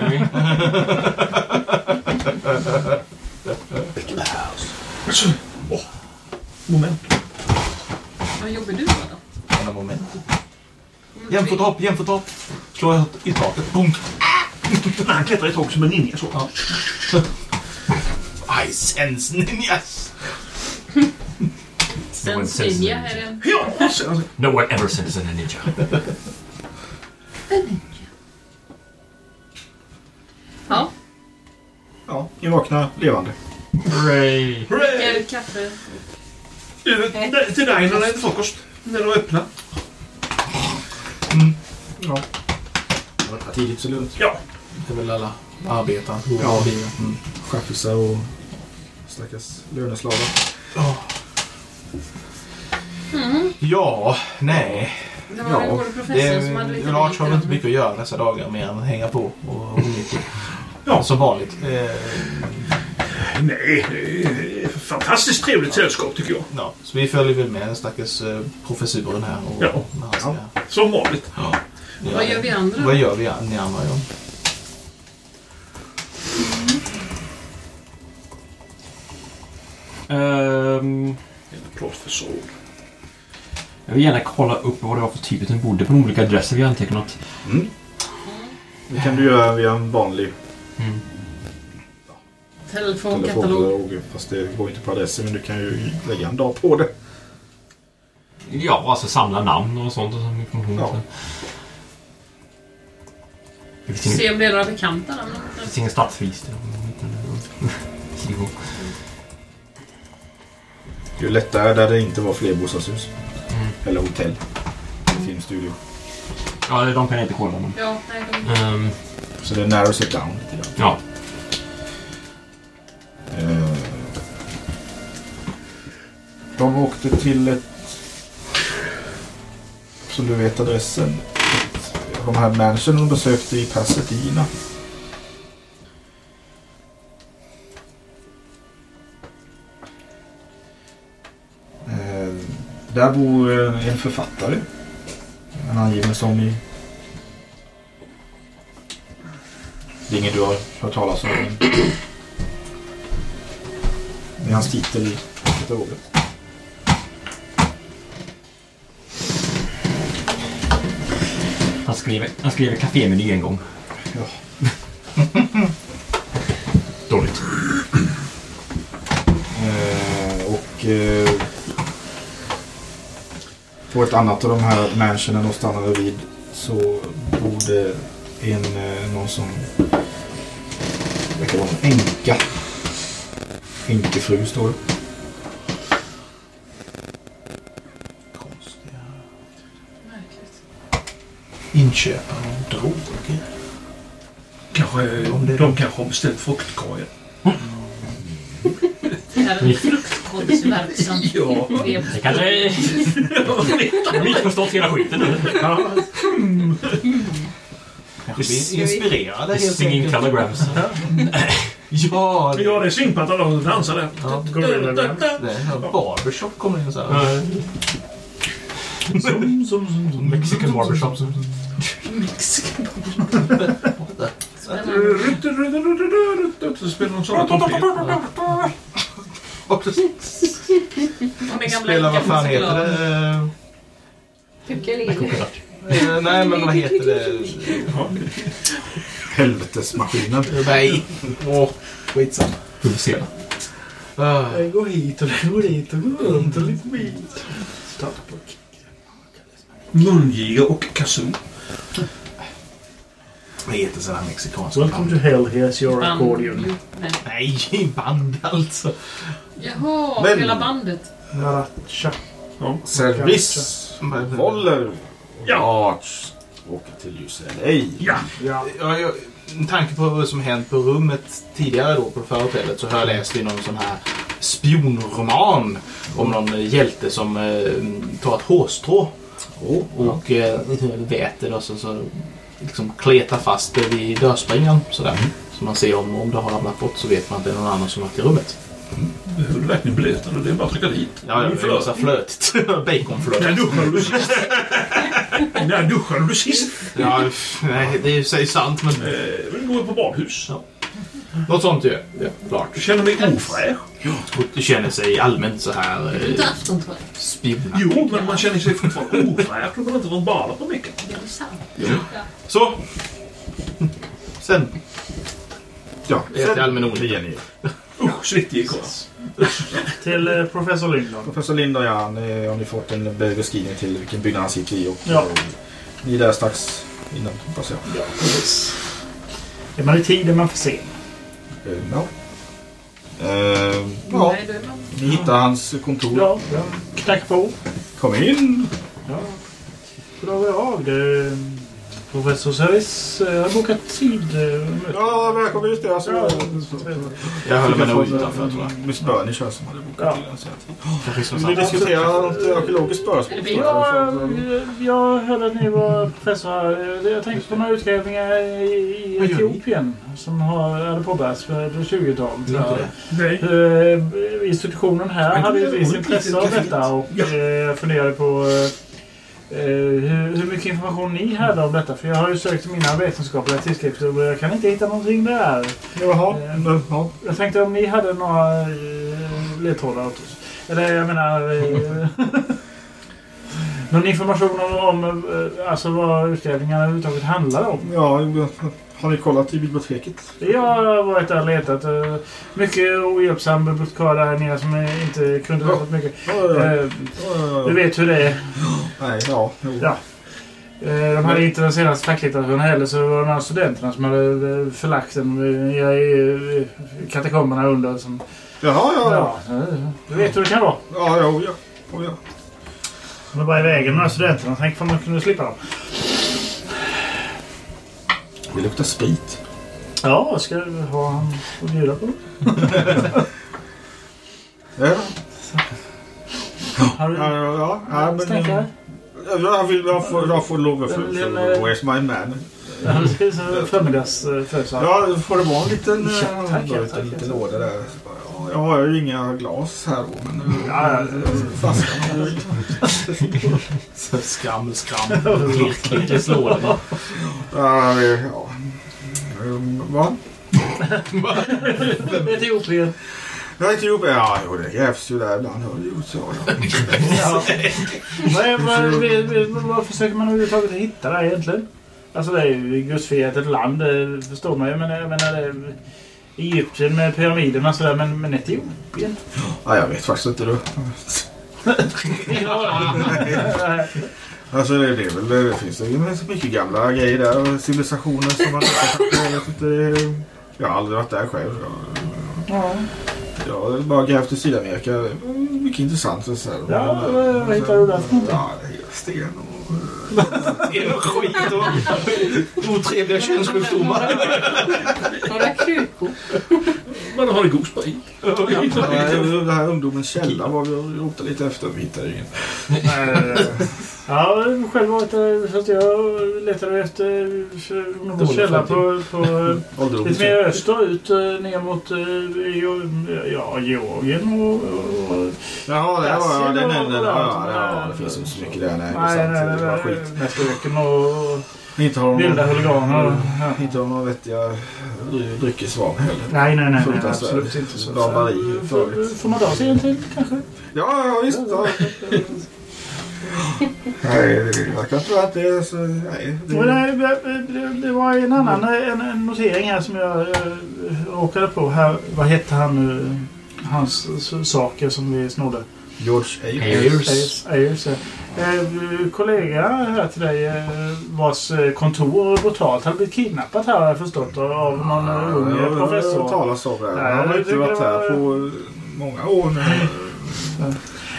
Moment. Vad jobbar du med då? Ena moment. Jämfothopp, jämfothopp. Slå i taket. Bunk. Nej, Han klättrar i tåg som en ninja så. Ja. I sense ninjas. Sen Svinja är en... Ja, sen No one ever sends a ninja. Ja. Ja, ni vaknar levande. Hooray! Hurray! Dricker kaffe. Över till- till dig när det är frukost. När de öppnar. Det var tidigt så lugnt. Ja. Det är väl alla arbetare. Ja. bilar. Mm. Chaffisar och stackars löneslavar. Ja, nej. Det var den gode professorn som hade lite Lars har väl inte biten. mycket att göra dessa dagar mer än att hänga på och Ja. onyttig. Ja. Som vanligt. Eh, Nej, det är fantastiskt trevligt sällskap tycker jag. ja. Så vi följer väl med den stackars eh, professuren här. Och, Ja. och när han ska- Som vanligt. göra Vad det. gör vi andra? Vad gör vi an- ni andra? Ja. Ehm, En applåd för så. jag vill gärna kolla upp vad det var för typ den bodde på de olika adresser vi har antecknat. Det kan du göra via en vanlig Telefonkatalog. telefonkatalog. Fast det går inte på adressen men du kan ju lägga en dag på det. Ja, alltså samla namn och sånt och sån information. Ja. Det finns Se ingen, om det är några bekanta där. det finns ingen stadsregister. Det är ju lättare där det inte var fler bostadshus. Eller hotell. Filmstudio. Ja, de kan jag inte kolla. Men... Ja, nej, de... Ehm, Så det narrows it down lite grann. Ja. Eh, De åkte till ett... Som du vet adressen. Ett- De här mansion de besökte i Pasadena. Eh, Där bor eh, en författare. En angiven som i... Det är ingen du har hört talas om. men Det är hans titel i katalogen. Han skrev, han skrev kafémeny en gång. Ja. Dåligt. Eh, och eh, på ett annat av de här mansionen de stannade vid så bodde en, eh, någon som verkar vara en änka. Änkefru står det. Inköpare av droger. Kanske, de kanske har beställt fruktkorgar. Det här är en fruktkorgsverksamhet. Ja. Det kanske... Jag har missförstått hela skiten nu. Kanske inspirerade The Singing telegrams. Ja, Ja, det är synd på de dansar där. Det är barbershop kommer in så Ja. här. Zoom, zoom, zoom, zoom. Mexican barbershop. zoom, zoom. Mexikan. Så spelar de sådana trumpet. Spela, vad fan heter det? Eh, Nej, men vad heter det? Helvetesmaskinen. Nej. Åh, skitsamma. Pulsera. Ah, Gå hit och gå dit och gå runt och lite bit. Mungiga och kazoo. Vad heter sådana här mexikanska Welcome to hell, here's your Band. accordion. Nej. Nej, band alltså. Jaha, Men- hela bandet. Naracha. Service. Voller. Ja. Arts. Åker till UCLA. Ja. Ja. Jag, jag, med tanke på vad som hänt på rummet tidigare då på det förra hotellet så har jag läst i någon sån här spionroman om någon hjälte som eh, tar ett hårstrå och eh, väter det och så, så liksom kletar fast det vid dörrspringan sådär. Så man ser om, om det har ramlat bort så vet man att det är någon annan som har varit i rummet. Behöver du verkligen blöta den? Det är bara att trycka dit. Ja, ja, det är så här flötigt. Baconflöt. När duschade du sist? När duschade du sist? Ja, f- nej, det är ju sig sant men... Eh, går på badhus. Ja. Något sånt ju. Ja, klart. Du känner mig ofräsch. Och du känner sig allmänt så här... Inte Eh, aftontröja. spionaktig. Jo, men man känner sig fortfarande ofräsch. Man har inte fått bada på mycket. Det är sant. Så! Sen Ja. äter jag allmän olycka. igen. Usch, svettig i korv. Till eh, professor Lindholm. Professor Lindor, ja, ni, har ni fått en beskrivning till vilken byggnad han sitter i? Och, Ja. och, ni är där strax innan, hoppas jag. Ja. Är man i tid är man för sen. ja. Eh, ja. Nej, du är man. Ni hittar hans kontor. Ja, jag knackar på. Kom in! Ja. Då drar vi av det. eh, Professor Service eh, har bokat tid. eh, möte. Ja, välkommen just det. Alltså, Ja. Jag håller mig nog utanför tror jag. Miss Bernie kör som hade bokat Ja. till en sån här tid. Kanske som Vill ni sagt. diskutera något arkeologiskt spörsmål? Eller vi- Ja, eh, jag hörde att ni var professor här. Eh, Jag tänkte på några utgrävningar i i Vad gör ni? Etiopien som har, hade påbörjats för 20-talet. tror jag. Nej. Eh, Institutionen här hade ett visst intresse av detta och eh, jag funderade på eh, eh, hur, hur mycket information ni hade om detta. För jag har ju sökt i mina vetenskapliga tidskrifter och jag kan inte hitta någonting där. Jaha. Eh, Mm, ja. Jag tänkte om ni hade några eh, ledtrådar åt oss. Eller jag menar... eh, Någon information om, om eh, alltså vad utgrävningarna överhuvudtaget handlar om. Ja, har ni kollat i biblioteket? Jag har varit där och letat. eh, Mycket ohjälpsam bibliotekarie här nere som eh, inte kunde så mycket. Ja, ja, ja. Eh, Ja, ja, ja. Du vet hur det är. Nej, ja. jo. Ja. Eh, De hade inte den senaste facklitteraturen heller så det var några studenterna som hade eh, förlagt den eh, i eh, katakomberna under. Som... Jaha, ja, ja. ja. Du vet hur det kan vara. Ja, ja, ja. Oh, ja. De är bara i vägen med de här studenterna. Tänk om man kunde slippa dem. Det luktar sprit. Ja, ska du ha han att bjuda på? Ja. Har du... Ja, ja, ja, men... Stackare. Ja, Jag, vill, jag, får, jag får lov att för, Men, för, men, eh, Where's my man? Ja, det ska ju så förmiddagsfödelsedag. Ja, då får det vara en liten, Ja, eh, tack, då, ja, en tack, liten ja. låda där. Så bara, ja, Jag har ju inga glas här då, men nu... Ja, flaskan har jag ju. Skrammel, skrammel. Vilken låda. Ja, det- ja. Ehm, Va? Etiopien. Jag är Etiopien. Ja, jo, det jävs ju där ibland. Hör du ju så. Ja. Vad- vad- vad- vad- Vad försöker man överhuvudtaget hitta det här egentligen? Alltså det är ju gudsfrihet ett land, det förstår man ju. Men jag menar, det är Egypten med pyramiderna och sådär, men, men Etiopien? Ja, jag vet faktiskt inte du. Alltså det, det, är väl, det finns ju så mycket gamla grejer där och civilisationer som man jag vet inte. eh, Jag har aldrig varit där själv. Ja. Jag, jag har bara grävt i Sydamerika. Mm, Mycket intressant. och Så här. Ja, vad- vad hittar du där? Ja, det är sten och... Det är nog skit och otrevliga könssjukdomar. Några krukor. Man har det god sprit. Den här ungdomens källa var vi och rotade lite efter. Vi hittade ingen. Jag har själv varit där, så att jag letade efter någon källa på, på Ålderdomshem. lite mer österut, eh, ner mot eh, Jo- ja, Georgien och... och Jaha, det var ja, Asien den och- nämnden. och Ja, allt. ja, ja, det finns inte så mycket där. Nej, det är Nej, sant. nej, Det är nej. bara skit. Nästöken och... Inte har de Vilda Mm. huliganer. Inte har de några vettiga dry- dryckesvanor heller. Nej, nej, nej, nej, Fruktansvärt. absolut inte så. Barbari förut. Får man dra sig en till kanske? Ja, ja visst. Ja. Nej, det- jag kan tro att det är så... Nej, det, Men, eh, det- det- Det var en annan Mm. eh, en, en notering här som jag eh, råkade på. Här, vad hette han nu? Hans s- saker som vi snodde. George Ayers, Ayers, ja. Eh, kollega här till dig eh, vars eh, kontor brutalt hade blivit kidnappat här har jag förstått av av någon eh, ung Jag har professor. hört talas om det. Nej, Han har jag inte tycker varit det här var- på många år nu.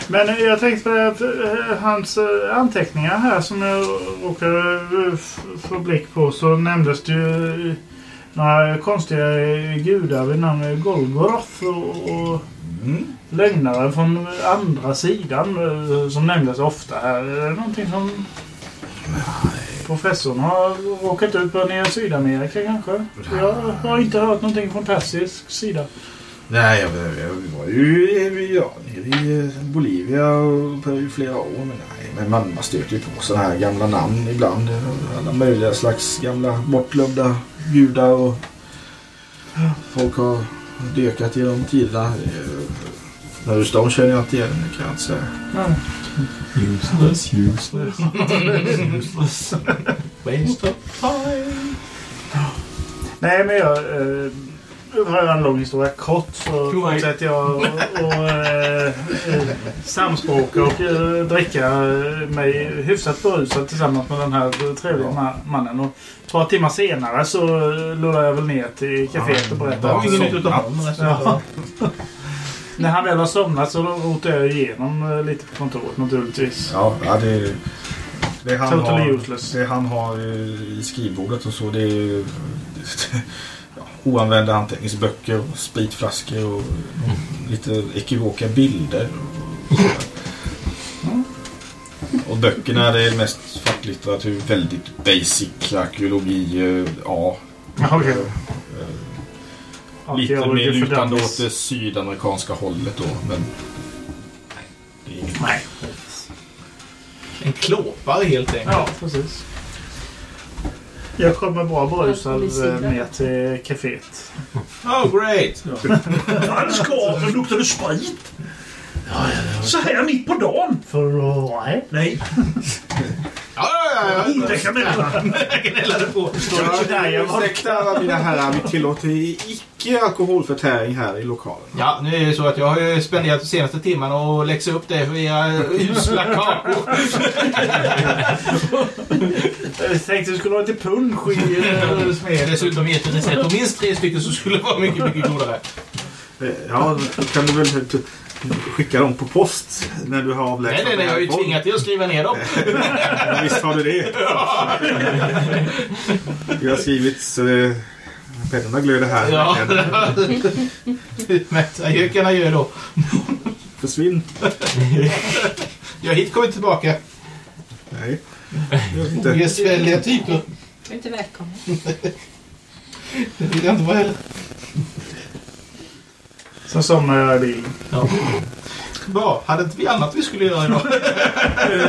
Men eh, jag tänkte på det att eh, hans eh, anteckningar här som jag råkade eh, f- få blick på så nämndes det ju eh, några konstiga eh, gudar vid namn Golgoroth och, och lögnaren från andra sidan eh, som nämndes ofta här. Är det någonting som professorn har råkat ut på nere i Sydamerika kanske? Jag har inte hört någonting från persisk sida. Nej, jag, jag, jag var ju i- ja, nere i eh, Bolivia och Peru i flera år. Men, nej, men man, man stöter ju på sådana här gamla namn ibland. Alla möjliga slags gamla bortglömda judar och folk har dökat genom tiderna. Eh, När du står känner jag inte igen det kan jag inte säga. Useless, useless. useless. Waste of time. Nej, men jag... Eh, har jag en lång historia kort så fortsätter jag och, och eh, eh, samspråka och eh, dricka eh, mig hyfsat berusad tillsammans med den här trevliga ma- mannen. Och ett par timmar senare så eh, lullar jag väl ner till kaféet och berättar Ja, att- ingen nytt utav honom, Ja. När han väl har somnat så rotar jag igenom eh, lite på kontoret naturligtvis. Ja, ja det är... Det han, Totally har, det han har eh, i skrivbordet och så det är ju, ja, oanvända anteckningsböcker, och spritflaskor och lite ekivoka bilder. och sådär. Och böckerna det är mest facklitteratur, väldigt basic arkeologi, eh, ja. Ja, okej. Eh, Lite mer Arkeologi för lutande dummies. åt det sydamerikanska hållet då. Men det är inget. Nej. En klåpare helt enkelt. Ja, precis. Jag kommer bra berusad eh, ner till kaféet. Oh great! Hans korv luktade sprit. Så här mitt på dagen. För Nej. Nej. Ja, ja, ja. Otäcka människor. gnällade på. Ursäkta alla mina herrar, vi tillåter icke alkoholförtäring här i lokalen. Ja, nu är det ju så att jag har ju spenderat de senaste timmarna och läxa upp det för era usla kakor. Jag tänkte du skulle ha lite punsch i eh, smed. Dessutom gett ett recept på minst tre stycken som skulle vara mycket, mycket godare. Eh, Ja, då kan du väl t- skicka dem på post när du har avlägsnat Nej, nej, nej, jag har ju dig härifrån. tvingat dig att skriva ner dem. Ja, Visst har du det. Det har skrivits... Eh, Pennorna glöder här. Ja. Utmärkt. Adjöken adjö då. Försvinn. Jag hit kommer tillbaka. Nej. Ogästvänliga typer. Du är inte välkommen. Det vill jag inte vara heller. Sen somnade jag i bilen. Bra. Hade inte vi annat vi skulle göra idag?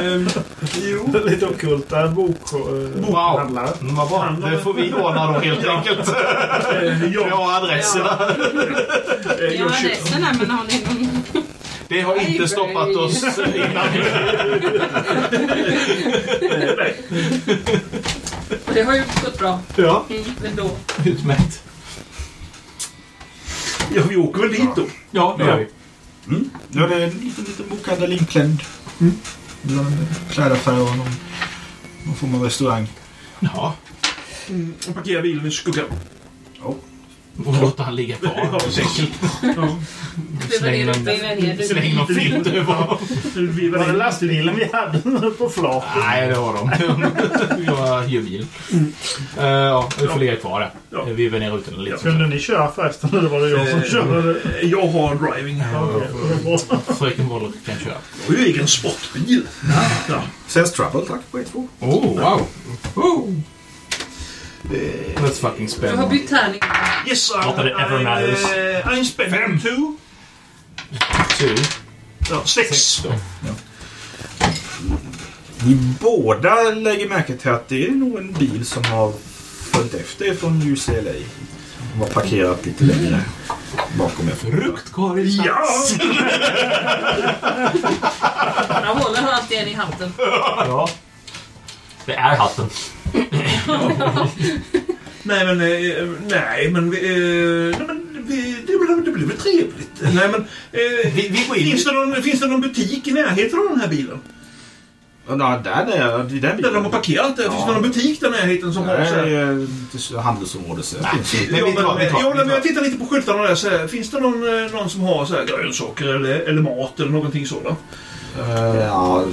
Ehm, jo. Lite ockulta bokhandlare. Vad bra. Det får vi ordna då helt enkelt. Jag har adresserna. Jag har adressen här men har ni någon... Det har inte Library. stoppat oss innan. Och det har ju gått bra. Ja. Mm, men då. Utmärkt. Ja, vi åker väl dit då. Ja, det gör vi. Mm. Ja, det är en liten, liten bokhandel inklämd. Bland klädaffärer och någon, någon form av restaurang. Ja. Mm, och parkerar bilen i skuggan. Och låta han ligga kvar helt enkelt. Släng någon- Släng någon filt över. Var det lastbilen vi hade på flaket? Nej, det har de. Vi har hyrbil. Eh, Ja, vi får ligga kvar där. Vi vevar ner rutorna lite. Kunde ni köra förresten eller var det jag som Eh, körde? Jag har driving. Fröken Woller kan köra. Och ju egen sportbil. Ja. Sales trouble, tack på er två. Oh, wow. Oh. Eh. That's fucking Du har spännande. bytt tärning. Yes, Not that it ever matters. eh, I'm spending Fem. two. Tur. Ja, sex. Ni båda lägger märke till att det är nog en bil som har följt efter er från UCLA. De har parkerat lite längre bakom er. Fruktkorg. Ja! Jag håller har alltid en i hatten. Ja. Det är hatten. Nej men, eh, nej men, vi, eh, nej, men vi, det, blir, det blir väl trevligt. Nej men, eh, finns, det någon, finns det någon butik i närheten av den här bilen? Ja, där nere. I den Där de har parkerat? Finns det någon butik där i närheten som har Nej, så här? det är inte handelsområde. Så det finns inte. Ja, men, ja, men jag tittar lite på skyltarna där. Så här, finns det någon, eh, någon som har så här, grönsaker eller, eller mat eller någonting sådant? Eh, ja,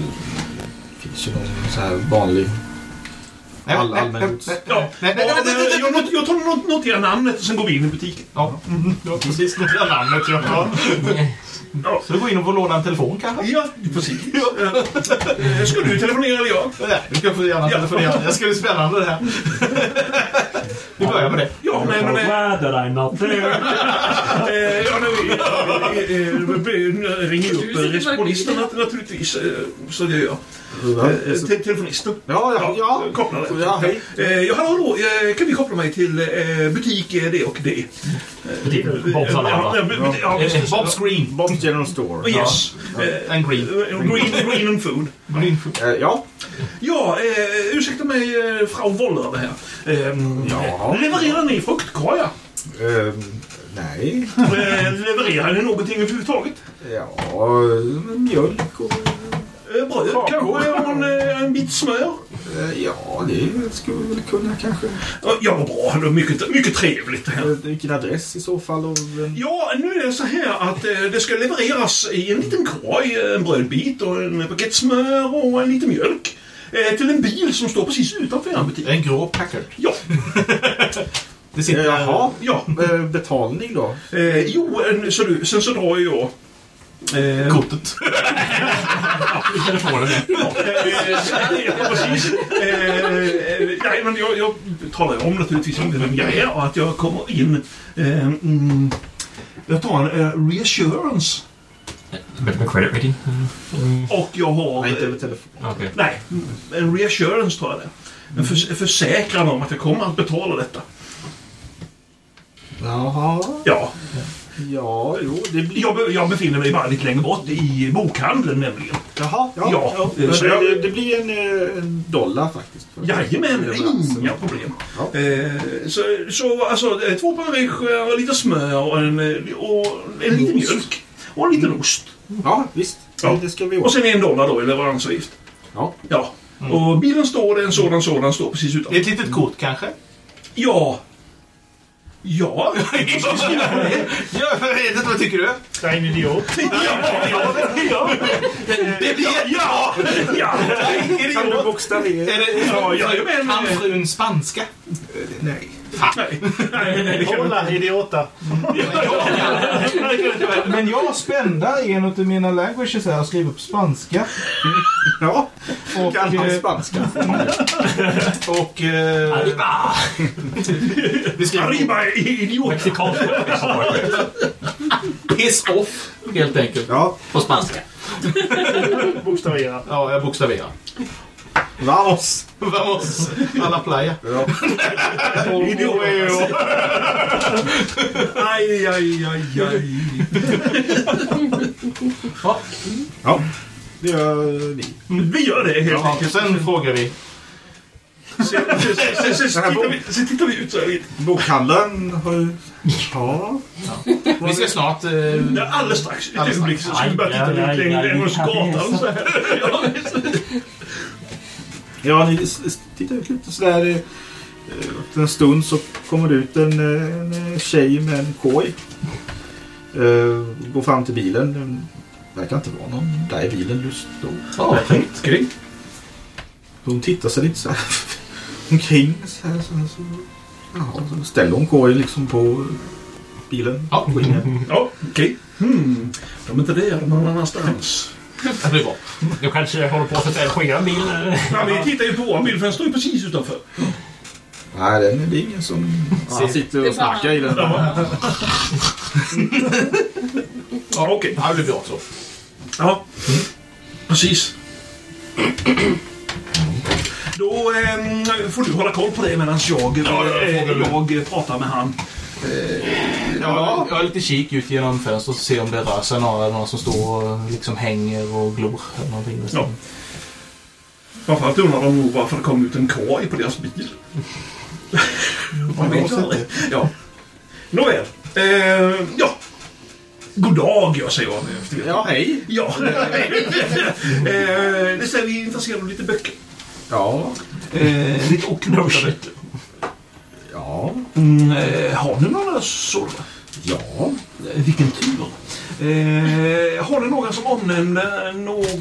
det finns ju någon så här vanlig all, allmän... Ja. Ja, men Jag not- jag tar not- noterar namnet och sen går vi in i butiken. Ja, ja precis. Det där namnet jag har. Så du går in och får låna en telefon kanske? Ja, precis. Eh, Ska du telefonera eller jag? Nej, du kan få gärna Ja. telefonera. Det ska bli spännande det här. Vi börjar med det. Ja, nej, men... eh, Rather I'm not there. Eh, ja, nu, eh, eh, eh, ringer ju upp eh, responisten nat- naturligtvis. eh, Så det gör jag. Eh, te- Telefonisten. Ja, ja, ja. Koppla det. Ja, Typ hej. Eh, Ja, hallå, hallå. eh, Kan vi koppla mig till eh, butik eh, det och det? Eh, typ Bobs alla ja, andra. ja, bu- ja, precis. Bobs Green. Bob's General Oh, Store. Yes. Eh, En green. eh, Green, green and food. Ja. Eh, ja. Ja, eh, ursäkta mig, eh, Frau Woller här. Eh, Ja. Levererar ni fruktkorgar? Eh, nej. Eh, Levererar ni någonting överhuvudtaget? Ja, men mjölk och... Eh, Bröd kanske? Och en, eh, en bit smör? eh, Ja, det skulle vi väl kunna kanske. Ja, vad bra. Det var mycket, mycket trevligt. det här. Eh, Vilken adress i så fall? Och, eh, Ja, nu är det så här att eh, det ska levereras i en liten korg, eh, en brödbit och en paket smör och en liten mjölk. eh, Till en bil som står precis utanför er butik. En grå Packard. Ja, Det eh, sitter... Jaha, ja. eh, betalning då? Eh, jo, en, så du, sen så drar ju jag... Eh, Kortet. Telefonen. ja, precis. Eh, eh, nej, men jag, jag talar ju om naturligtvis inte vem jag är och att jag kommer in... Eh, mm, jag tar en eh, reassurance Bättre med credit rating. och jag har... Nej, inte eh, över telefon. Okej. Nej, Mm. en reassurance tror jag det är. En förs- försäkran om att jag kommer att betala detta. Jaha. Ja. Ja, jo. jag, be- jag befinner mig bara lite längre bort i bokhandeln nämligen. Jaha. Ja, Ja, eh, men så det- jag, det blir en, eh, en dollar faktiskt. Jajamän, Leveransen. inga problem. Eh, så, så alltså, eh, två panvicher och lite smör och en, eh, och en liten mjölk. Och en liten ost. Ja, visst. Det ska vi åt. och sen en dollar då i leveransavgift. Ja. ja. Och bilen står, det är en sådan sådan står precis utanför. Ett litet kort kanske? Ja. Ja. Ja, jag vet inte. Vad tycker du? Jag är en idiot. Det blir... Ja! Ja! Kan du bokstavera? Ja, jajamän. Kan frun spanska? Nej. Hola, idiota! Men jag har spända i en av mina languages här och skriver på spanska. Ja, och, Kan han eh, spanska? Och... Eh, Arriba! Vi skriver... Arriba idiot! Mexikansk Piss off, helt enkelt. Ja. På spanska. Bokstavera. Ja, jag bokstaverar. Vamos! Vamos! A la playa. Ja. Aj, aj, aj, aj. Ja. ja, det gör vi. Vi gör det helt Ja, enkelt. Sen frågar vi. Sen, sen, sen, sen, sen, tittar, vi, sen tittar vi ut så här lite. Bokhandeln har ju... Ja. Vi ska snart... Eh, Ja, alldeles strax. Ett Alldeles strax. ögonblick så ska vi bara titta Aj, aj, ut aj, längre än oss aj, gatan. så här. Ja, Ja, ni s- s- tittar ut lite sådär. eh, Efter en stund så kommer det ut en, eh, en eh, tjej med en koj. Eh, Går fram till bilen. Den verkar inte vara någon där i bilen just då. Ja, tänkt. Kring. Hon tittar sig lite så här omkring. Så här, så här, så. Ja, så ställer hon kojen liksom på bilen. Ja, går in igen. Ja, okej. Hmm. De är inte där, de är någon annanstans. Det blir bra. Du kanske håller på att sätta på er bil? Ja, vi tittar ju på vår bil för den står ju precis utanför. Nej, den är det är ingen som Ja, han sitter och snackar i den. Ja, ja okej. Ja, det blir bra så. Ja, precis. Då ehm, får du hålla koll på det medan jag, Ja, jag eh, frågar jag, eh, pratar med han. Ja, jag har lite kik ut genom fönstret och ser om det rör sig några, några som står och liksom hänger och glor. Eller någonting. Ja. Framförallt undrar de nog varför det kom ut en korg på deras bil. Man vet ju aldrig. Ja. Nåväl. Eh, ja. God dag, jag säger jag efter Ja, hej. Ja, eh, det säger vi är intresserade av lite böcker. Ja. Eh, lite okulta böcker. Ja. Mm, eh, har ni några sådana? Ja. Eh, vilken tur. Eh, har ni någon som omnämner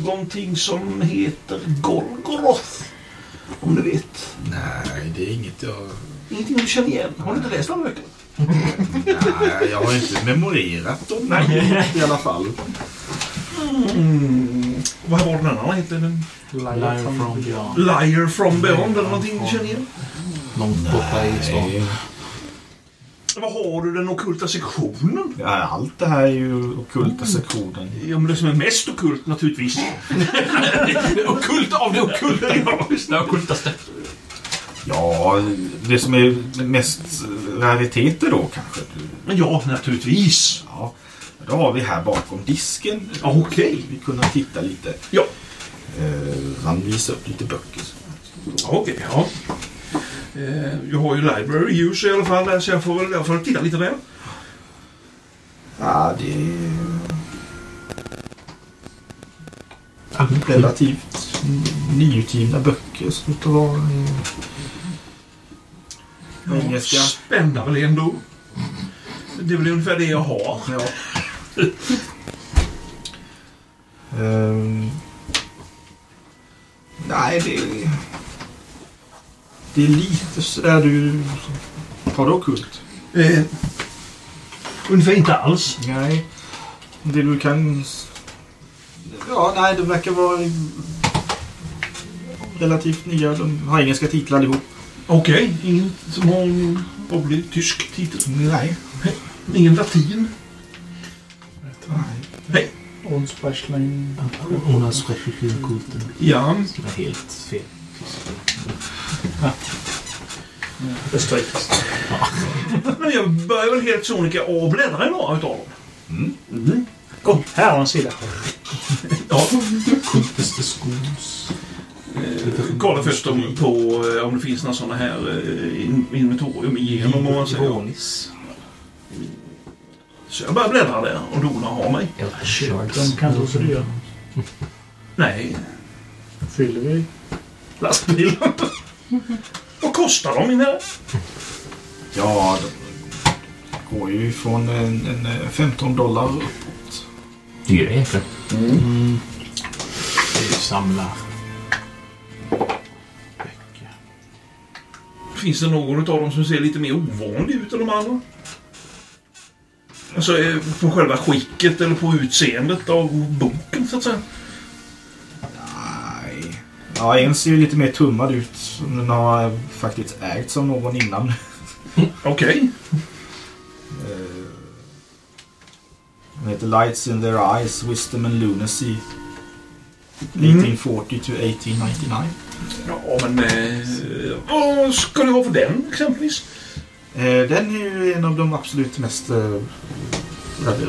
någonting som heter Golgoroth? Om ni vet. Nej, det är inget jag... Ingenting du känner igen? Har ni inte läst några böcker? Nej, jag har inte memorerat dem Nej. i alla fall. Mm. Vad var den andra hette? Den? Liar from beyond. Liar from beyond eller någonting du känner igen? Långt borta i stan. Vad har du den ockulta sektionen? Ja, allt det här är ju ockulta sektionen. Ja, men det som är mest ockult naturligtvis. det ockulta av det ockulta! Det ockultaste. Ja, det som är mest rariteter då kanske. Ja, naturligtvis. Ja, då har vi här bakom disken. Okej. Vi kunde titta lite. Ja. Eh, han visar upp lite böcker. Ja, Okej, ja. Eh, jag har ju Library Use i alla fall där, så jag får väl jag får titta lite väl. Ja, det är... Relativt nyutgivna böcker som det var. eh, Engelska. Spända väl ändå. Det är väl ungefär det jag har. Ja. Ehm. nej, det är... Det är lite sådär du... Har du ockult? Eh, ungefär inte alls. Nej. Det du kan... Ja, nej, de verkar vara relativt nya. De har engelska titlar allihop. Okej, ingen som har en rolig tysk titel? Nej. Ingen latin? Nej. Onspashling. Onas kulten. Ja. Helt fel. Österrikiskt. Men jag börjar väl helt sonika och bläddra i några utav dem. Mm. Mm. Kom, här har en sida. ja. Kompis skos. Kolla först om, på, eh, om det finns några sådana här eh, in- inventorium igenom om man säger. Så jag börjar bläddra där och Dona har mig. De kan inte så dyra. Nej. Fyller vi? Lastbilen. Vad kostar de min herre? Ja, de går ju från en, en eh, 15 dollar uppåt. Dyra egentligen. Mm. Vi samlar. Finns det någon av dem som ser lite mer ovanlig ut än de andra? Alltså eh, på själva skicket eller på utseendet av boken så att säga. Ja, en ser ju lite mer tummad ut. som Den har eh, faktiskt ägts av någon innan. Okej. Den heter Lights in their eyes, Wisdom and Lunacy. Mm. 1840 to 1899. Ja, men eh, vad ska du ha för den exempelvis? Eh, den är ju en av de absolut mest eh,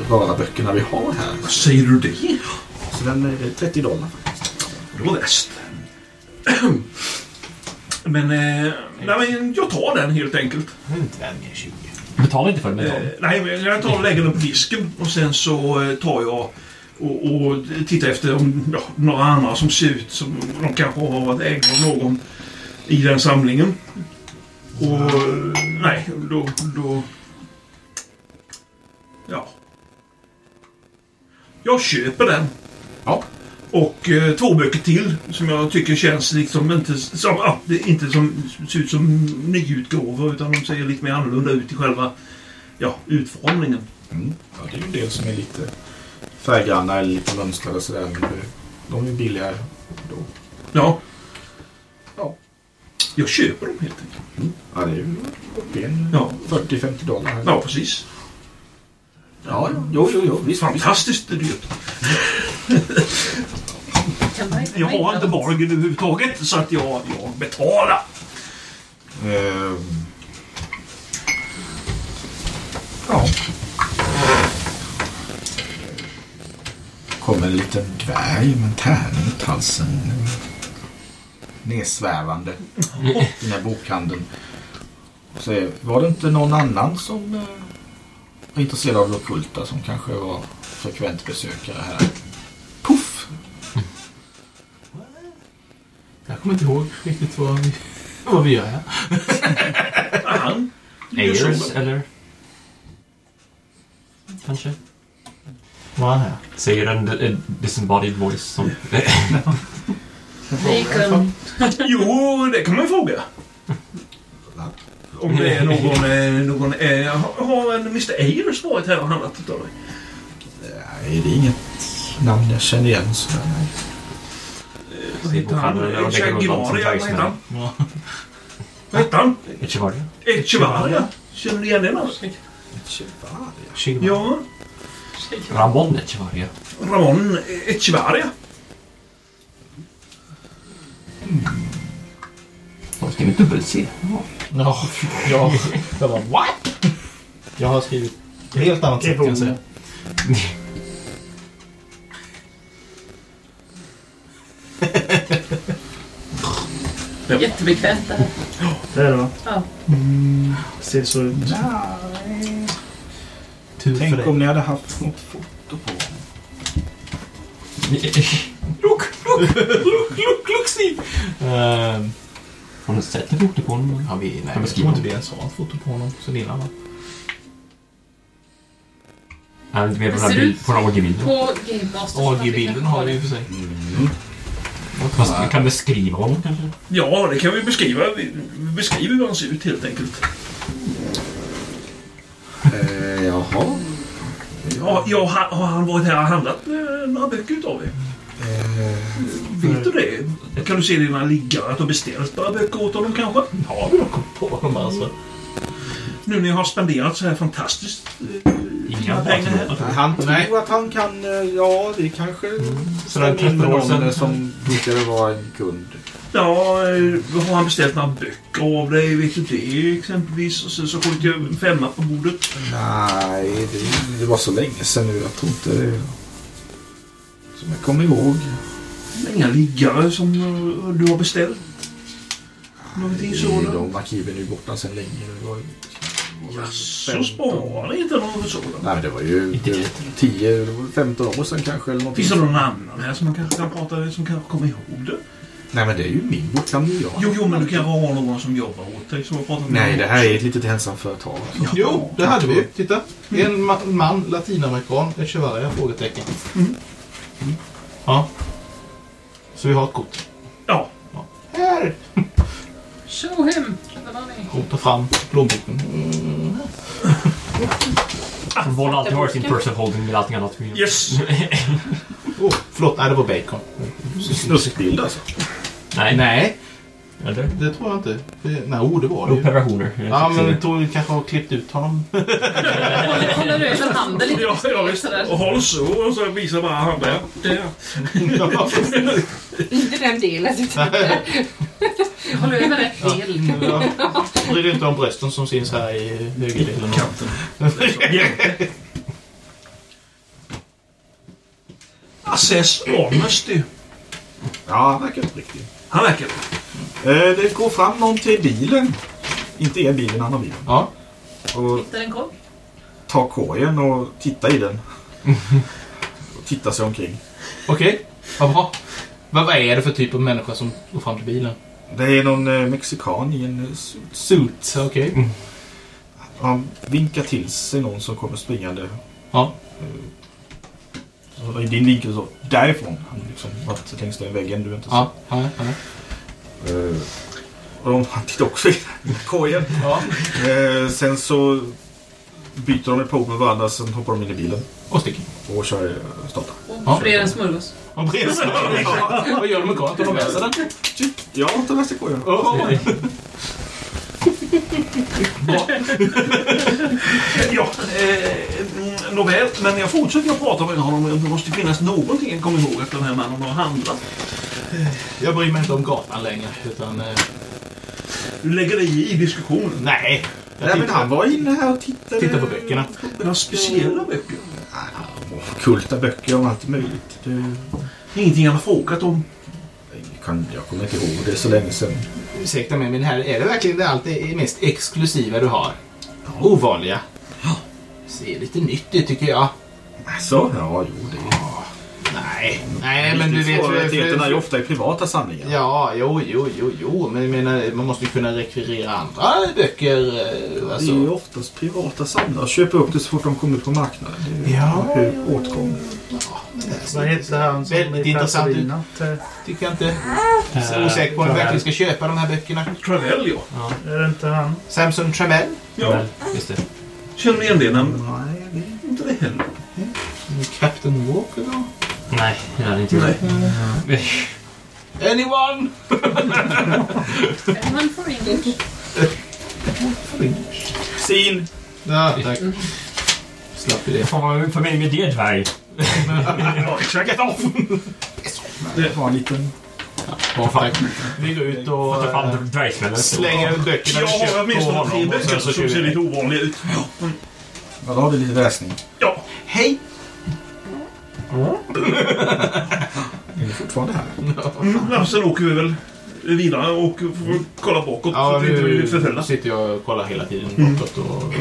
rara böckerna vi har här. Vad säger du det? Så den är 30 dollar. Det var bäst. Men, eh, nej, men jag tar den helt enkelt. Betala inte för det, men Eh, ta det. nej, men jag tar och lägger den på disken och sen så eh, tar jag och, och tittar efter om, ja, några andra som ser ut som de kanske har varit ägda av någon i den samlingen. Och eh, nej, då... då ja. Jag köper den. Ja. Och eh, två böcker till som jag tycker känns liksom inte som, ja, det är inte som, ser ut som nyutgåvor utan de ser lite mer annorlunda ut i själva ja, utformningen. Ja, det är ju en del som är lite färggranna eller lite mönstrade och sådär. Men det- de är billigare då. Ja. ja. Jag köper dem helt enkelt. Ja, det är ju uppe i en Ja. 40-50 dollar. Ja, precis. Ja, jo, jo, jo. Visst, Fantastiskt dyrt. Jag har inte bargain överhuvudtaget så att jag, jag betalar. Ehm. Ja. Kommer en liten dvärg med en tärning runt halsen. Nedsvävande. I den här bokhandeln. Så eh, var det inte någon annan som eh, var intresserad av det ockulta som kanske var frekvent besökare här? Puff! Jag kommer inte ihåg riktigt vad vi, vad vi gör här. Han? Ayers, eller? Kanske? Vad är han här? Säger en eh, disembodied voice som... Jo, det kan man ju fråga. Om det är någon... eh, någon eh, har- har en Mr Ayers varit här och handlat utav dig? Nej, det är inget namn jag känner igen. Så, nej. Eh, Vad heter han? Bokhandeln, jag lägger undan som Echagivaria? Vad heter bergsmän. han? Vad heter han? Echevarria? Echevarria? Känner du igen det namnet? Ja, Ramon Echevarria. Ramon Echevarria. De skriver dubbel-C. Ja, ja. Jag bara what? Jag har skrivit på ett helt annat sätt kan jag säga. Jättebekvämt det här. Det är det va? Ja. Mm, ser så ut. Tur Tänk för dig. om ni hade haft något foto på honom. Look, look, look, look, look, Steve! Ehm, Har du sett ett foto på honom? ja, vi, nej, men jag skriv tror inte om vi det. ens har ett foto på honom sen innan va? Han är inte med på den Ser här du- bild- på den här orgiebilden. På Gamemasters. AG-bilden har vi i och för sig. Fast vi kan beskriva honom kanske? Ja, det kan vi beskriva. Vi vi beskriver hur han ser ut helt enkelt. Eh, jaha. Ja, ja, ha- har han varit här och handlat eh, några böcker utav er? Eh, Vet du det? Kan du se det i dina liggare att du har beställt några böcker åt honom kanske? Mm. Har vi något på honom alltså? Nu när jag har spenderat så här fantastiskt eh, fina pengar här. Han tror att han kan... eh, Ja, det kanske... Så den stämmer in med 13 år sedan. någon som brukade vara en kund. Ja, eh, har han beställt några böcker av dig? Vet du det exempelvis? Och sen så skjuter jag en femma på bordet. Nej, det, det var så länge sedan nu. Jag tror inte det... Som jag kommer ihåg. Inga liggare som eh, du har beställt. Någonting I sådant. de arkiven är ju borta sedan länge. Det var ju- Så sparar ni inte något sådant. Nej, men det var ju 10, 15 år sedan kanske. Eller någonting. Finns det någon annan här som man kanske kan prata med som kanske kommer ihåg det? Nej, men det är ju min boksamling. jag har. Jo, jo, men du kanske har någon som jobbar åt dig som har pratat med Nej, någon det här är också. ett litet ensamföretag. Alltså. Jo, Mm. det hade vi ju. Titta. En ma- man, latinamerikan, Echevarria, frågetecken. Mm. Ja. Så vi har ett kort. Ja. Här! Show him! Vad var ni? Hon tar fram plånboken. Mm. Våld alltid har sin person holding med allting annat. Yes! oh, förlåt, nej det var bacon. Snuskig bild alltså? Nej. Nej. Eller? Det tror jag inte. Det- Nej, oh, det var det ju. Operationer. Ja, men jag tror vi kanske har klippt ut honom. Håller du över handen lite? Ja, ja visst. Och håll så och så visar bara han där. Där. Inte den delen. utan- Håller över rätt Mm. del. Bry dig inte om brösten som syns här i högerdelen. Kanten. Assess Honesty. Ja, han verkar uppriktig. Han verkar eh, Det går fram någon till bilen. Inte er bil, en annan bil. Ja. Och Hittar en korg? tar korgen och tittar i den. och tittar sig omkring. Okej, vad bra. Vad, vad är det för typ av människa som går fram till bilen? Det är någon eh, mexikan i en eh, suit. suit. Okej. Han vinkar till sig någon som kommer springande. Ja. Så I din vinkel så. Därifrån. Han har liksom varit längst ner i väggen. Du har inte Ja, ja, ja. Eh, Och de, han tittar också i korgen. Eh, sen så byter de på med varandra, sen hoppar de in i bilen. Och sticker. Och kör eh, startar. Och brer en smörgås. Han brer en smörgås. Ja, vad gör de med korgen? Tar de med sig den? Ja, tar med sig korgen. Ja, eh, mm, nåväl, men jag fortsätter att prata med honom. Det måste finnas någonting jag kommer ihåg att den här mannen har handlat. Jag bryr mig inte om gatan längre. Utan, eh, Du lägger dig i diskussionen. Nej. Jag Nej, men tittar- han var inne här och tittade. Titta på böckerna. Några speciella böcker? Kulta böcker om allt möjligt. Det... Ingenting han har frågat om? Jag Kan, jag kommer inte ihåg, det är så länge sedan. Ursäkta mig, men här är det verkligen det allt det mest exklusiva du har? Ovanliga. Ser lite nytt ut tycker jag. Så? Alltså, Ja, jo det är... Nej, nej men du vet... Svårigheterna är ju ofta i privata samlingar. Ja, jo, jo, jo, jo. Men jag menar, man måste ju kunna rekvirera andra böcker. eh, Det är ju Alltså. oftast privata samlare. Köper upp det så fort de kommer ut på marknaden. Det är Ja. hur åtgång. Vad heter han som Väldigt intressant ut. Tycker jag inte. Så osäker på om jag verkligen ska köpa de här böckerna. Travell, ja. Är det inte han? Samson Tramell. Ja. Just det. Känner ni igen det namnet? Nej, det är inte det heller. Captain Walker då? Nej, det hade inte gjort. Anyone? One for English. Sin! Ja, tack. Slapp ju det. Fan vad är familj med det dvärg? Check it off! Det var en liten... Ja, tack. Vi går ut och Vad eh, fan dvärgsmällen? slänger ut böckerna Jag vi köpt har på åtminstone tre honom. och böcker sen så som kör vi ser lite iväg. ovanliga ut. Ja. mm. Ja, då har du lite läsning. Ja. Hej! Är du fortfarande här? Mm, ja, sen åker vi väl vidare och får kolla bakåt så Ja, att vi inte blir nu förföljda. sitter jag och kollar hela tiden bakåt och...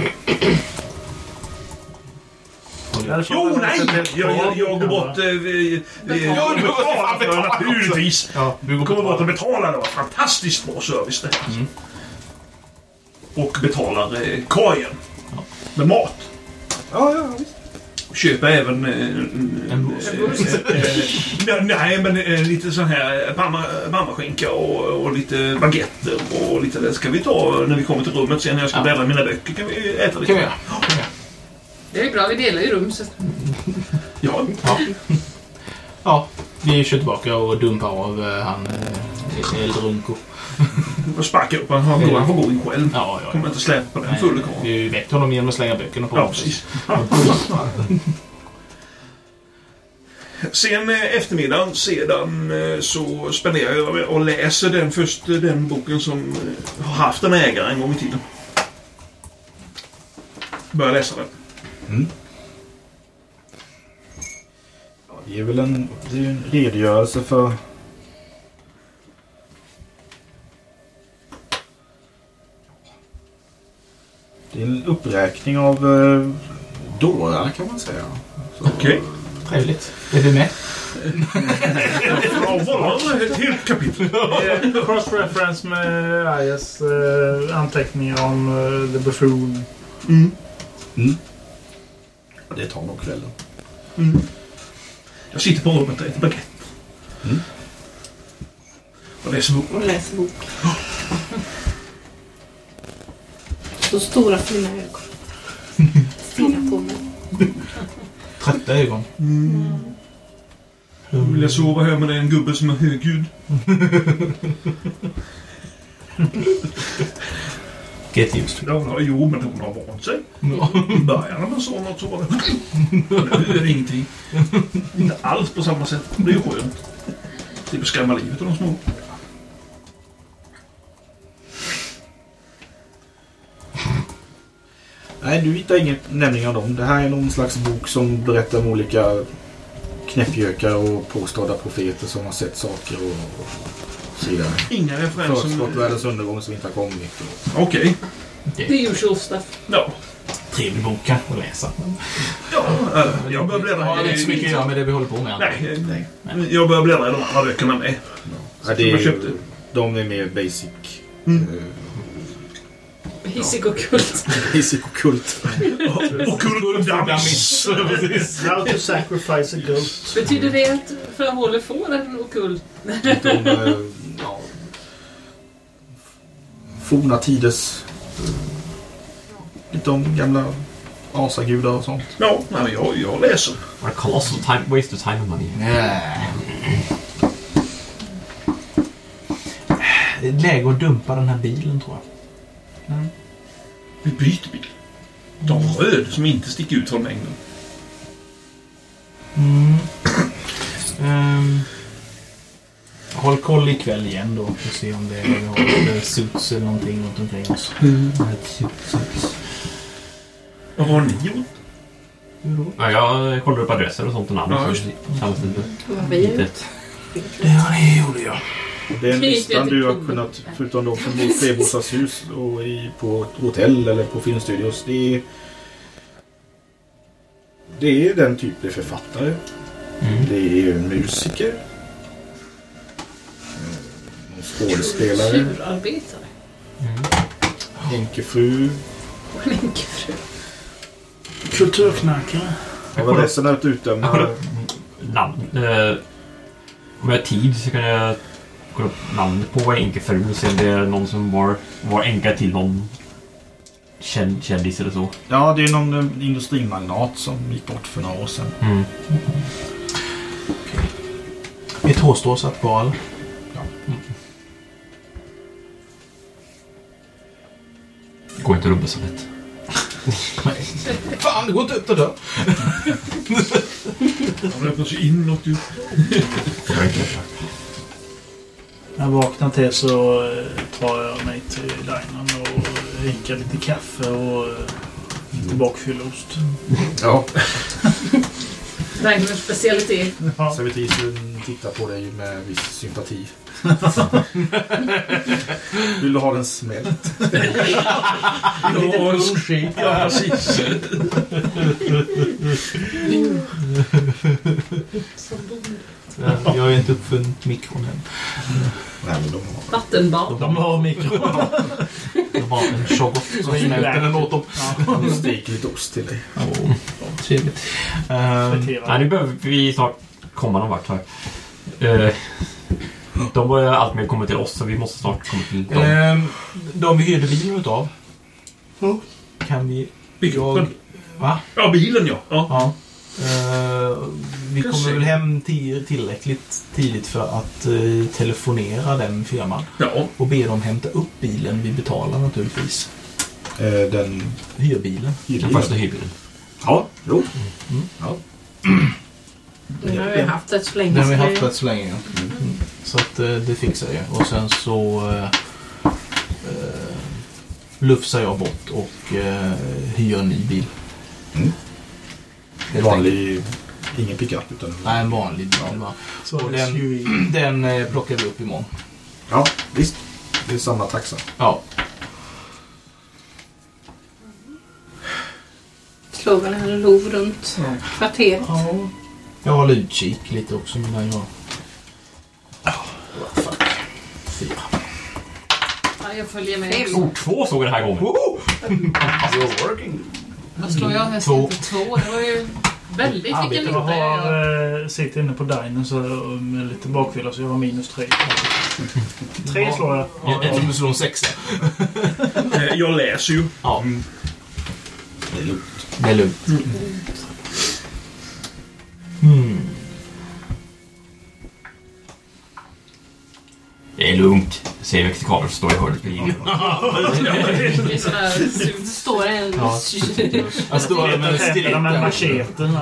Jo, nej! Jag, jag, jag går bort... Eh, vi, vi, Ja, du går bort. betalar för det, naturligtvis. Ja, du Vi går kommer på bort och betalar. Det var fantastiskt bra service det här. Mm. Och betalar eh, korgen. Med mat. Ja, ja, visst. Köper även... Eh, en eh, eh, nej, men eh, lite sån här mamma, eh, mammaskinka och, och lite baguetter och lite det ska vi ta när vi kommer till rummet sen när jag ska Ja. bläddra i mina böcker. Kan vi äta kan vi lite? göra. Det är ju bra, vi delar ju rum så att Ja, Ja, vi kör tillbaka och dumpar av eh, han eh, Eldrunko. och sparkar upp honom. Han går- han får gå in själv. Mm. Ja, ja, Kommer ja. inte släppa den Nej, fulla karln. Vi har ju väckt honom genom att slänga böckerna på Ja, honom. precis. Sen eh, eftermiddagen sedan eh, så spenderar jag och läser den först eh, den boken som eh, har haft en ägare en gång i tiden. Börjar läsa den. Det är väl en, det är ju en redogörelse för... Det är en uppräkning av eh, dårar kan man säga. Okej. Trevligt. Är du med? Bra val! Ett helt kapitel. Cross-reference med Ayas eh, anteckningar om eh, The Buffoon. Det tar nog kvällen. Jag sitter på rummet och äter baguette. Och läser bok. Och läser bok. Så stora fina ögon. Stirrar på mig. Trötta ögon. Vill jag sova här med en gubbe som är högljudd? Get used Ja, hon har- jo, men hon har vant sig. I början när man sa något så var det... Nu är det ingenting. Inte alls på samma sätt. Det är ju skönt. Typ skrämma livet av de små. Nej, du hittar ingen nämning av dem. Det här är någon slags bok som berättar om olika knäppjökar och påstådda profeter som har sett saker och, och så vidare. Inga referenser. Förutspått världens undergång som inte har kommit. och- Okej. The usual stuff. Ja. Trevlig bok kanske att läsa. Ja, eh, jag börjar bläddra. Det är inte så mycket att göra med det vi håller på med. Nej, eh, jag börjar bläddra i de andra böckerna med. Ja, det Som jag är, köpte. de är mer basic. eh, Basic och kult. basic och kult. Ockult dummies. How to sacrifice a goat. Betyder det att Frahåle får en okult? De, eh, ja, forna tiders... eh, Lite om gamla asagudar och sånt. Ja, nej, jag, jag läser. What a colossal time, waste of time and money. Det är läge att dumpa den här bilen tror jag. Vi byter bil. De röd som inte sticker ut från mängden. Mm. Ehm, håll koll ikväll igen då. För att se om det är vi har för suits eller någonting runt omkring oss. Mm. Vad har ni gjort? Ja, jag kollar upp adresser och sånt och namn. Ja, Ja, just Vad vi har gjort. Ja, det gjorde jag. Den Knyter listan till du har pungen. kunnat, förutom de som bor i flerbostadshus och i, på hotell eller på filmstudios, det är... Det är den typen av författare. Det är musiker. Eh, någon Skådespelare. Kulturarbetare. Enkefru. Och en enkefru. Kulturknarkare. Jag var ledsen att utdöma... namn. Eh, om jag har tid så kan jag kolla upp namnet på en enkefru och se om det är någon som var, var änka till någon känd, kändis eller så. Ja, det är någon eh, industrimagnat som gick bort för några år sedan. Mm. Ett hårstrå satt kvar eller? Går inte rummet så lätt. Fan, det går inte upp och dö. De öppnar sig inåt ju. När jag vaknar till så eh, tar jag mig till dinern och dricker lite kaffe och eh, lite bakfylleost. Ja. Ragnars specialitet. Servitrisen tittar på dig med viss sympati. Vill du ha den smält? Ja, ja, precis. Jag har ju inte uppfunnit mikron än. Nej, men de har... Vattenbad. De har mikron. De har en shoggoff som smälter den åt dem. de steker lite ost till dig. Åh, Trevligt. Ehm, Nej, nu behöver vi snart komma någon vart här. Eh, de börjar alltmer komma till oss så vi måste snart komma till dem. Eh. ehm, De vi hyrde bilen utav. Kan vi... Jag... Va? Ja, bilen ja. ja. Ja. Eh, vi Kanske. kommer väl hem ti- tillräckligt tidigt för att eh, telefonera den firman. Ja. Och be dem hämta upp bilen vi betalar naturligtvis. Eh, den... Hyrbilen. Den första hyrbilen. Ja, jo. Mm. Ja. Nu har vi haft haft rätt så länge. Den har vi så haft det- rätt så länge. ja. Så att eh, det fixar jag. Och sen så eh, eh, lufsar jag bort och eh, hyr en ny bil. Mm. En vanlig... Ingen pickup utan... Nej, en vanlig bil. va. Så och det den, den eh, plockar vi upp imorgon. Ja, visst. Det är samma taxa. Ja. Slår väl en lov runt kvarteret. Jag håller utkik lite också medan jag... What the fuck. Fyra. Ja, jag följer med. Ord Oh, två såg jag den här gången. You're working. Vad slår jag hästen Två. på två? Det var ju väldigt vilken Jag lite. har, eh, sitter inne på dinen så, med lite bakfylla så jag har minus tre. tre slår jag. Jag trodde du slog en sexa. Eh, Jag läser ju. Ja. Det är lugnt. Det är lugnt. Det är lugnt, säger mexikanen som står i hörnet bredvid. Det är sån här- Står en... Ja, Alltså, Jag står där med en Tänderna stilett med där. macheten.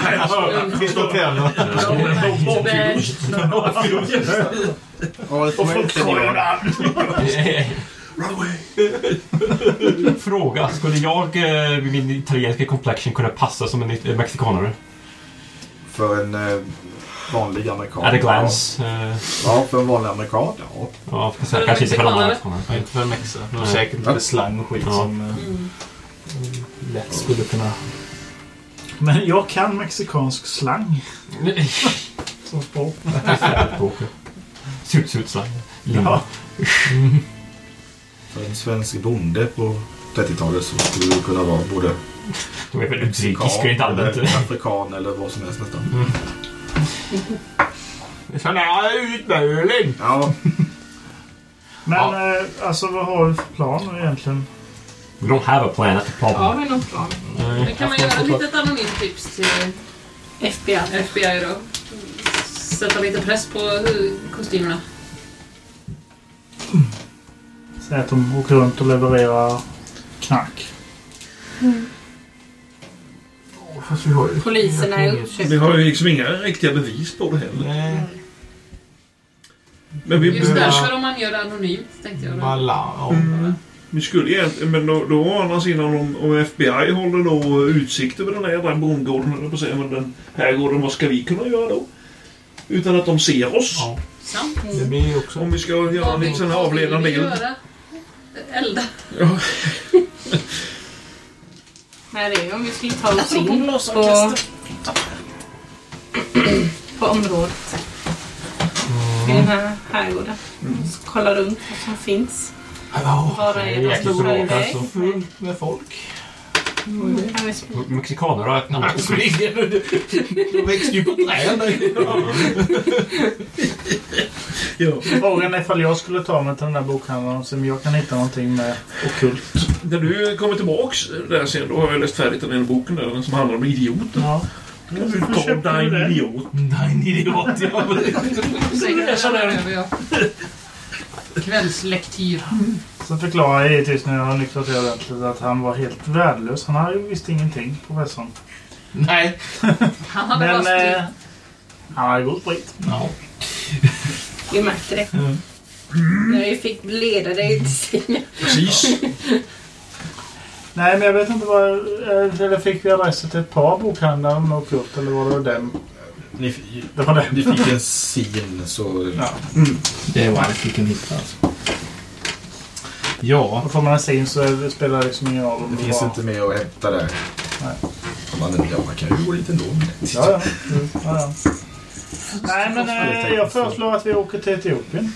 Petar Och folk Fråga. Skulle jag eh, med min italienska complexion kunna passa som en eh, mexikanare? För en eh, vanlig amerikan. At a glance. Ja. eh. Ja, för en vanlig amerikan. Ja. Ja, för säkert- kanske inte för en annan mexikanare. Ja, inte för en mexa. Det var Nej. säkert lite slang och skit Ja. som eh, lätt skulle kunna... Men jag kan mexikansk slang. Som språk. Sutsutsa. Ja. Limma. För en svensk bonde på 30-talet så skulle du kunna vara både De är väl mexikan diskret allmänt. Mm. eller afrikan eller vad som helst nästan. Sån här utböling! Ja. Men eh, alltså vad har du för plan egentligen? We don't have a plan, that's the problem. Har vi någon plan? Nej. Det kan man göra ett litet anonymt tips till FBI. FBI då. Sätta lite press på eh, kostymerna. Säg att de åker runt och levererar knark. Fast vi har ju... Poliserna är uppköpta. Vi har ju liksom inga riktiga bevis på det heller. Eh, Men vi Just behöver... därför om man gör det anonymt tänkte jag. då. Balla. Mm. Vi skulle egentligen, men då, då å andra sidan om, om FBI håller då utsikt över den här jävla bondgården, eller på att säga, men den här gården, vad ska vi kunna göra då? Utan att de ser oss. Sant. Det blir ju också... Om vi ska göra en liten sån här avledande Vill vi bild. göra? Elda. Ja. Nej, det är ju om vi skulle ta oss tror på in på, på området. I den här herrgården. Kolla runt vad som finns. Hallå. Var är de jäkligt stora bra, iväg? alltså. Fullt med folk. Kan vi springa? Mexikaner har öppnat De växte ju på träd Frågan är ifall jag skulle ta mig till den där bokhandlaren som jag kan hitta någonting med ockult. När du kommer tillbaks där sen, då har jag läst färdigt den ena boken där, den som handlar om idioten. Ja. Du tar dig en idiot. Nej, en idiot. ja. Läsa den. Kvällslektyr. Så förklarar jag givetvis när jag har lyckats det ordentligt att han var helt värdelös. Han hade ju visst ingenting, professorn. Nej. Han hade bara Men eh, styrt. han hade god sprit. Ja. Vi märkte det. När vi fick leda dig till sängen. Precis. Nej, men jag vet inte vad... eh, Eller fick vi adresser till ett par bokhandlare om något gjort, eller var det dem? Ni, Det var det. ni fick en scen så... Ja. Det var allt vi kunde hitta alltså. Ja. Och får man en sin så spelar det liksom ingen roll om Det finns var- inte mer att hämta där. Nej. Man, ja, man kan ju gå dit ändå. men- Ja, ja. Mm, ja, ja. Nej, men eh, jag föreslår att vi åker till Etiopien.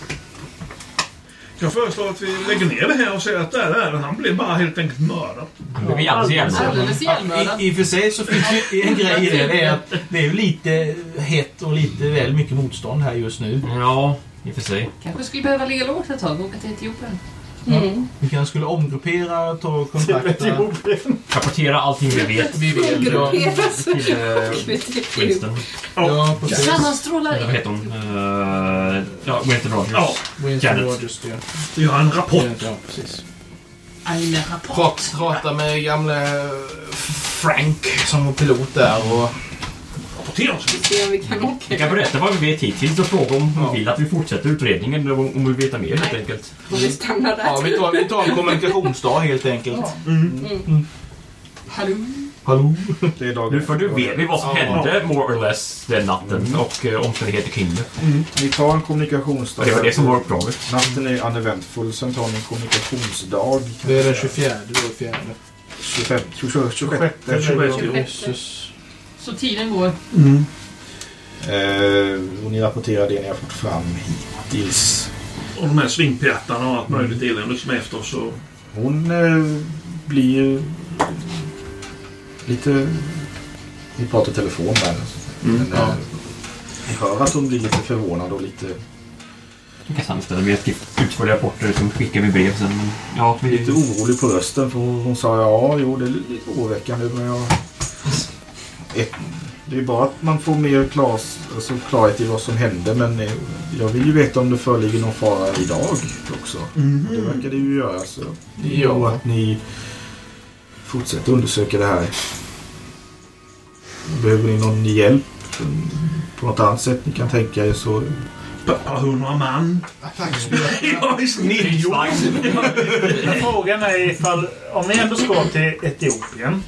Jag föreslår att vi lägger ner det här och säger att där är han. Han blev bara helt enkelt mördad. Han blev alldeles ihjälmördad. Alldeles ihjälmördad. I, I och för sig så finns ju en grej i det. Det är att det är ju lite hett och lite väl mycket motstånd här just nu. Ja, i och för sig. Kanske skulle behöva ligga lågt ett tag och åka till Etiopien. Mm. Vi kanske skulle omgruppera, ta kontakter. Etiopien. Rapportera allting vi vet. Vi vill. Ja, Grupperas. Till eh, Etiopien. Winston. ja precis. Sammanstrålar Vad in. heter hon? Eh, ja, Winston Rogers. Ja, Winston Janet. Rogers, ja. gör en rapport. Ja, precis. Aine rapport. Prata, eh, prata med gamle Frank som var pilot där och rapportera oss. Se om vi kan åka. Vi kan berätta vad vi vet hittills och fråga om hon vill att vi fortsätter utredningen och om vi vill veta mer helt enkelt. Och vi stannar där. Ja, vi tar, vi tar en kommunikationsdag helt enkelt. Mm. Hallå? Hallå? Nu för du vet vi vad som hände more or less den natten och eh, omständigheter kring det. Ni tar en kommunikationsdag. Och det var det som var uppdraget. Natten är uneventful, sen tar ni en kommunikationsdag. Det är den 24, det var fjärde. 25, 26, 26. 26. Så tiden går. Eh, och ni rapporterar det ni har fått fram hittills. Och de här svinpjätarna och allt möjligt elände som är efter oss. Och... Hon eh, blir lite... Vi pratar telefon där. Mm, Men, ja. eh, Ni hör att hon blir lite förvånad och lite... Samstämda med utförliga rapporter som skickar vi brev sen. men Ja, vi... Lite orolig på rösten för hon, hon sa ja, jo det är lite oroväckande men jag... Ett, det är bara att man får mer klar, alltså klarhet i vad som hände men eh, jag vill ju veta om det föreligger någon fara idag också. Mhm. Och Det verkar det ju göra så Ja. Och att ni fortsätter undersöka det här. Behöver ni någon hjälp mm, på något annat sätt ni kan tänka er så... Pappa hundra man. Ja, visst. Men Frågan är ifall, om vi ändå ska till Etiopien.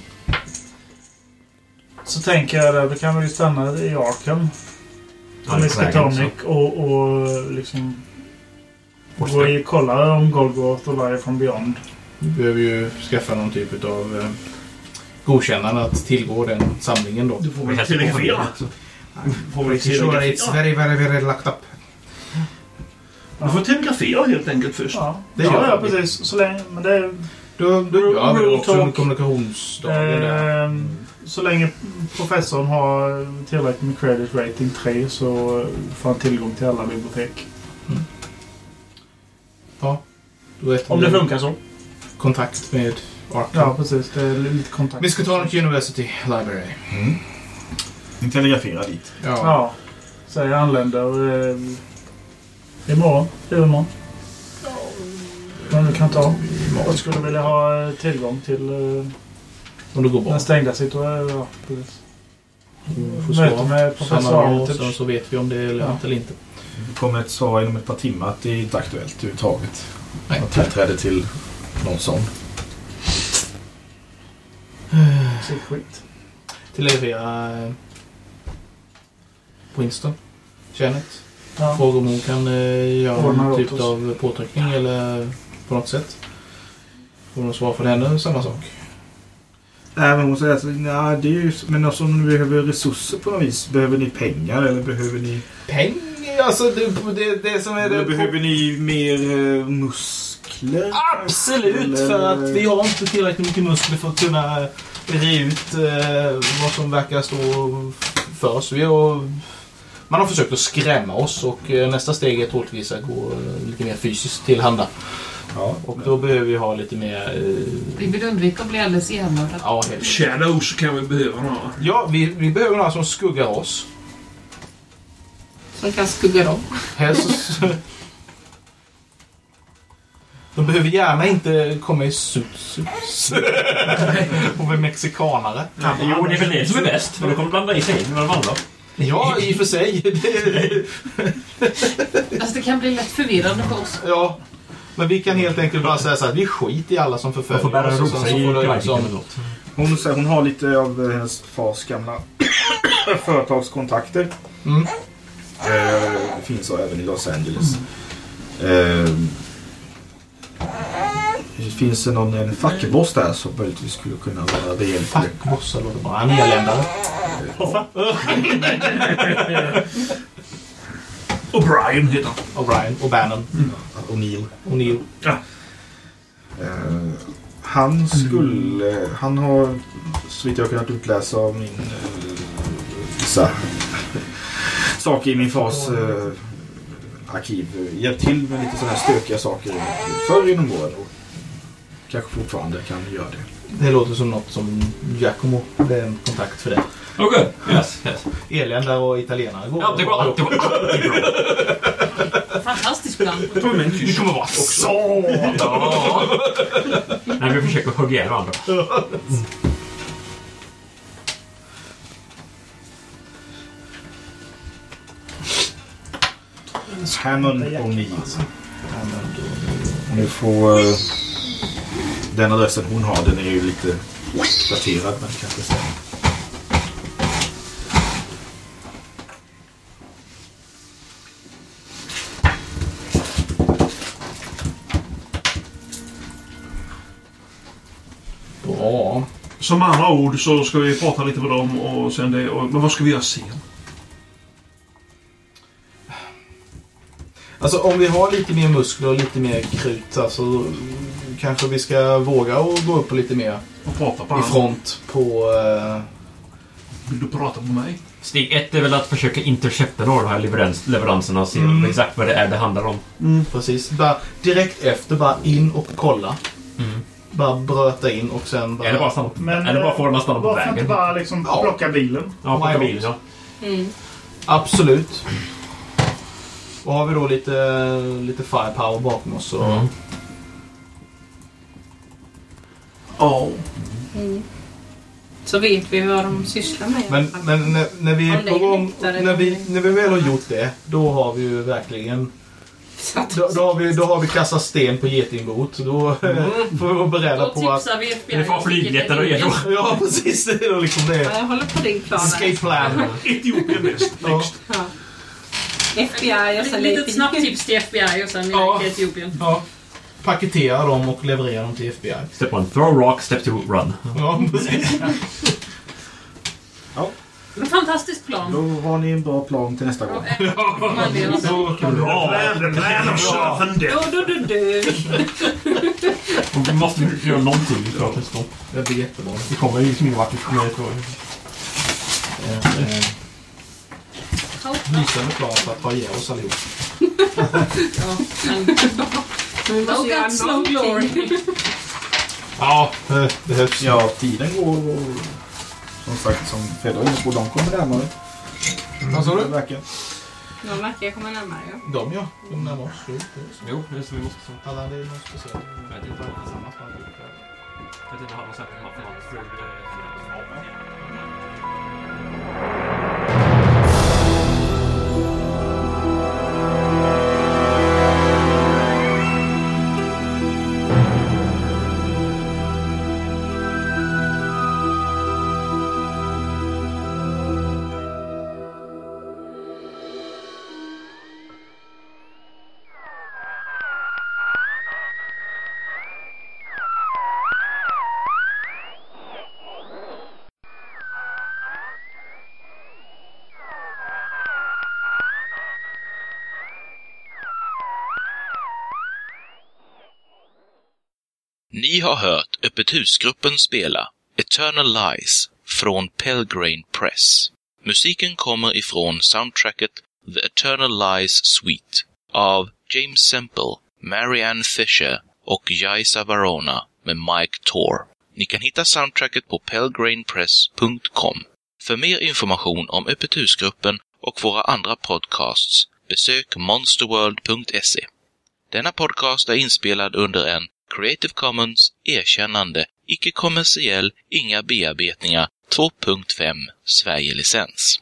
Så tänker jag där, då kan vi ju stanna i Arkham. Ja, Om vi det ska vägen, ta så. Nick och, och liksom... Gå och kolla om Golgoth och Life from Beyond. Vi behöver ju skaffa någon typ av eh, godkännande att tillgå den samlingen då. Du får väl telegrafera. Får väl telegrafera. It's very, very, very locked up. Du får telegrafera helt enkelt först. Ja, Det ja, gör ja vi. precis. Så länge, men det är, Då, då gör vi Rule då också en talk. kommunikationsdag. ehm, så länge professorn har tillräckligt med credit rating 3 så får han tillgång till alla bibliotek. Då vet Om vi det funkar så. Kontakt med Arkham. Ja, precis. Det är lite kontakt. Vi ska ta något University Library. Ni telegraferar dit. Ja. Ja. Så jag anländer eh, imorgon, övermorgon. Men du kan ta. Jag skulle vilja ha eh, tillgång till eh, Om det går bra. den stängda situationen. Ja, precis. Vi Möte med professor samma dag och Armitage. sen så vet vi om det är lönt Ja. eller inte. Det kommer ett svar inom ett par timmar att det är inte aktuellt överhuvudtaget. Nej. Man tillträde till någon sån. Sitt skit. Telegrafera eh, Winston. Janet. Ja. Fråga om hon kan eh, göra Ordna någon åt typ oss. av påtryckning eller på något sätt. Får hon svar från henne, samma sak. Nej, men hon säger att nej, det är ju, men alltså, om ni behöver resurser på något vis, behöver ni pengar eller behöver ni... Pengar? Alltså det, det, det som är Eller det... behöver ni mer eh, muskler? Absolut! För att vi har inte tillräckligt mycket muskler för att kunna re ut eh, vad som verkar stå för oss. Vi har, man har försökt att skrämma oss och eh, nästa steg är troligtvis att gå eh, lite mer fysiskt tillhanda. Ja, och då behöver vi ha lite mer... Eh, Vi vill undvika att bli alldeles ihjälmördade. ja, helt Shadows kan vi behöva några. Ja, vi, vi behöver några som skuggar oss. Som kan skugga dem. Helst så- De behöver gärna inte komma i suits. och bli mexikanare. Jo, det är väl det som är bäst. För då kommer de blanda i sig in med de andra. Ja, i och för sig. Det- Alltså det kan bli lätt förvirrande för oss. ja. Men vi kan helt enkelt bara säga så här, vi skiter i alla som förföljer Man får bära oss. och rosor sen så i får det praktiken liksom- eller något. Hon, säger- hon har lite av eh, hennes fars gamla företagskontakter. Mm. Eh, det finns även i Los Angeles. Eh, det finns det någon en fackboss där som möjligtvis skulle kunna vara behjälplig. Fackbossar låter bra. Han är nederländare. O'Brien heter han. O'Brien. Och Bannon. O'Neill. O'Neill. Eh, han skulle... Han har, så vitt jag har kunnat utläsa av min... eh, Vissa saker i min fars eh, arkiv eh, hjälpt till med lite sådana här stökiga saker förr inom åren. Och kanske fortfarande kan göra det. Det låter som något som Giacomo, det är en kontakt för det. Okej, yes, yes. Elända och italienare går Ja, det går alltid, alltid bra. Fantastisk plan. Det kommer vara så! Ja. Nej, vi försöker hugga ihjäl varandra. Hammond och Neal. Och Nu får... eh, Den adressen hon har, den är ju lite daterad men kanske så. Bra. Som andra ord så ska vi prata lite med dem och sen det. Och, men vad ska vi göra sen? Alltså om vi har lite mer muskler och lite mer krut alltså kanske vi ska våga och gå upp och lite mer och prata på i andra. front på... eh, Vill du prata med mig? Steg ett är väl att försöka intercepta några av de här leverans, leveranserna och se Mm. exakt vad det är det handlar om. Precis. Bara direkt efter bara in och kolla. Mm. Bara bröta in och sen bara... Eller bara stanna- Men, eller bara få dem att stanna på varför vägen. inte bara liksom plocka bilen? Ja, plocka bilen, ja. Mm. Absolut. Och har vi då lite, lite firepower bakom oss så... Mm. Ja. Mm. Så vet vi vad de sysslar med. Men, men när, när vi är på Anläggning gång, där när vi, när vi väl har gjort det, då har vi ju verkligen... Då, då, har vi, då har vi kastat sten på getingboet. så Då Mm. eh, får vi vara beredda på att... tipsar vi FBI. Ja, precis. Det är då liksom Ja, det. jag håller på din plan. Escape plan. Etiopien näst. Next. Ja. FBI och sen Lite Litet snabbt tips till FBI och sen ja. Etiopien. Ja. Paketera dem och leverera dem till FBI. Step one, throw rock. Step two, run. Ja, precis. En fantastisk plan. Då har ni en bra plan till nästa gång. Då, då, då, då. Vi måste ju göra någonting för att stå. Det blir jättebra. Vi kommer ju liksom ingen vart vi kommer jag tror. Eh, Lysande plan för att ta ihjäl oss allihop. Men vi måste Oh, göra God, slow någonting. glory. Ja, det behövs. Ja, tiden går och som sagt som Fedde var inne på, de kommer närmare. Vad sa du? Verkar. De verkar komma närmare. Ja. De ja, de närmar oss. Jo, det är så. Jo, det är så vi måste så. Alla, det är något speciellt. Jag vet inte vad det är tillsammans med allihopa. Jag vet inte vad han har sagt om att man tror det. Ni har hört Öppet husgruppen spela Eternal Lies från Pelgrane Press. Musiken kommer ifrån soundtracket The Eternal Lies Suite av James Semple, Marianne Fisher och Jai Savarona med Mike Tor. Ni kan hitta soundtracket på pelgranepress.com. För mer information om Öppet husgruppen och våra andra podcasts besök monsterworld.se. Denna podcast är inspelad under en Creative Commons erkännande, icke-kommersiell, inga bearbetningar 2.5 Sverige-licens.